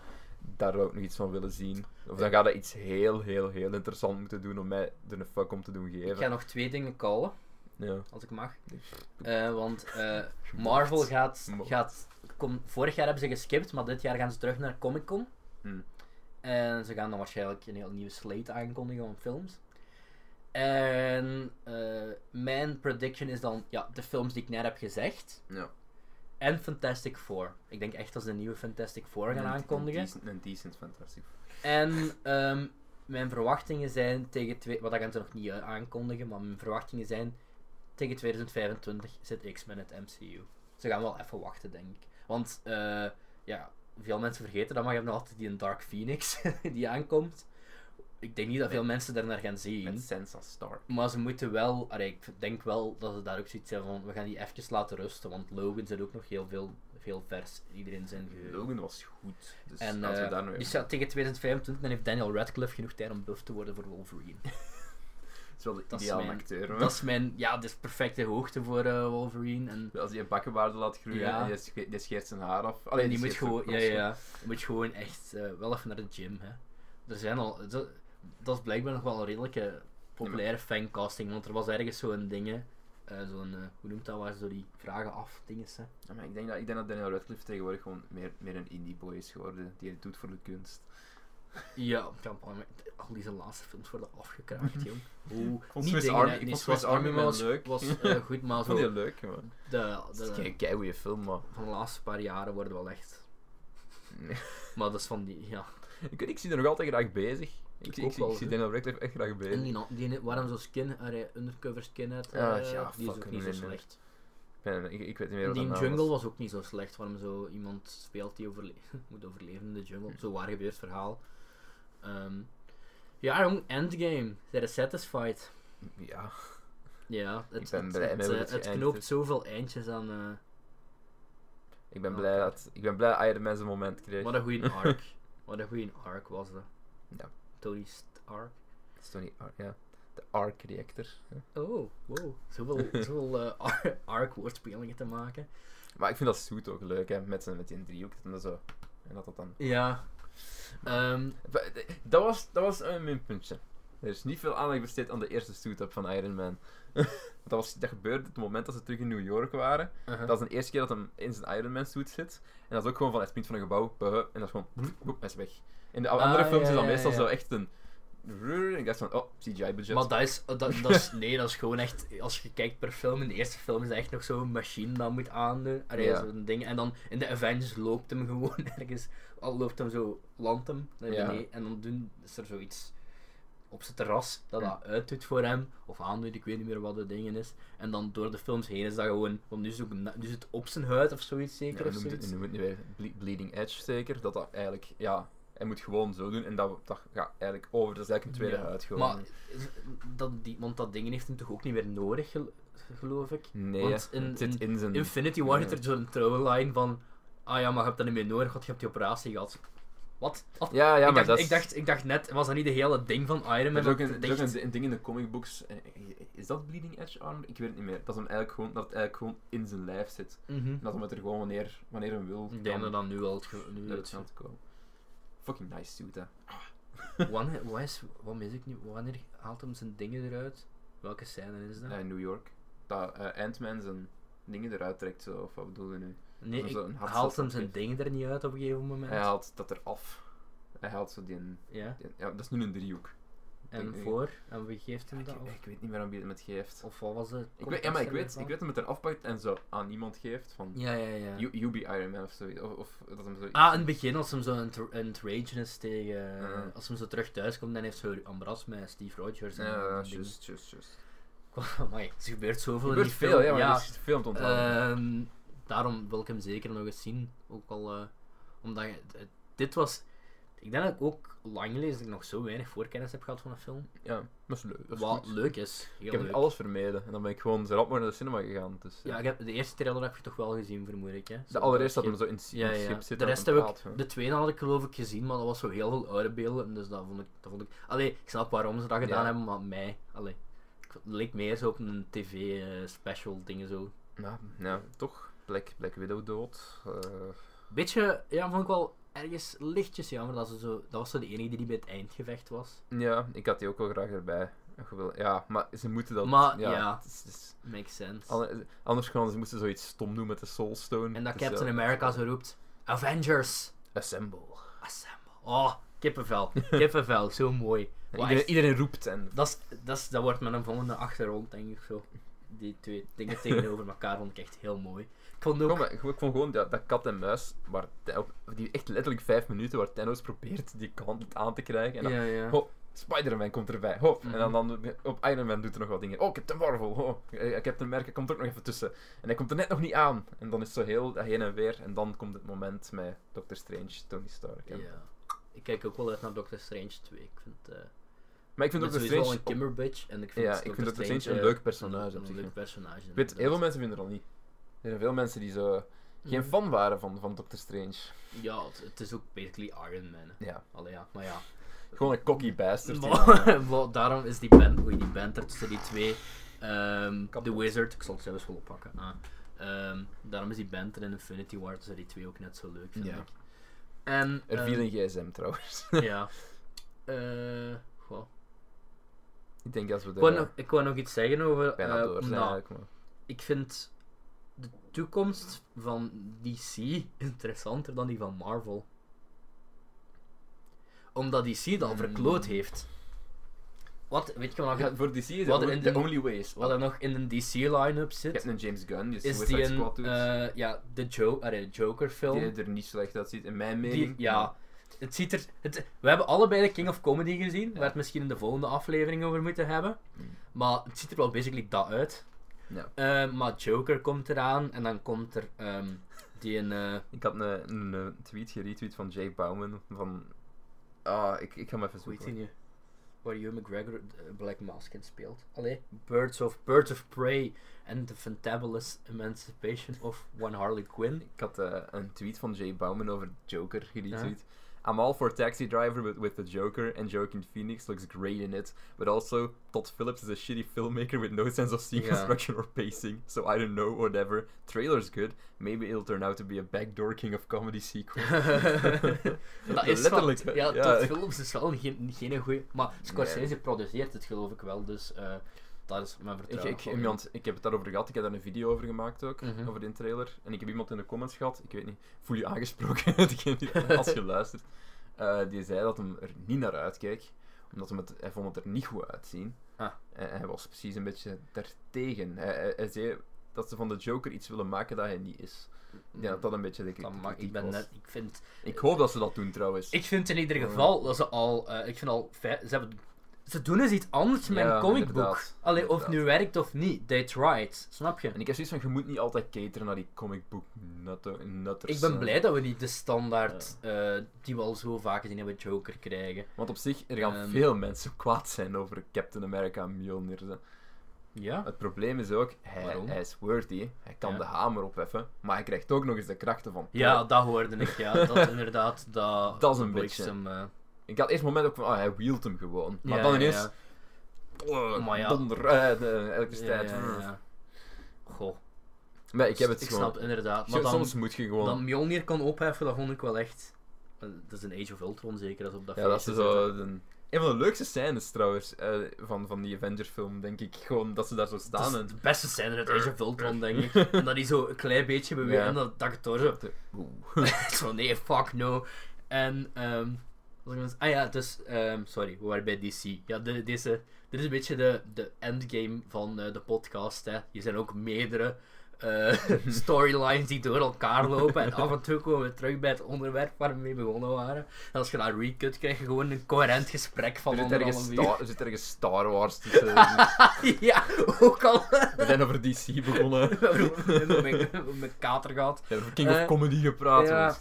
A: Daar wou ik nog iets van willen zien. Of dan gaat dat iets heel, heel, heel interessant moeten doen om mij er een fuck om te doen
B: ik
A: geven.
B: ga nog twee dingen callen,
A: Ja.
B: als ik mag.
A: Nee.
B: Eh, want eh, Marvel gaat,
A: Mocht.
B: gaat kom, vorig jaar hebben ze geskipt, maar dit jaar gaan ze terug naar Comic Con.
A: Hm.
B: En ze gaan dan waarschijnlijk een heel nieuwe slate aankondigen van films. En eh, mijn prediction is dan ja, de films die ik net heb gezegd.
A: Ja.
B: En Fantastic Four. Ik denk echt dat ze een nieuwe Fantastic Four gaan aankondigen.
A: Een decent, een decent fantastic.
B: En ehm, mijn verwachtingen zijn tegen... Twee, wat dat gaan ze nog niet eh, aankondigen, maar mijn verwachtingen zijn... Tegen 2025 zit X-Men in het MCU. Ze gaan wel even wachten, denk ik. Want, eh, ja, veel mensen vergeten dat, maar je hebt nog altijd die Dark Phoenix [laughs] die aankomt. Ik denk niet dat veel mensen daarnaar gaan zien.
A: Met Sansa Stark.
B: Maar ze moeten wel... allee, ik denk wel dat ze daar ook zoiets hebben van... We gaan die even laten rusten, want Logan zit ook nog heel veel, veel vers. Iedereen zijn geheugen.
A: Logan was goed. Dus
B: En,
A: laten we
B: eh,
A: daar nog
B: dus
A: even...
B: ja, tegen 2025 dan heeft Daniel Radcliffe genoeg tijd om buff te worden voor Wolverine.
A: Het is wel de
B: dat is
A: ideale
B: mijn-
A: acteur. hoor.
B: dat is mijn, ja, dat is perfecte hoogte voor eh, Wolverine. En,
A: Als je een bakkenbaarden laat groeien
B: Ja.
A: en je, sche- je scheert zijn haar af.
B: en
A: Alleen
B: die moet gewoon, ja, ja, ja. Je moet gewoon echt eh, wel even naar de gym. Hè. Er zijn al, dat, dat is blijkbaar nog wel een redelijke populaire fancasting, want er was ergens zo'n ding, hè, eh, zo'n, eh, hoe noemt dat, waar ze zo die vragen af dinges, hè.
A: Ja, maar ik, denk dat, ik denk dat Daniel Radcliffe tegenwoordig gewoon meer, meer een indie boy is geworden. Die het doet voor de kunst.
B: Ja, ja, maar al die zijn laatste films worden
A: [laughs]
B: afgekraakt, jong. Oeh,
A: vond
B: niet
A: Swiss
B: dingen,
A: Army-
B: hè.
A: ik
B: Nee,
A: vond
B: Swiss
A: Swiss Army Man
B: was,
A: leuk.
B: was
A: [laughs]
B: eh, goed, maar
A: Dat
B: zo
A: vond je leuk, man.
B: De,
A: Dat is
B: de,
A: een keigoeie film, maar...
B: van de laatste paar jaren worden wel echt.
A: Nee.
B: Maar dat is van die. Ja.
A: [laughs] Ik, weet- ik zie er nog altijd graag bezig. Ik,
B: Ik
A: zie-
B: ook
A: ik, zie-
B: wel,
A: ik zie
B: hè.
A: Daniel Radcliffe echt graag
B: En
A: bezig.
B: die, die waarom zo'n skin, allee, undercover skin uit.
A: Ah,
B: eh,
A: ja,
B: die is ook
A: fucking
B: niet zo
A: nee, nee.
B: slecht.
A: Ik, ben- ik, ik weet niet meer
B: En
A: wat
B: Die
A: dat nou
B: jungle
A: was.
B: was ook niet zo slecht. Waarom zo iemand speelt die overle [laughs] moet overleven in de jungle. Zo waar gebeurt verhaal. Ehm, ja, jong, endgame. Zijn satisfied?
A: Ja.
B: Ja, het,
A: Ik ben
B: het,
A: blij
B: het,
A: met hoe
B: eh,
A: het
B: het
A: geëindigd
B: knoopt
A: is.
B: zoveel eindjes aan. eh,
A: Ik ben,
B: Oh,
A: blij
B: oké.
A: dat, ik ben blij dat Iron Man zijn moment kreeg.
B: wat een goede
A: [laughs]
B: arc. wat een goede arc was dat.
A: Ja.
B: Tony Stark.
A: Dat is toch niet... Ar- Ja. De Arc-reactor. hè.
B: Oh, wow.
A: [laughs]
B: Zoveel, zoveel eh, ar- arc woordspelingen te maken.
A: Maar ik vind dat zoet ook leuk, hè. Met, zijn, met die driehoek. En dat, zo. En dat dat dan...
B: Ja. Ehm,
A: Dat was, dat was een minpuntje. eh, Er is niet veel aandacht besteed aan de eerste suit-up van Iron Man. [laughs] Want dat, was, dat gebeurde op het moment dat ze terug in New York waren. Dat is de eerste keer dat hem in zijn Iron Man suit zit. En dat is ook gewoon van hij springt van een gebouw. buh, en dat is gewoon. boep, boep, hij is weg. In de
B: Hm. Ah,
A: andere films
B: ja,
A: is dat
B: ja,
A: meestal
B: ja.
A: zo echt een. En ik dacht van, oh, CGI-budget.
B: Maar dat is, dat, dat
A: [laughs]
B: is, nee, dat is gewoon echt, als je kijkt per film, in de eerste film is dat echt nog zo'n machine dat moet aandoen, Allee,
A: Ja.
B: zo'n ding. En dan in de Avengers loopt hem [laughs] gewoon ergens, al loopt hem zo, landt hem naar
A: Ja.
B: beneden, en dan doen, is er zoiets op zijn terras dat
A: Hm.
B: dat uitdoet voor hem, of aandoet, ik weet niet meer wat de dingen is. En dan door de films heen is dat gewoon, want nu is het, ook na- nu is het op zijn huid of zoiets
A: Ja,
B: zeker,
A: hij
B: of
A: noemt het-
B: zoiets.
A: hij noemt het nu weer ble- Bleeding Edge zeker. Dat dat eigenlijk, ja, hij moet gewoon zo doen. En dat, dat gaat eigenlijk over. Dat is eigenlijk een tweede
B: Ja.
A: huid gewoon.
B: Maar, is- dat, die, want dat ding heeft hem toch ook niet meer nodig, gel- geloof ik?
A: nee,
B: want in-
A: het zit in zijn.
B: Infinity War
A: Hmm. Ja.
B: zit er zo'n trouwline van. Ah ja, maar je hebt dat niet meer nodig, want je hebt die operatie gehad. Wat? Wat?
A: Ja, ja, maar
B: ik, dacht,
A: dat is.
B: ik, dacht, ik dacht net, was dat niet de hele ding van Iron
A: Er
B: Man?
A: is ook
B: dat
A: een, er
B: dicht-
A: is ook een, een ding in de comicbooks. eh, Is dat Bleeding Edge Armor? Ik weet het niet meer. Dat, is hem eigenlijk gewoon, dat het eigenlijk gewoon in zijn lijf zit.
B: Mhm.
A: En dat hem het er gewoon wanneer, wanneer hem wil.
B: Ik denk dat dan nu al het ge- nu
A: uit
B: het
A: gaat komen. Fucking nice suit, hè.
B: ge- [laughs] Wanneer, wat is, wat mis ik nu? Wanneer haalt hem zijn dingen eruit? Welke scène is dat?
A: Eh, New York. Dat eh, Ant-Man zijn dingen eruit trekt, zo, of wat bedoel je nu?
B: Nee,
A: dat is
B: ik,
A: wel een hartslag
B: haalt hem
A: dat
B: zijn
A: geeft.
B: dingen er niet uit op een gegeven moment?
A: Hij haalt dat eraf. Hij haalt zo die,
B: Ja.
A: die- Ja, dat is nu een driehoek.
B: En
A: Ik-
B: voor? En wie geeft hem
A: Ik,
B: dat? Of,
A: ik weet niet meer aan wie het met geeft.
B: of wat was het?
A: Ik weet, ja, maar ik weet, ik weet dat hem het eraf pakt en zo aan iemand geeft. Van,
B: Ja, ja, ja.
A: you, you be Iron Man of zoiets. Of, of dat hem zo
B: Ah, in het begin, als hem zo een het aan het ragen is tegen.
A: Ja.
B: Als hem zo terug thuis komt, dan heeft ze een ambras met Steve Rogers. En
A: Uh-huh. Ja,
B: en [laughs] dingen.
A: juist, juist, juist.
B: Amai, er gebeurt zoveel
A: Er
B: in
A: gebeurt
B: die
A: veel,
B: film.
A: ja, maar er is veel te onthouden.
B: Ehm, daarom wil ik hem zeker nog eens zien. Ook al. eh, omdat je- het- dit was. Ik denk dat ik ook lang gelezen dat ik nog zo weinig voorkennis heb gehad van een film.
A: ja, maar dat is leuk. dat is
B: Wat
A: goed.
B: leuk is. Heel
A: Ik heb
B: leuk.
A: alles vermeden en dan ben ik gewoon zo rap maar naar de cinema gegaan. Dus,
B: Ja, ik heb, de eerste trailer heb je toch wel gezien, vermoed ik. Hè? Zo
A: de allereerste
B: dat
A: dat hem
B: je-
A: zo in het
B: Ja,
A: in het
B: ja.
A: schip zit.
B: De
A: en
B: rest
A: dan
B: heb ik-
A: praat, hè.
B: De tweede had ik geloof ik gezien, maar dat was zo heel veel oude beelden. Dus dat vond ik. Dat vond ik... Allee, ik snap waarom ze dat gedaan
A: Ja.
B: hebben, maar mij. Allee. ik- Het leek meer zo op een tv-special dingen zo.
A: Nou, ja, toch. Black, Black Widow dood. eh,
B: Beetje, ja, vond ik wel ergens lichtjes jammer dat ze zo. Dat was zo de enige die niet bij het eindgevecht was.
A: ja, ik had die ook wel graag erbij. eh, gewil- Ja, maar ze moeten dat...
B: Maar, ja.
A: het is- het is-
B: Makes sense.
A: ander- anders gaan ze moesten zoiets stom doen met de Soulstone.
B: en dat
A: Dus
B: Captain
A: ja,
B: America zo roept: Avengers!
A: Assemble.
B: Assemble! Oh, kippenvel. Kippenvel, zo mooi. Wat
A: Iedereen,
B: echt-
A: iedereen roept en...
B: Dat, is, dat, is, dat wordt met een volgende achtergrond, denk ik zo. Die twee dingen tegenover elkaar vond ik echt heel mooi. Ik vond ook...
A: Kom, Oh, maar, ik vond gewoon dat, dat kat en muis, waar, Tha- op- die echt letterlijk vijf minuten waar Thanos probeert die kant aan te krijgen. En dan
B: ja, Oh, ja.
A: Ho, Spider-Man komt erbij. Hop.
B: Mhm.
A: En dan, dan op Iron Man doet er nog wat dingen. Oh, Captain Marvel. Ho. Eh, Captain America komt er ook nog even tussen. En hij komt er net nog niet aan. En dan is zo heel dat heen en weer. En dan komt het moment met Doctor Strange, Tony Stark. En-
B: Ja. Ik kijk ook wel uit naar Doctor Strange 2. Ik vind, eh
A: Maar ik
B: ik
A: vind
B: vind
A: Doctor
B: sowieso wel
A: Strange... Oh,
B: een Kimberbitch. En ik vind,
A: Ja, ik vind Doctor Strange een
B: eh,
A: leuk personage op
B: Een,
A: zich,
B: leuk
A: ja.
B: personage.
A: Ik weet, heel veel
B: inderdaad.
A: mensen vinden dat niet. Er zijn veel mensen die zo geen
B: Mm.
A: fan waren van, van Doctor Strange.
B: Ja, het, het is ook basically Iron Man. hè.
A: Ja.
B: Allee, ja. Maar ja.
A: Gewoon een
B: Mm.
A: cocky bastard. die dan, eh,
B: [laughs] Maar, maar daarom is die band, oei, die band er tussen die twee, ehm The
A: Kapot.
B: Wizard, ik zal het zelfs wel oppakken. Ah, ehm, daarom is die band er in Infinity War tussen die twee ook net zo leuk, vind
A: Ja.
B: ik. En,
A: Er
B: ehm, [laughs]
A: viel een gsm trouwens.
B: ja. Eh, goh.
A: ik denk als we
B: Ik
A: er
B: wou,
A: eh,
B: nog, ik wou nog iets zeggen over.
A: bijna
B: eh,
A: door zijn
B: nou,
A: eigenlijk. maar-
B: ik vind de toekomst van DC [laughs] interessanter dan die van Marvel. Omdat DC dat al verkloot
A: Hmm.
B: heeft. Wat, weet je wat,
A: Ja, voor DC is het
B: wat er
A: only-
B: in
A: the
B: de-
A: only way is.
B: wat er nog in een DC line-up
A: Je hebt
B: zit?
A: een James Gunn, die
B: Is
A: Suicide
B: die een,
A: Squad doet.
B: eh, ja, de jo allee, de Joker film.
A: die er niet slecht uitziet, in mijn
B: Die-
A: mening.
B: ja, het ziet er. Het, we hebben allebei de King of Comedy gezien, waar we
A: Ja.
B: het misschien in de volgende aflevering over moeten hebben.
A: Mm.
B: Maar het ziet er wel basically dat uit.
A: Ja.
B: Eh, maar Joker komt eraan en dan komt er ehm, die een. eh,
A: Ik had een, een, eh, tweet geretweet van Jake Bauman van... Ah, ik, ik ga hem even
B: hoe heet
A: zoeken.
B: die nu? Waar Hugh McGregor eh, Black Mask in speelt. Allee, Birds of, Birds of Prey en The Fantabulous Emancipation of One Harley Quinn.
A: Ik had eh, een tweet van Jay Bauman over Joker geretweet. I'm all for Taxi Driver with, with the Joker, and Joaquin Phoenix looks great in it. But also, Todd Phillips is a shitty filmmaker with no sense of scene
B: Yeah.
A: construction or pacing, so I don't know, whatever. Trailer's good, maybe it'll turn out to be a backdoor king of comedy sequel. [laughs]
B: dat is
A: Letterlijk,
B: wel,
A: hè?
B: ja,
A: Ja,
B: Todd
A: ik-
B: Phillips is wel geen, geen goeie... Maar Scorsese
A: Nee.
B: produceert het geloof ik wel, dus eh dat is mijn
A: Ik,
B: vertrouwen.
A: ik, iemand, ik heb het daarover gehad, ik heb daar een video over gemaakt ook,
B: Mhm.
A: over die trailer. En ik heb iemand in de comments gehad, ik weet niet, voel je aangesproken [laughs] Degene
B: [laughs]
A: die- als je luistert. eh, die zei dat hem er niet naar uitkeek, omdat hem het, hij vond het er niet goed uitzien.
B: Ah.
A: En hij was precies een beetje daartegen. Hij, hij, hij zei dat ze van de Joker iets willen maken dat hij niet is. Ja, dat dat een beetje de
B: Dat
A: kritiek
B: Mm. mag- ik, ben
A: was.
B: net, ik, vind,
A: Ik hoop dat ze dat doen trouwens.
B: ik vind in ieder
A: Ja.
B: geval dat ze al... eh, ik vind al... vij- Ze, hebben, ze doen eens iets anders met
A: Ja,
B: een comicboek.
A: inderdaad.
B: Allee, of het nu
A: Inderdaad.
B: werkt of niet. They tried. Snap je?
A: En ik heb zoiets van, je moet niet altijd cateren naar die comicbook nutter- nutters.
B: Ik ben
A: eh.
B: blij dat we niet de standaard eh, die we al zo vaak gezien hebben, Joker krijgen.
A: Want op zich, er gaan
B: Ehm.
A: veel mensen kwaad zijn over Captain America en Mjolnir. hè.
B: Ja.
A: Het probleem is ook, hij,
B: Waarom?
A: hij is worthy, hij kan
B: Ja.
A: de hamer opheffen, maar hij krijgt ook nog eens de krachten van Thor.
B: Ja, dat hoorde ik. Ja,
A: [laughs]
B: dat inderdaad. Dat,
A: Dat is een
B: bliksem, eh,
A: Ik had eerst het moment ook van, ah, hij wielt hem gewoon. Maar
B: ja,
A: dan
B: ja,
A: ineens,
B: ja.
A: oh,
B: Maar ja.
A: donder, eh, de
B: Ja,
A: elektriciteit.
B: ja, ja. Goh.
A: Maar ik heb het
B: ik
A: gewoon...
B: snap inderdaad.
A: Zo-
B: Maar dan,
A: Soms moet je gewoon...
B: dan Mjolnir kan opheffen, dat vond ik wel echt... eh, Dat is een Age of Ultron zeker, als op dat
A: ja, dat
B: feestje
A: is zo...
B: zitten.
A: Een, een van de leukste scènes trouwens, eh, van, van die Avengers film, denk ik. Gewoon dat ze daar zo
B: Dat is
A: staan en...
B: de beste scène uit Age of Ultron, denk
A: [laughs]
B: ik. En dat hij zo een klein beetje beweegt
A: Ja.
B: en dat, dat ik het door zo...
A: Oeh.
B: [laughs] zo, nee, fuck no. En, ehm, wat was ik aan het- ah ja, dus, ehm, sorry, we waren bij DC. Ja, de, deze, dit is een beetje de, de endgame van eh, de podcast. Hè. Hier zijn ook meerdere
A: [laughs]
B: eh, storylines die door elkaar lopen. En af en toe komen we terug bij het onderwerp waar we mee begonnen waren. En als je dat recut krijg je gewoon een coherent gesprek van
A: Er zit,
B: anderhalf
A: ergens
B: uur.
A: Star, er zit ergens Star Wars tussen.
B: [laughs] ja, ook al. [laughs]
A: We zijn over DC begonnen.
B: We hebben met- met kater gehad.
A: We hebben over King of
B: Eh,
A: Comedy gepraat.
B: ja.
A: Ja.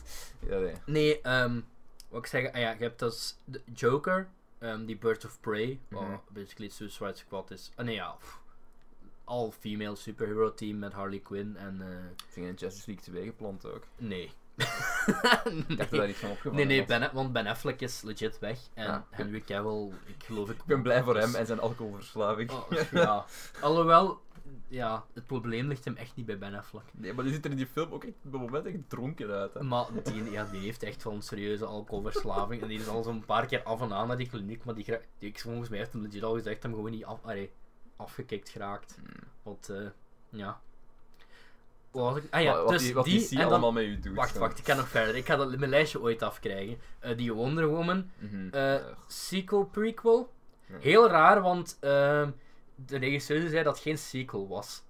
A: Ja, nee.
B: Nee, ehm wat ik zeg, ah ja, je hebt dus de Joker, ehm, die Birds of Prey, wat
A: Mhm.
B: basically Suicide Squad is. Ah nee, ja, pff, all-female superhero team met Harley Quinn en eh,
A: Ik ging in Justice League 2 gepland ook. [laughs] Ik
B: nee.
A: dacht dat daar
B: nee.
A: iets van opgevallen
B: [laughs] Nee, nee,
A: was.
B: ben, want Ben Affleck is legit weg. En
A: Ah.
B: Henry Cavill, ik geloof ik...
A: Ik ben blij voor hem en zijn alcoholverslaving. [laughs]
B: Oh, ja. Alhoewel, ja, het probleem ligt hem echt niet bij Ben Affleck.
A: Nee, maar die ziet er in die film ook echt op het moment echt dronken uit. Hè.
B: Maar die, ja, die heeft echt wel een serieuze alcoholverslaving. En die is al zo'n paar keer af en aan naar die kliniek. Maar die, gra- die ik, volgens mij heeft hem legit al gezegd hem gewoon niet af, allee, afgekikt geraakt. Want, eh, ja. Wat was ik- Ah ja,
A: Wat- wat
B: dus
A: die, wat
B: die,
A: DC
B: en dan-
A: allemaal met u doet.
B: Wacht,
A: zo.
B: wacht, ik kan nog verder. Ik ga dat, mijn lijstje ooit afkrijgen. Eh, die Wonder Woman
A: Mhm.
B: eh,
A: Eh,
B: sequel prequel.
A: Ja.
B: Heel raar, want ehm, de regisseur zei dat het geen sequel was.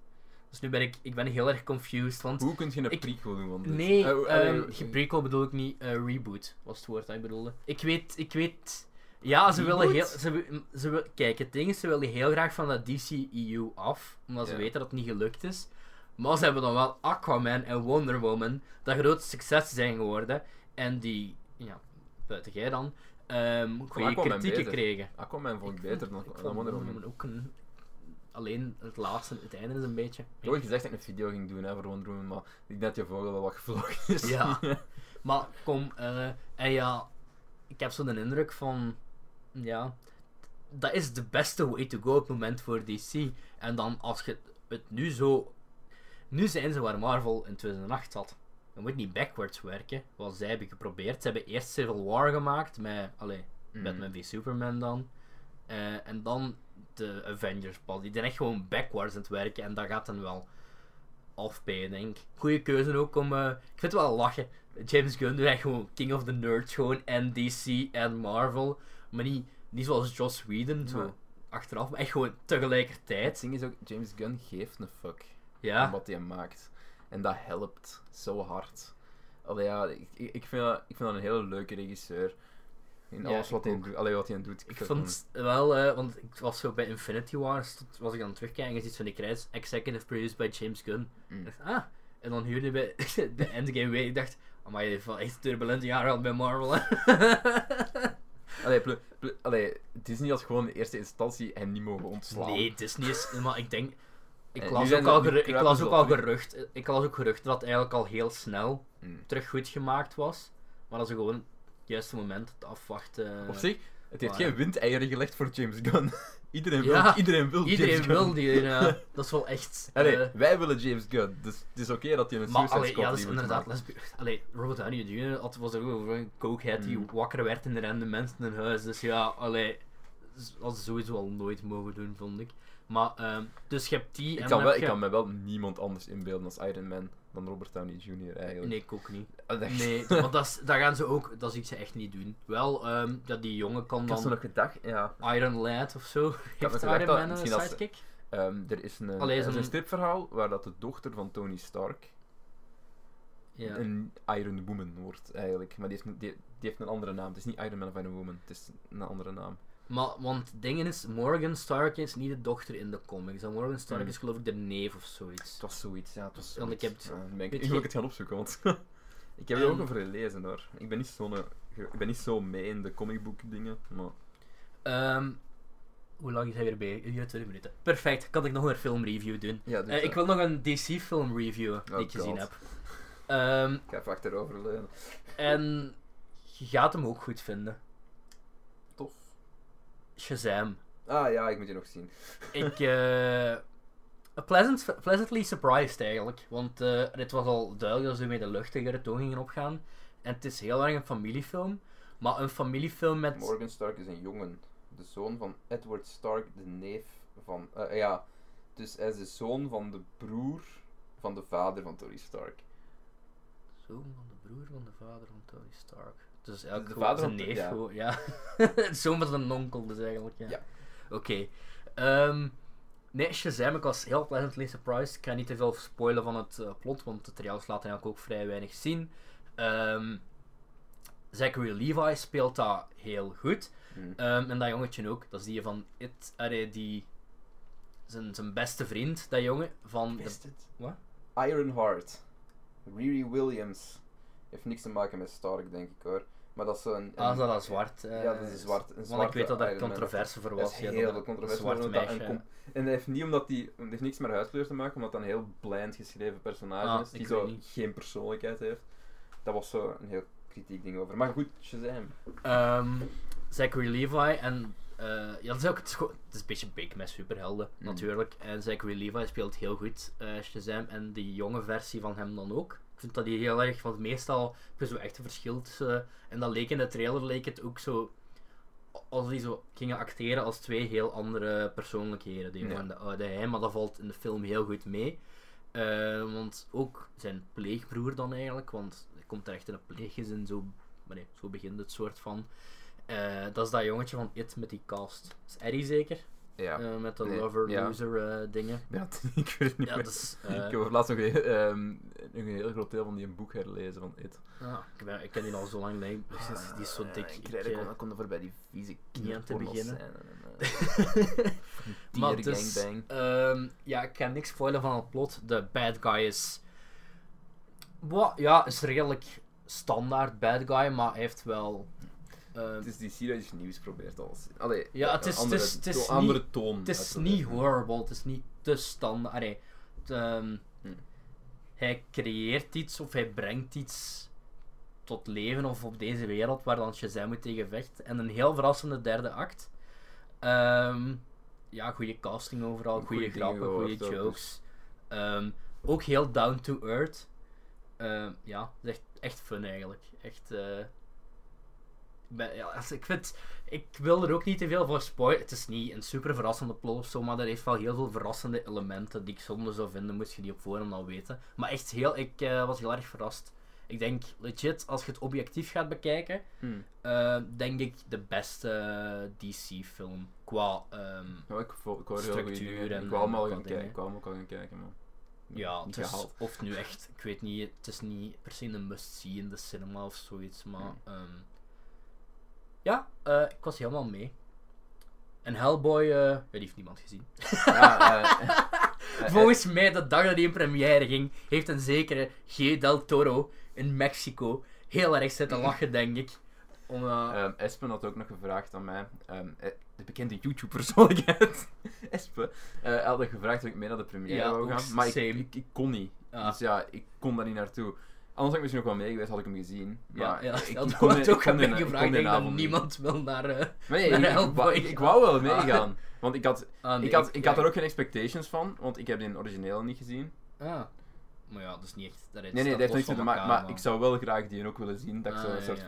B: Dus nu ben ik, ik ben heel erg confused, want
A: hoe kun je een
B: ik-
A: prequel doen? Eh, Want
B: Nee, ehm, ge- prequel bedoel ik niet. eh, reboot was het woord dat ik bedoelde. Ik weet, ik weet... Ja, ze willen heel...
A: Reboot?
B: Ze, wi- ze, wi- kijk, het ding is, ze willen heel graag van dat DCEU af. Omdat ze
A: Ja.
B: weten dat het niet gelukt is. Maar ze hebben dan wel Aquaman en Wonder Woman, dat grote successen zijn geworden. En die, ja, buiten jij dan, ehm goede
A: Aquaman
B: kritieken
A: beter.
B: kregen.
A: Aquaman vond ik beter dan,
B: Ik vond
A: dan Wonder Woman.
B: ook een... Alleen het laatste, het einde is een beetje...
A: Ik heb ooit gezegd dat ik een video ging doen hè, voor Wonder Woman, maar ik denk dat je vogel wel wat gevlogen is. [laughs]
B: Ja. Maar kom, eh, en ja, ik heb zo'n indruk van, ja, dat is de beste way to go op het moment voor DC. En dan als je het nu zo, nu zijn ze waar Marvel in 2008 zat. Je moet niet backwards werken, wat zij hebben geprobeerd. Ze hebben eerst Civil War gemaakt met, allee,
A: Mhm.
B: Batman v Superman dan. Eh, en dan de Avengers pas. Die zijn echt gewoon backwards aan het werken en dat gaat dan wel afpijen, denk ik. Goeie keuze ook om. eh, ik vind het wel lachen. James Gunn doet echt gewoon King of the Nerds, gewoon en DC en Marvel. Maar niet, niet zoals Joss Whedon, zo
A: Ja.
B: achteraf, maar echt gewoon
A: Het
B: tegelijkertijd.
A: ding is ook, James Gunn geeft een fuck.
B: Ja.
A: om wat hij maakt. En dat helpt zo hard. Allee, ja, ik, ik, ik vind dat, ik vind dat een hele leuke regisseur. In
B: Ja,
A: alles wat
B: ik
A: hij,
B: ook.
A: doet, allee, wat hij doet.
B: Ik
A: vind
B: vond wel, eh, want ik was zo bij Infinity War, stond- was ik aan het terugkijken en ziet van die krijs executive produced by James Gunn.
A: Mm.
B: Ik dacht, ah, en dan huurde bij [laughs] de Endgame weer. Ik dacht, maar je heeft wel echt turbulente jaren gehad bij Marvel. hè." [laughs]
A: hem- Allee, plu- plu- allee, het is niet als gewoon in eerste instantie en niet mogen ontslaan.
B: nee, het is niet eens, maar ik denk. Ik
A: Eh, nu
B: las
A: zijn
B: ook
A: ze-
B: al,
A: nu
B: geru- ik
A: kruipen
B: las
A: ze
B: ook
A: al
B: al
A: terug.
B: gerucht, ik las ook geruchten dat het eigenlijk al heel snel
A: Mm.
B: terug goed gemaakt was. Maar dat ze gewoon juiste moment, het afwachten.
A: Op zich, het heeft
B: waar.
A: geen windeieren gelegd voor James Gunn. [laughs] iedereen, wil,
B: Ja,
A: iedereen wil
B: Iedereen
A: James Gunn. [laughs]
B: wil die, ja. dat is wel echt...
A: Allee,
B: eh,
A: wij willen James Gunn, dus het is oké dat hij een
B: maar
A: Suicide
B: allee,
A: Squad
B: ja, dat is
A: remake
B: inderdaad
A: maakt.
B: lesbisch. Allee, Robert Downey Jr. had- was er ook over een cokehead die
A: Mm.
B: wakker werd in de rende mensen in huis. Dus ja, allee, z- dat is sowieso al nooit mogen doen, vond ik. Maar, ehm, dus je hebt die
A: Ik
B: en
A: kan,
B: dan
A: wel,
B: heb
A: ik
B: je-
A: kan me wel niemand anders inbeelden als Iron Man dan Robert Downey Jr. eigenlijk.
B: Nee, ik ook niet.
A: Ah, dat- [laughs]
B: Nee, want dat, is, dat gaan ze ook, dat zie ik ze echt niet doen. Wel, ehm, ja, die jongen kan
A: Ik had zo
B: dan
A: nog gedacht, ja.
B: Iron Lad of zo.
A: nog
B: Heeft
A: gedacht
B: Iron
A: dat
B: Man een
A: misschien als-
B: sidekick?
A: Ehm, er is een,
B: Allee,
A: er is
B: zo'n-
A: een stripverhaal waar dat de dochter van Tony Stark
B: Ja.
A: een Iron Woman wordt eigenlijk. Maar die heeft, een- die, die heeft een andere naam. Het is niet Iron Man of Iron Woman, het is een andere naam.
B: Maar, want dingen is, Morgan Stark is niet de dochter in de comics. En Morgan Stark
A: Mm.
B: is geloof ik de neef of zoiets.
A: Het was zoiets, ja, het was
B: Want ik
A: zoiets.
B: heb het-
A: Ja, dan ben ik,
B: weet
A: ik wil
B: je- Ehm.
A: het gaan opzoeken, want [laughs] ik heb er
B: En-
A: ook over gelezen hoor. Ik ben niet, zo'n, eh, ge- ik ben niet zo mee in de comicboek dingen, maar...
B: Ehm, hoe lang is hij weer bij? Ja, 20 minuten. Perfect, kan ik nog een filmreview doen.
A: Ja, dus,
B: Eh, ik wil nog een DC-film reviewen die
A: Oh
B: ik
A: God.
B: gezien heb. Ehm,
A: Ik ga even achterover leunen.
B: en je gaat hem ook goed vinden.
A: Tof.
B: Shazam.
A: Ah ja, ik moet je nog zien.
B: Ik. eh pleasant, pleasantly surprised eigenlijk. Want eh, dit was al duidelijk dat ze met de luchtigere toon gingen opgaan. En het is heel erg een familiefilm. Maar een familiefilm met.
A: Morgan Stark is een jongen. De zoon van Edward Stark, de neef van. eh, ja, dus hij is de zoon van de broer van de vader van Tony Stark.
B: Zoon van de broer van de vader van Tony Stark. Dus
A: de
B: eigenlijk de
A: vader
B: vader zijn
A: van-
B: neef
A: ja.
B: gewoon, ja. [laughs] Het Zoon van zijn onkel dus eigenlijk, ja.
A: Ja.
B: Oké. ehm, nee, Shazam, ik was heel pleasantly surprised. Ik ga niet te veel spoilen van het eh, plot, want de trailers laten eigenlijk ook vrij weinig zien. Ehm, Zachary Levi speelt dat heel goed.
A: Hm.
B: Ehm, en dat jongetje ook, dat is die van It, allee, die... Zijn, zijn beste vriend, dat jongen, van... de-
A: Wist het?
B: Wat?
A: Ironheart. Riri Williams. Heeft niks te maken met Stark, denk ik hoor. Maar dat is een. een-
B: Ah, is dat dat zwart? eh,
A: Ja, dat is een zwart. Een
B: Want ik
A: zwarte
B: weet dat daar
A: Iron Man.
B: controverse voor
A: Dat
B: was.
A: is
B: ja,
A: heel
B: dat
A: veel
B: een
A: controverse.
B: zwart
A: omdat dat een
B: meisje.
A: com- En dat heeft, niet omdat die, dat heeft niks met huidskleur te maken, omdat dat een heel blind geschreven personage
B: Ah,
A: is, die
B: ik
A: zo
B: weet niet.
A: geen persoonlijkheid heeft. Dat was zo een heel kritiek ding over. Maar goed, Shazam.
B: Ehm, Zachary Levi en... eh, ja, dat is ook... Het is, gewoon- het is een beetje big met superhelden,
A: Mm.
B: natuurlijk. En Zachary Levi speelt heel goed eh, Shazam. En die jonge versie van hem dan ook. Ik vind dat die heel erg... Want meestal heb je zo echt een verschil tussen... en dat leek in de trailer leek het ook zo... Als die zo gingen acteren als twee heel andere persoonlijkheden. Die
A: Ja.
B: van de oude hij, maar dat valt in de film heel goed mee. Eh, want ook zijn pleegbroer dan eigenlijk, want hij komt terecht in een pleeggezin, zo, maar nee, zo begint het soort van. Eh, dat is dat jongetje van It met die cast. Dat is Eddie zeker?
A: Ja.
B: Eh, met de
A: Nee, ja.
B: lover-loser dingen.
A: Ja, [laughs] ik weet het niet
B: Ja,
A: meer. [laughs]
B: dat is... eh,
A: Ik heb laatst nog een, ehm, nog een heel groot deel van die boek herlezen van It.
B: ah, ik, ben, ik ken die al zo lang, nee, precies, Dus die is zo dik.
A: Ah, Ik
B: Ik, eh,
A: kon, kon er voorbij die vieze
B: niet aan te
A: kinderporno's
B: beginnen.
A: zijn en,
B: [laughs]
A: eh,
B: Maar
A: dier
B: dus,
A: gangbang.
B: ehm, ja, ik kan niks spoilen van het plot. De bad guy is... Wa- ja, is redelijk standaard bad guy, maar heeft wel... ehm,
A: Het is die serie dat iets nieuws probeert alles. Allee,
B: Ja, het
A: een
B: is- het
A: andere,
B: is- het is
A: to-
B: niet-
A: andere toon.
B: het is
A: uitprobeert.
B: niet horrible, het is niet te standaard. Allee, het, ehm,
A: Hm.
B: Hij creëert iets of hij brengt iets tot leven of op deze wereld waar dan Shazam moet tegen vecht. En een heel verrassende derde act. Ehm, ja, goede casting overal,
A: Goeie
B: goede
A: dingen
B: grappen, goede
A: gehoord ook, dus.
B: jokes. Ehm, ook heel down to earth. Ehm, ja, het is echt, echt fun eigenlijk. Echt. eh, ik ben- ja, als- ik, vind, ik wil er ook niet te veel voor spoilen. Het is niet een super verrassende plot of zo, maar er heeft wel heel veel verrassende elementen die ik zonde zou vinden, moest je die op voorhand al weten. Maar echt heel, ik eh, was heel erg verrast. Ik denk legit, als je het objectief gaat bekijken,
A: Hmm.
B: eh, denk ik de beste DC-film qua ehm,
A: Ja, ik, vo- ik hoor heel goede
B: Structuur
A: dingen.
B: en-
A: Ik wou hem
B: en
A: al
B: dat
A: gaan
B: soort
A: kijken,
B: dingen.
A: ik wou hem ook al gaan kijken, man.
B: Ja,
A: Niet
B: het is,
A: gehaald.
B: of nu echt, ik weet niet, het is niet per se een must-see in de cinema of zoiets, maar
A: Hmm.
B: ehm, ja, eh, ik was helemaal mee. En Hellboy, eh, ja, die heeft niemand gezien.
A: Ja, eh, eh,
B: Volgens mij, de dag dat hij in première ging, heeft een zekere G. Del Toro in Mexico heel erg
A: [clears throat]
B: zitten lachen, denk ik. Om, eh,
A: Ehm, Espen had ook nog gevraagd aan mij, ehm, eh, de bekende [laughs] YouTube-persoonlijkheid, Espen, eh, had gevraagd of ik mee naar de première
B: Ja,
A: wou
B: ook
A: gaan, maar ik,
B: same.
A: ik, ik kon niet.
B: Ah.
A: Dus ja, ik kon daar niet naartoe. Anders had ik misschien ook wel mee geweest, had ik hem gezien.
B: Ja,
A: Maar
B: ja,
A: ik,
B: ja dat
A: kon
B: wordt
A: die-
B: ook aan
A: ik kon die-
B: mij
A: ik kon
B: gevraagd. Ik
A: die
B: denk dat
A: avond niet.
B: niemand wil naar... eh,
A: Maar nee, ik, ik,
B: [laughs] Maar
A: wou,
B: Hellboy,
A: ik,
B: ja.
A: wou wel meegaan. Want ik had,
B: ah, nee,
A: ik had, ik had
B: ja,
A: er ook geen expectations van, want ik heb die origineel niet gezien.
B: Ah. Maar ja, dat is niet echt... Dat
A: Nee, nee, dat heeft niks mee te maken. Maar ik
B: zou...
A: zou wel graag die ook willen zien. Dat ik
B: Ah,
A: zo een
B: ja,
A: soort
B: ja.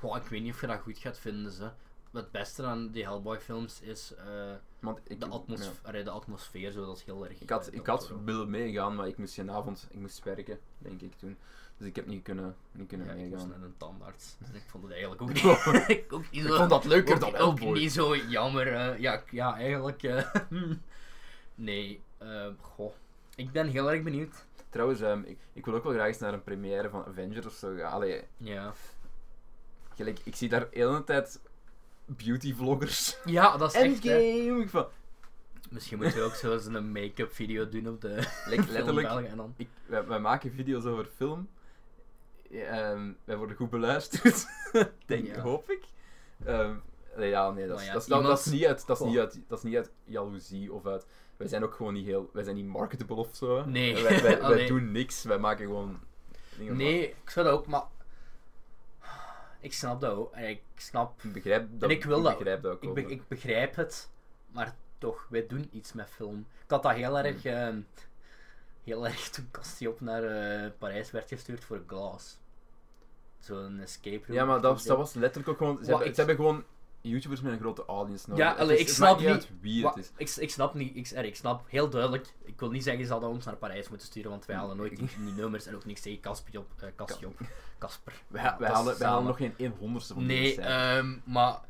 A: van.
B: ik weet niet of je dat goed gaat vinden, ze. Het beste aan die Hellboy-films is eh,
A: Want ik,
B: de,
A: ja.
B: atmosf allee, de atmosfeer, zo, dat is heel erg...
A: Ik had,
B: eh,
A: ik
B: dat
A: had
B: zo.
A: willen meegaan, maar ik moest die avond ik moest werken, denk ik toen. Dus ik heb niet kunnen, niet kunnen
B: Ja, ik was
A: meegaan.
B: net een
A: [laughs]
B: tandarts. En ik vond het eigenlijk ook niet... ik, ook niet
A: Ik
B: zo-
A: vond dat leuker
B: ook,
A: dan
B: ook
A: Hellboy.
B: niet zo jammer. eh, ja, ik- ja, eigenlijk... eh, [laughs] nee, eh, goh. Ik ben heel erg benieuwd.
A: Trouwens, ehm, ik, ik wil ook wel graag eens naar een première van Avengers of zo gaan. Allee,
B: Ja.
A: gelijk, ik zie daar de hele tijd beauty vloggers.
B: Ja, dat
A: [laughs]
B: is echt... hè.
A: Endgame! Ik van,
B: Misschien moeten we ook zo eens een make-up video doen
A: [laughs]
B: op de
A: Lek-
B: film
A: letterlijk,
B: België en dan.
A: ik, wij, wij maken video's over film. Ehm, wij worden goed beluisterd, [laughs] denk,
B: Ja.
A: hoop ik. Ehm, nee, ja, nee, dat is,
B: Maar ja,
A: dat, is- dat-
B: iemand-
A: dat is niet uit, dat is
B: Goh.
A: niet uit, dat is niet uit jaloezie of uit. Wij zijn ook gewoon niet heel, wij zijn niet marketable of zo. hè.
B: Nee.
A: Wij,
B: [laughs]
A: wij- wij
B: Allee.
A: doen niks, wij maken gewoon. dingen
B: Nee, ik zou dat ook, maar... Ik snap dat ook. En ik snap...
A: van- Ik begrijp dat.
B: En ik wil dat
A: begrijp dat ook.
B: Ik,
A: wel,
B: be-
A: maar-
B: ik begrijp het, maar toch, wij doen iets met film. Ik had dat heel erg...
A: Hmm.
B: ehm, heel [laughs] erg toen Castiop naar eh, Parijs werd gestuurd voor Glass. Zo'n escape room.
A: Ja, maar dat,
B: ding.
A: dat was letterlijk ook gewoon. Ze,
B: Wat
A: hebben,
B: ik-
A: ze hebben gewoon YouTubers met een grote audience nodig.
B: Ja,
A: Het
B: allee,
A: is-
B: ik
A: het
B: snap
A: maakt
B: niet
A: uit wie
B: Wa-
A: het is.
B: ik, s- ik snap niet, ik, er, ik snap heel duidelijk. Ik wil niet zeggen ze hadden ons naar Parijs moeten sturen, want wij halen nooit die, die nummers en ook niks tegen Caspiop, eh, Castiop, Casper.
A: Wij,
B: Ja,
A: wij,
B: dat is
A: halen, wij halen
B: samen.
A: nog geen 100ste van die
B: Nee,
A: cijfers.
B: ehm, maar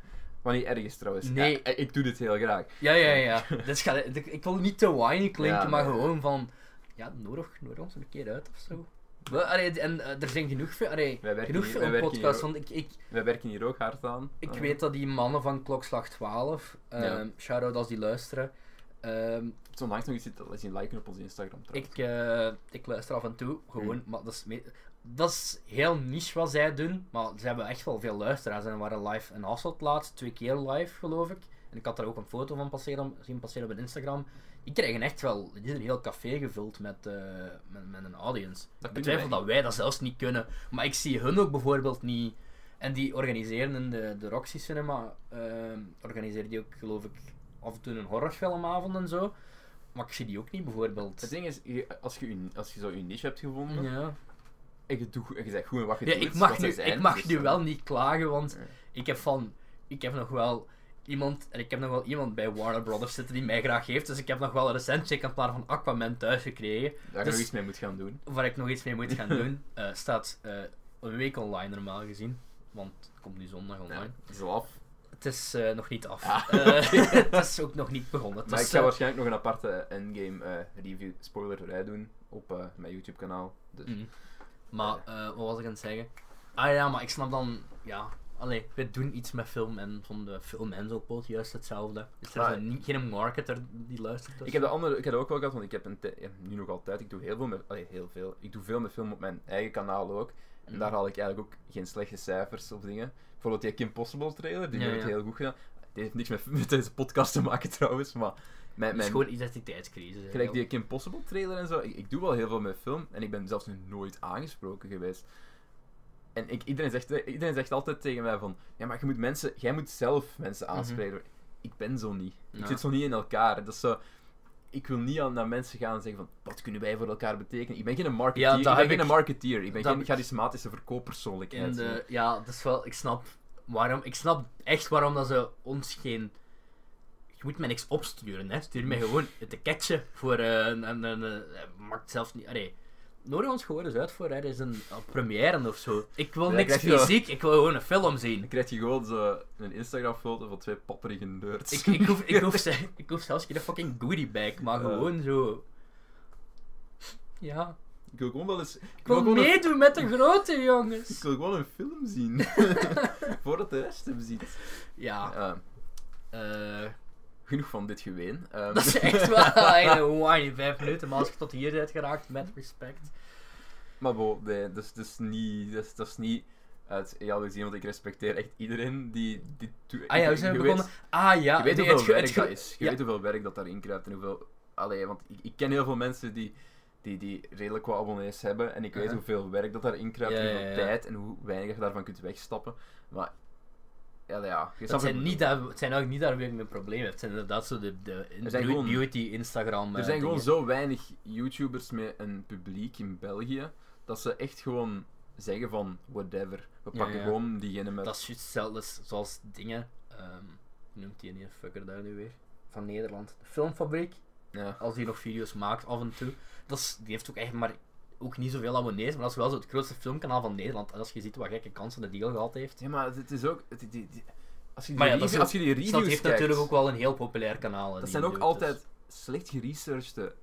A: Maar niet ergens trouwens.
B: Nee.
A: Ja, eh, ik doe dit heel graag.
B: ja, ja, ja.
A: [laughs]
B: dus ga, ik ik wil niet te whiny klinken,
A: Ja,
B: maar
A: nee.
B: gewoon van ja, nodig, nodig ons een keer uit of zo. We- allee, en eh, er zijn genoeg, fi- allee,
A: Wij werken
B: genoeg
A: hier- wij werken
B: filmpodcasts,
A: hier
B: want ik, ik,
A: Wij werken hier ook hard aan.
B: Ik
A: Eh,
B: weet dat die mannen van Klokslag 12, ehm
A: Ja.
B: shout-out als die luisteren, ehm,
A: Ik heb zo onlangs nog iets zien- dat zien liken op onze Instagram trouwens.
B: ik, eh, ik luister af en toe, gewoon,
A: Hmm.
B: maar dat is, me- dat is heel niche wat zij doen, maar ze hebben echt wel veel luisteraars en waren live in Hasselt laatst, twee keer live geloof ik. En ik had daar ook een foto van passeren, zien passeren op Instagram. Ik kreeg een echt wel die is een heel café gevuld met, eh, met, met een audience.
A: Dat
B: ik
A: kunnen
B: betwijfel
A: wij
B: dat wij dat zelfs niet kunnen, maar ik zie hun ook bijvoorbeeld niet. En die organiseren in de, de Roxy Cinema, ehm organiseert die ook geloof ik af en toe een horrorfilmavond en zo. Maar ik zie die ook niet bijvoorbeeld.
A: Het ding is, je- als je, je- als je zo je niche hebt gevonden,
B: Ja.
A: en je, doet, en je zegt goed in wat je
B: Ja,
A: doet,
B: ik mag,
A: wat
B: nu,
A: ze zijn,
B: ik mag
A: dus
B: nu
A: dan-
B: wel niet klagen, want
A: Ja.
B: ik heb van... Ik heb nog wel iemand... En ik heb nog wel iemand bij Warner Brothers zitten die mij graag heeft. Dus ik heb nog wel een recent check-exemplaar van Aquaman thuis gekregen.
A: Daar
B: Dus-
A: nog iets mee moet gaan doen.
B: Waar ik nog iets mee
A: [laughs]
B: moet gaan doen. Eh, staat eh, een week online normaal gezien. Want het komt nu zondag
A: Ja,
B: online.
A: dat is al af.
B: Het is eh, nog niet af.
A: Ah.
B: Eh, [laughs] het is
A: [laughs]
B: ook nog niet begonnen. Het
A: Maar
B: is,
A: ik ga
B: eh,
A: waarschijnlijk nog een aparte endgame eh, review spoiler rij doen op eh, mijn YouTube kanaal. Dus
B: Mm. Maar, eh, wat was ik aan het zeggen? Ah ja, maar ik snap dan, ja. Allee, we doen iets met film en van de film en zo pot juist hetzelfde. Dus er is
A: Ah.
B: een- niet, geen marketer die luistert. dus.
A: Ik heb, de andere, ik heb dat ook wel gehad, want ik heb een ti- ja, nu nog altijd, ik doe heel veel met, allee, heel veel, ik doe veel met film op mijn eigen kanaal ook. En
B: Mhm.
A: daar haal ik eigenlijk ook geen slechte cijfers of dingen. Bijvoorbeeld die Kim Possible trailer, die
B: Ja,
A: heeft
B: ja.
A: het heel goed gedaan. Die heeft niks met, [laughs] met deze podcast te maken trouwens, maar mijn,
B: Het is
A: mijn,
B: gewoon identiteitscrisis. hè.
A: gelijk die Kim Possible trailer en zo, ik, ik doe wel heel veel met film en ik ben zelfs nog nooit aangesproken geweest. En ik, iedereen, zegt, eh, iedereen zegt altijd tegen mij van, ja maar je moet mensen, jij moet zelf mensen
B: Mhm.
A: aanspreken. Ik ben zo niet. Ik
B: Ja.
A: zit zo niet in elkaar. Dat is zo, ik wil niet aan, naar mensen gaan en zeggen van, wat kunnen wij voor elkaar betekenen? Ik ben geen marketeer.
B: Ja,
A: ik
B: dat
A: ben
B: heb
A: geen
B: ik-
A: marketeer. Ik ben
B: dat
A: geen
B: heb ik-
A: charismatische verkooppersoonlijkheid.
B: In de, eh, ja, dat is wel, ik snap waarom, ik snap echt waarom dat ze ons geen... Je moet mij niks opsturen, hè. Stuur mij gewoon een ticketje voor eh, een... een, een, een- maakt zelfs niet... Allee, nodig ons gewoon eens uit voor ergens een, een première of zo. Ik wil
A: Ja,
B: niks
A: krijg je wel.
B: fysiek, ik wil gewoon een film zien. [laughs]
A: Dan krijg je gewoon zo een Instagram foto van twee papperige nerds.
B: Ik, ik, hoef,
A: [laughs]
B: ik, hoef, ze- ik hoef zelfs geen fucking goodiebag, maar
A: Ja.
B: gewoon zo. Ja.
A: Ik wil gewoon wel eens...
B: Ik wil
A: gewoon een,
B: meedoen met de grote jongens.
A: ik wil gewoon een film zien.
B: [laughs]
A: Voordat de rest hem ziet.
B: Ja,
A: Eh,
B: eh,
A: genoeg van dit geween. Ehm,
B: [laughs] dat
A: [laughs]
B: is echt wel echt een whiny vijf minuten, maar als je tot hier bent geraakt, met respect.
A: Maar bo, nee, dat is, dat is niet... Dat is, dat is niet uit jaloezie, want ik respecteer echt iedereen die dit doet.
B: Ah ja, we
A: Ik-
B: zijn
A: je
B: begonnen. Ah ja,
A: je weet
B: nee,
A: hoeveel
B: het ge-
A: werk
B: het ge-
A: dat is. Je
B: ja.
A: weet hoeveel werk dat daarin kruipt en hoeveel... Allee, want ik, ik ken heel veel mensen die die, die redelijk wat abonnees hebben. En ik weet
B: Ja.
A: hoeveel werk dat daarin kruipt,
B: Uh-huh. Ja, ja,
A: hoeveel
B: ja.
A: tijd en hoe weinig je daarvan kunt wegstappen. Maar, ja, ja. je snapt wat
B: Het
A: ik
B: zijn,
A: bedoel.
B: niet daar, het zijn ook niet daar weer mijn probleem. Het zijn inderdaad zo de, de
A: zijn gewoon-
B: beauty Instagram.
A: Er
B: eh,
A: zijn gewoon
B: dingen.
A: zo weinig YouTubers met een publiek in België dat ze echt gewoon zeggen van whatever. We
B: Ja,
A: pakken
B: ja.
A: gewoon diegene met.
B: Dat is juist hetzelfde zoals dingen. ehm, hoe noemt die ene fucker daar nu weer? Van Nederland. De filmfabriek.
A: Ja.
B: Als die nog video's maakt af en toe. Dat is, die heeft ook echt maar ook niet zoveel abonnees. Maar dat is wel zo het grootste filmkanaal van Nederland. En als je ziet wat gekke kansen de deal gehad heeft.
A: ja, maar het is ook. het- die- die- als, je die
B: Maar ja, dat
A: review-
B: is ook-
A: als je die
B: Dus
A: reviews
B: dat heeft
A: kijkt,
B: natuurlijk ook wel een heel populair kanaal. eh,
A: dat
B: die
A: zijn ook
B: dude, dus-
A: altijd slecht geresearchede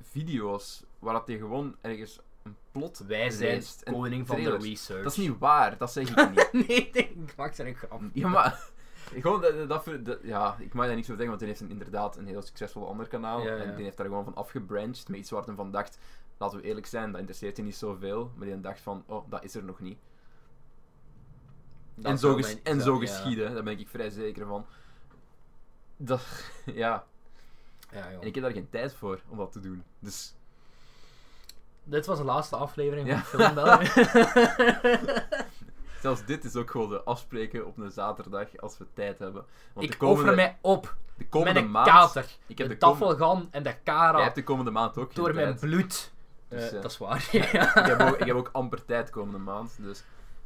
A: video's waar dat je gewoon ergens een plot
B: Wij zijn
A: leest en
B: koning van de
A: trailers.
B: research.
A: Dat is niet waar, dat zeg ik niet.
B: [laughs] nee, ik maak zijn een grap.
A: [laughs] Ja, maar. Gewoon, dat, dat, vind- dat- ja, ik mag daar niks over zeggen, want die heeft een, inderdaad een heel succesvol ander kanaal.
B: Ja, ja.
A: En die heeft daar gewoon van afgebranched met iets waar hij van dacht, laten we eerlijk zijn, dat interesseert je niet zoveel. Maar die dacht van, oh, dat is er nog niet.
B: Dat
A: En zo,
B: zou
A: ges-
B: mijn-
A: en
B: ja,
A: zo
B: ja.
A: geschieden, daar ben ik vrij zeker van. Dat, [laughs] ja,
B: Ja, joh.
A: en ik heb daar geen tijd voor om dat te doen. Dus,
B: Dit was de laatste aflevering
A: Ja.
B: van Film
A: [laughs]
B: België.
A: zelfs dit is ook gewoon de afspreken op een zaterdag als we tijd hebben. Want de
B: ik
A: komende,
B: offer mij op
A: de
B: met
A: komende
B: een
A: maand...
B: kater.
A: Ik heb
B: de
A: de komende,
B: tafelgan en de
A: jij
B: kara
A: hebt de komende maand ook geen
B: door mijn
A: tijd.
B: bloed.
A: Dus,
B: Eh,
A: eh,
B: dat
A: [laughs]
B: is waar. [laughs]
A: ik, heb ook, ik heb ook amper tijd komende maand, dus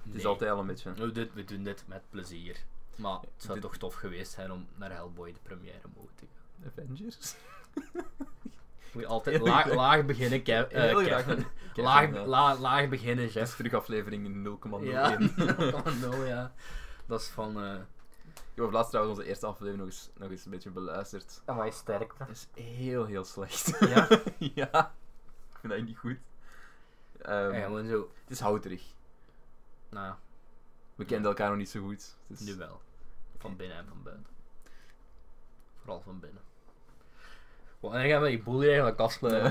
A: het is
B: Nee.
A: altijd al een beetje.
B: We, doen- we doen dit met plezier. Maar het zou
A: Dit-
B: toch tof geweest zijn om naar Hellboy de première mogen te gaan.
A: Avengers?
B: Moet je altijd
A: Heel
B: laag,
A: graag.
B: laag beginnen, Kev. eh,
A: Heel graag.
B: Kevin. eh.
A: Kevin,
B: Laag,
A: ja.
B: la- laag beginnen,
A: Dat
B: Jeff.
A: is terug aflevering 0,01.
B: Ja,
A: Ik
B: [laughs] no, ja. Dat is van... eh
A: heb laatst trouwens onze eerste aflevering nog eens, nog eens een beetje beluisterd.
B: Amai, sterkte.
A: Dat is heel, heel slecht. [laughs]
B: [laughs] Ja?
A: ja. Ik vind dat niet goed. Ehm,
B: Ja, gewoon zo...
A: het is houterig.
B: Nou,
A: We kenden elkaar nog niet zo goed. Dus... [laughs]
B: nu wel. Van binnen en van buiten. Vooral van binnen. Wanneer gaan we die boel hier eigenlijk afsluiten?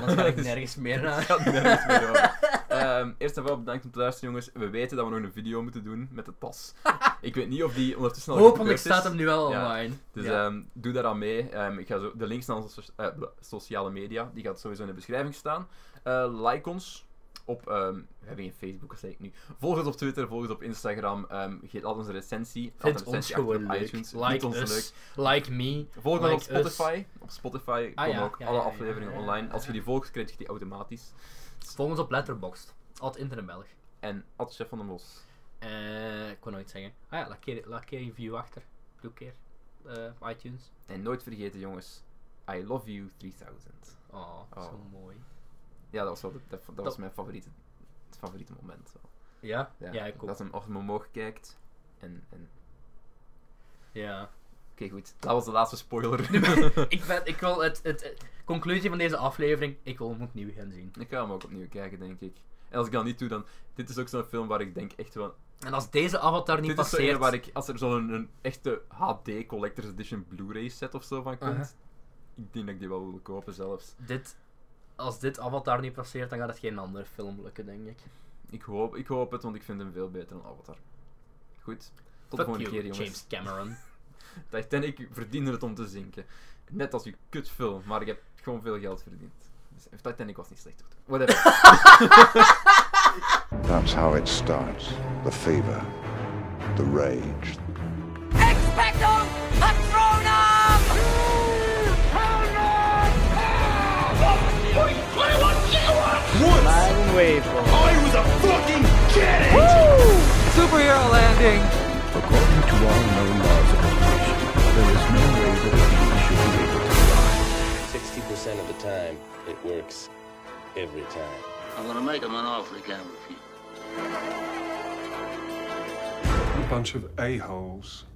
A: Ja.
B: Want
A: [laughs]
B: dan ga ik nergens meer
A: Het
B: naar.
A: gaat nergens meer
B: [laughs]
A: over. Ehm, eerst en vooral bedankt om te luisteren, jongens. We weten dat we nog een video moeten doen met de
B: [laughs]
A: tas. Ik weet niet of die ondertussen al
B: Hopelijk
A: gebeurd is.
B: staat hem nu wel
A: Ja.
B: online.
A: Dus
B: Ja.
A: ehm, doe daaraan mee. Ehm, ik ga zo, de links naar onze so- eh, bla- sociale media, die gaat sowieso in de beschrijving staan. Eh, like ons op, ehm, we hebben geen Facebook, dat zei ik nu. Volg ons op Twitter, volg ons op Instagram. ehm geef laat ons een recensie. Laat
B: Vind
A: een
B: ons
A: recensie achter
B: gewoon
A: op
B: leuk.
A: iTunes. Vind
B: Like
A: ons
B: us.
A: leuk.
B: Like me.
A: Volg ons op
B: Like us.
A: Spotify. Op Spotify
B: Ah,
A: komen
B: ja,
A: ook
B: ja,
A: alle
B: ja, ja,
A: afleveringen
B: ja, ja,
A: online.
B: ja.
A: Als je die volgt, krijg je die automatisch.
B: Volg ons op Letterboxd. Ad Internet Belg.
A: En at Chef van den Bos.
B: Eh, ik kon nooit zeggen. Ah ja, laat keer, laat keer je view achter. Doe keer. Eh, iTunes.
A: En nooit vergeten, jongens. I love you 3000.
B: Oh, zo
A: Oh.
B: mooi.
A: Ja, dat was, wel de- dat, dat was
B: Dat-
A: mijn favoriete, het favoriete moment. wel.
B: Ja? Ja, ik ook.
A: Dat hem, als hem omhoog kijkt. En, en...
B: Ja.
A: Oké, goed. Dat was de laatste spoiler. [laughs]
B: ik, ben, ik wil het, het, het- Conclusie van deze aflevering. Ik wil hem opnieuw gaan zien.
A: ik ga hem ook opnieuw kijken, denk ik. En als ik dat niet doe, dan... Dit is ook zo'n film waar ik denk echt wel...
B: En als deze avatar niet
A: dit is zo'n
B: passeert...
A: waar ik... Als er zo'n een echte HD Collector's Edition Blu-ray set of zo van komt...
B: Uh-huh.
A: Ik denk dat ik die wel wil kopen, zelfs.
B: Dit, als dit avatar niet passeert, dan gaat het geen andere film lukken, denk ik.
A: Ik hoop, ik hoop het, want ik vind hem veel beter dan Avatar. Goed. Tot de
B: Fuck
A: volgende
B: you,
A: keer, jongens.
B: James Cameron.
A: Titanic verdiende het om te zinken. Net als je kutfilm, maar ik heb gewoon veel geld verdiend. Dus Titanic was niet slecht, toch? Whatever.
C: That's how it starts. The fever, the rage,
D: Expecto Patronum!
C: According to all known laws of evolution, there is no way that a bee should be able to fly.
E: 60% of the time, it works every time.
F: I'm gonna make him an offer he can't refuse.
G: bunch of a-holes.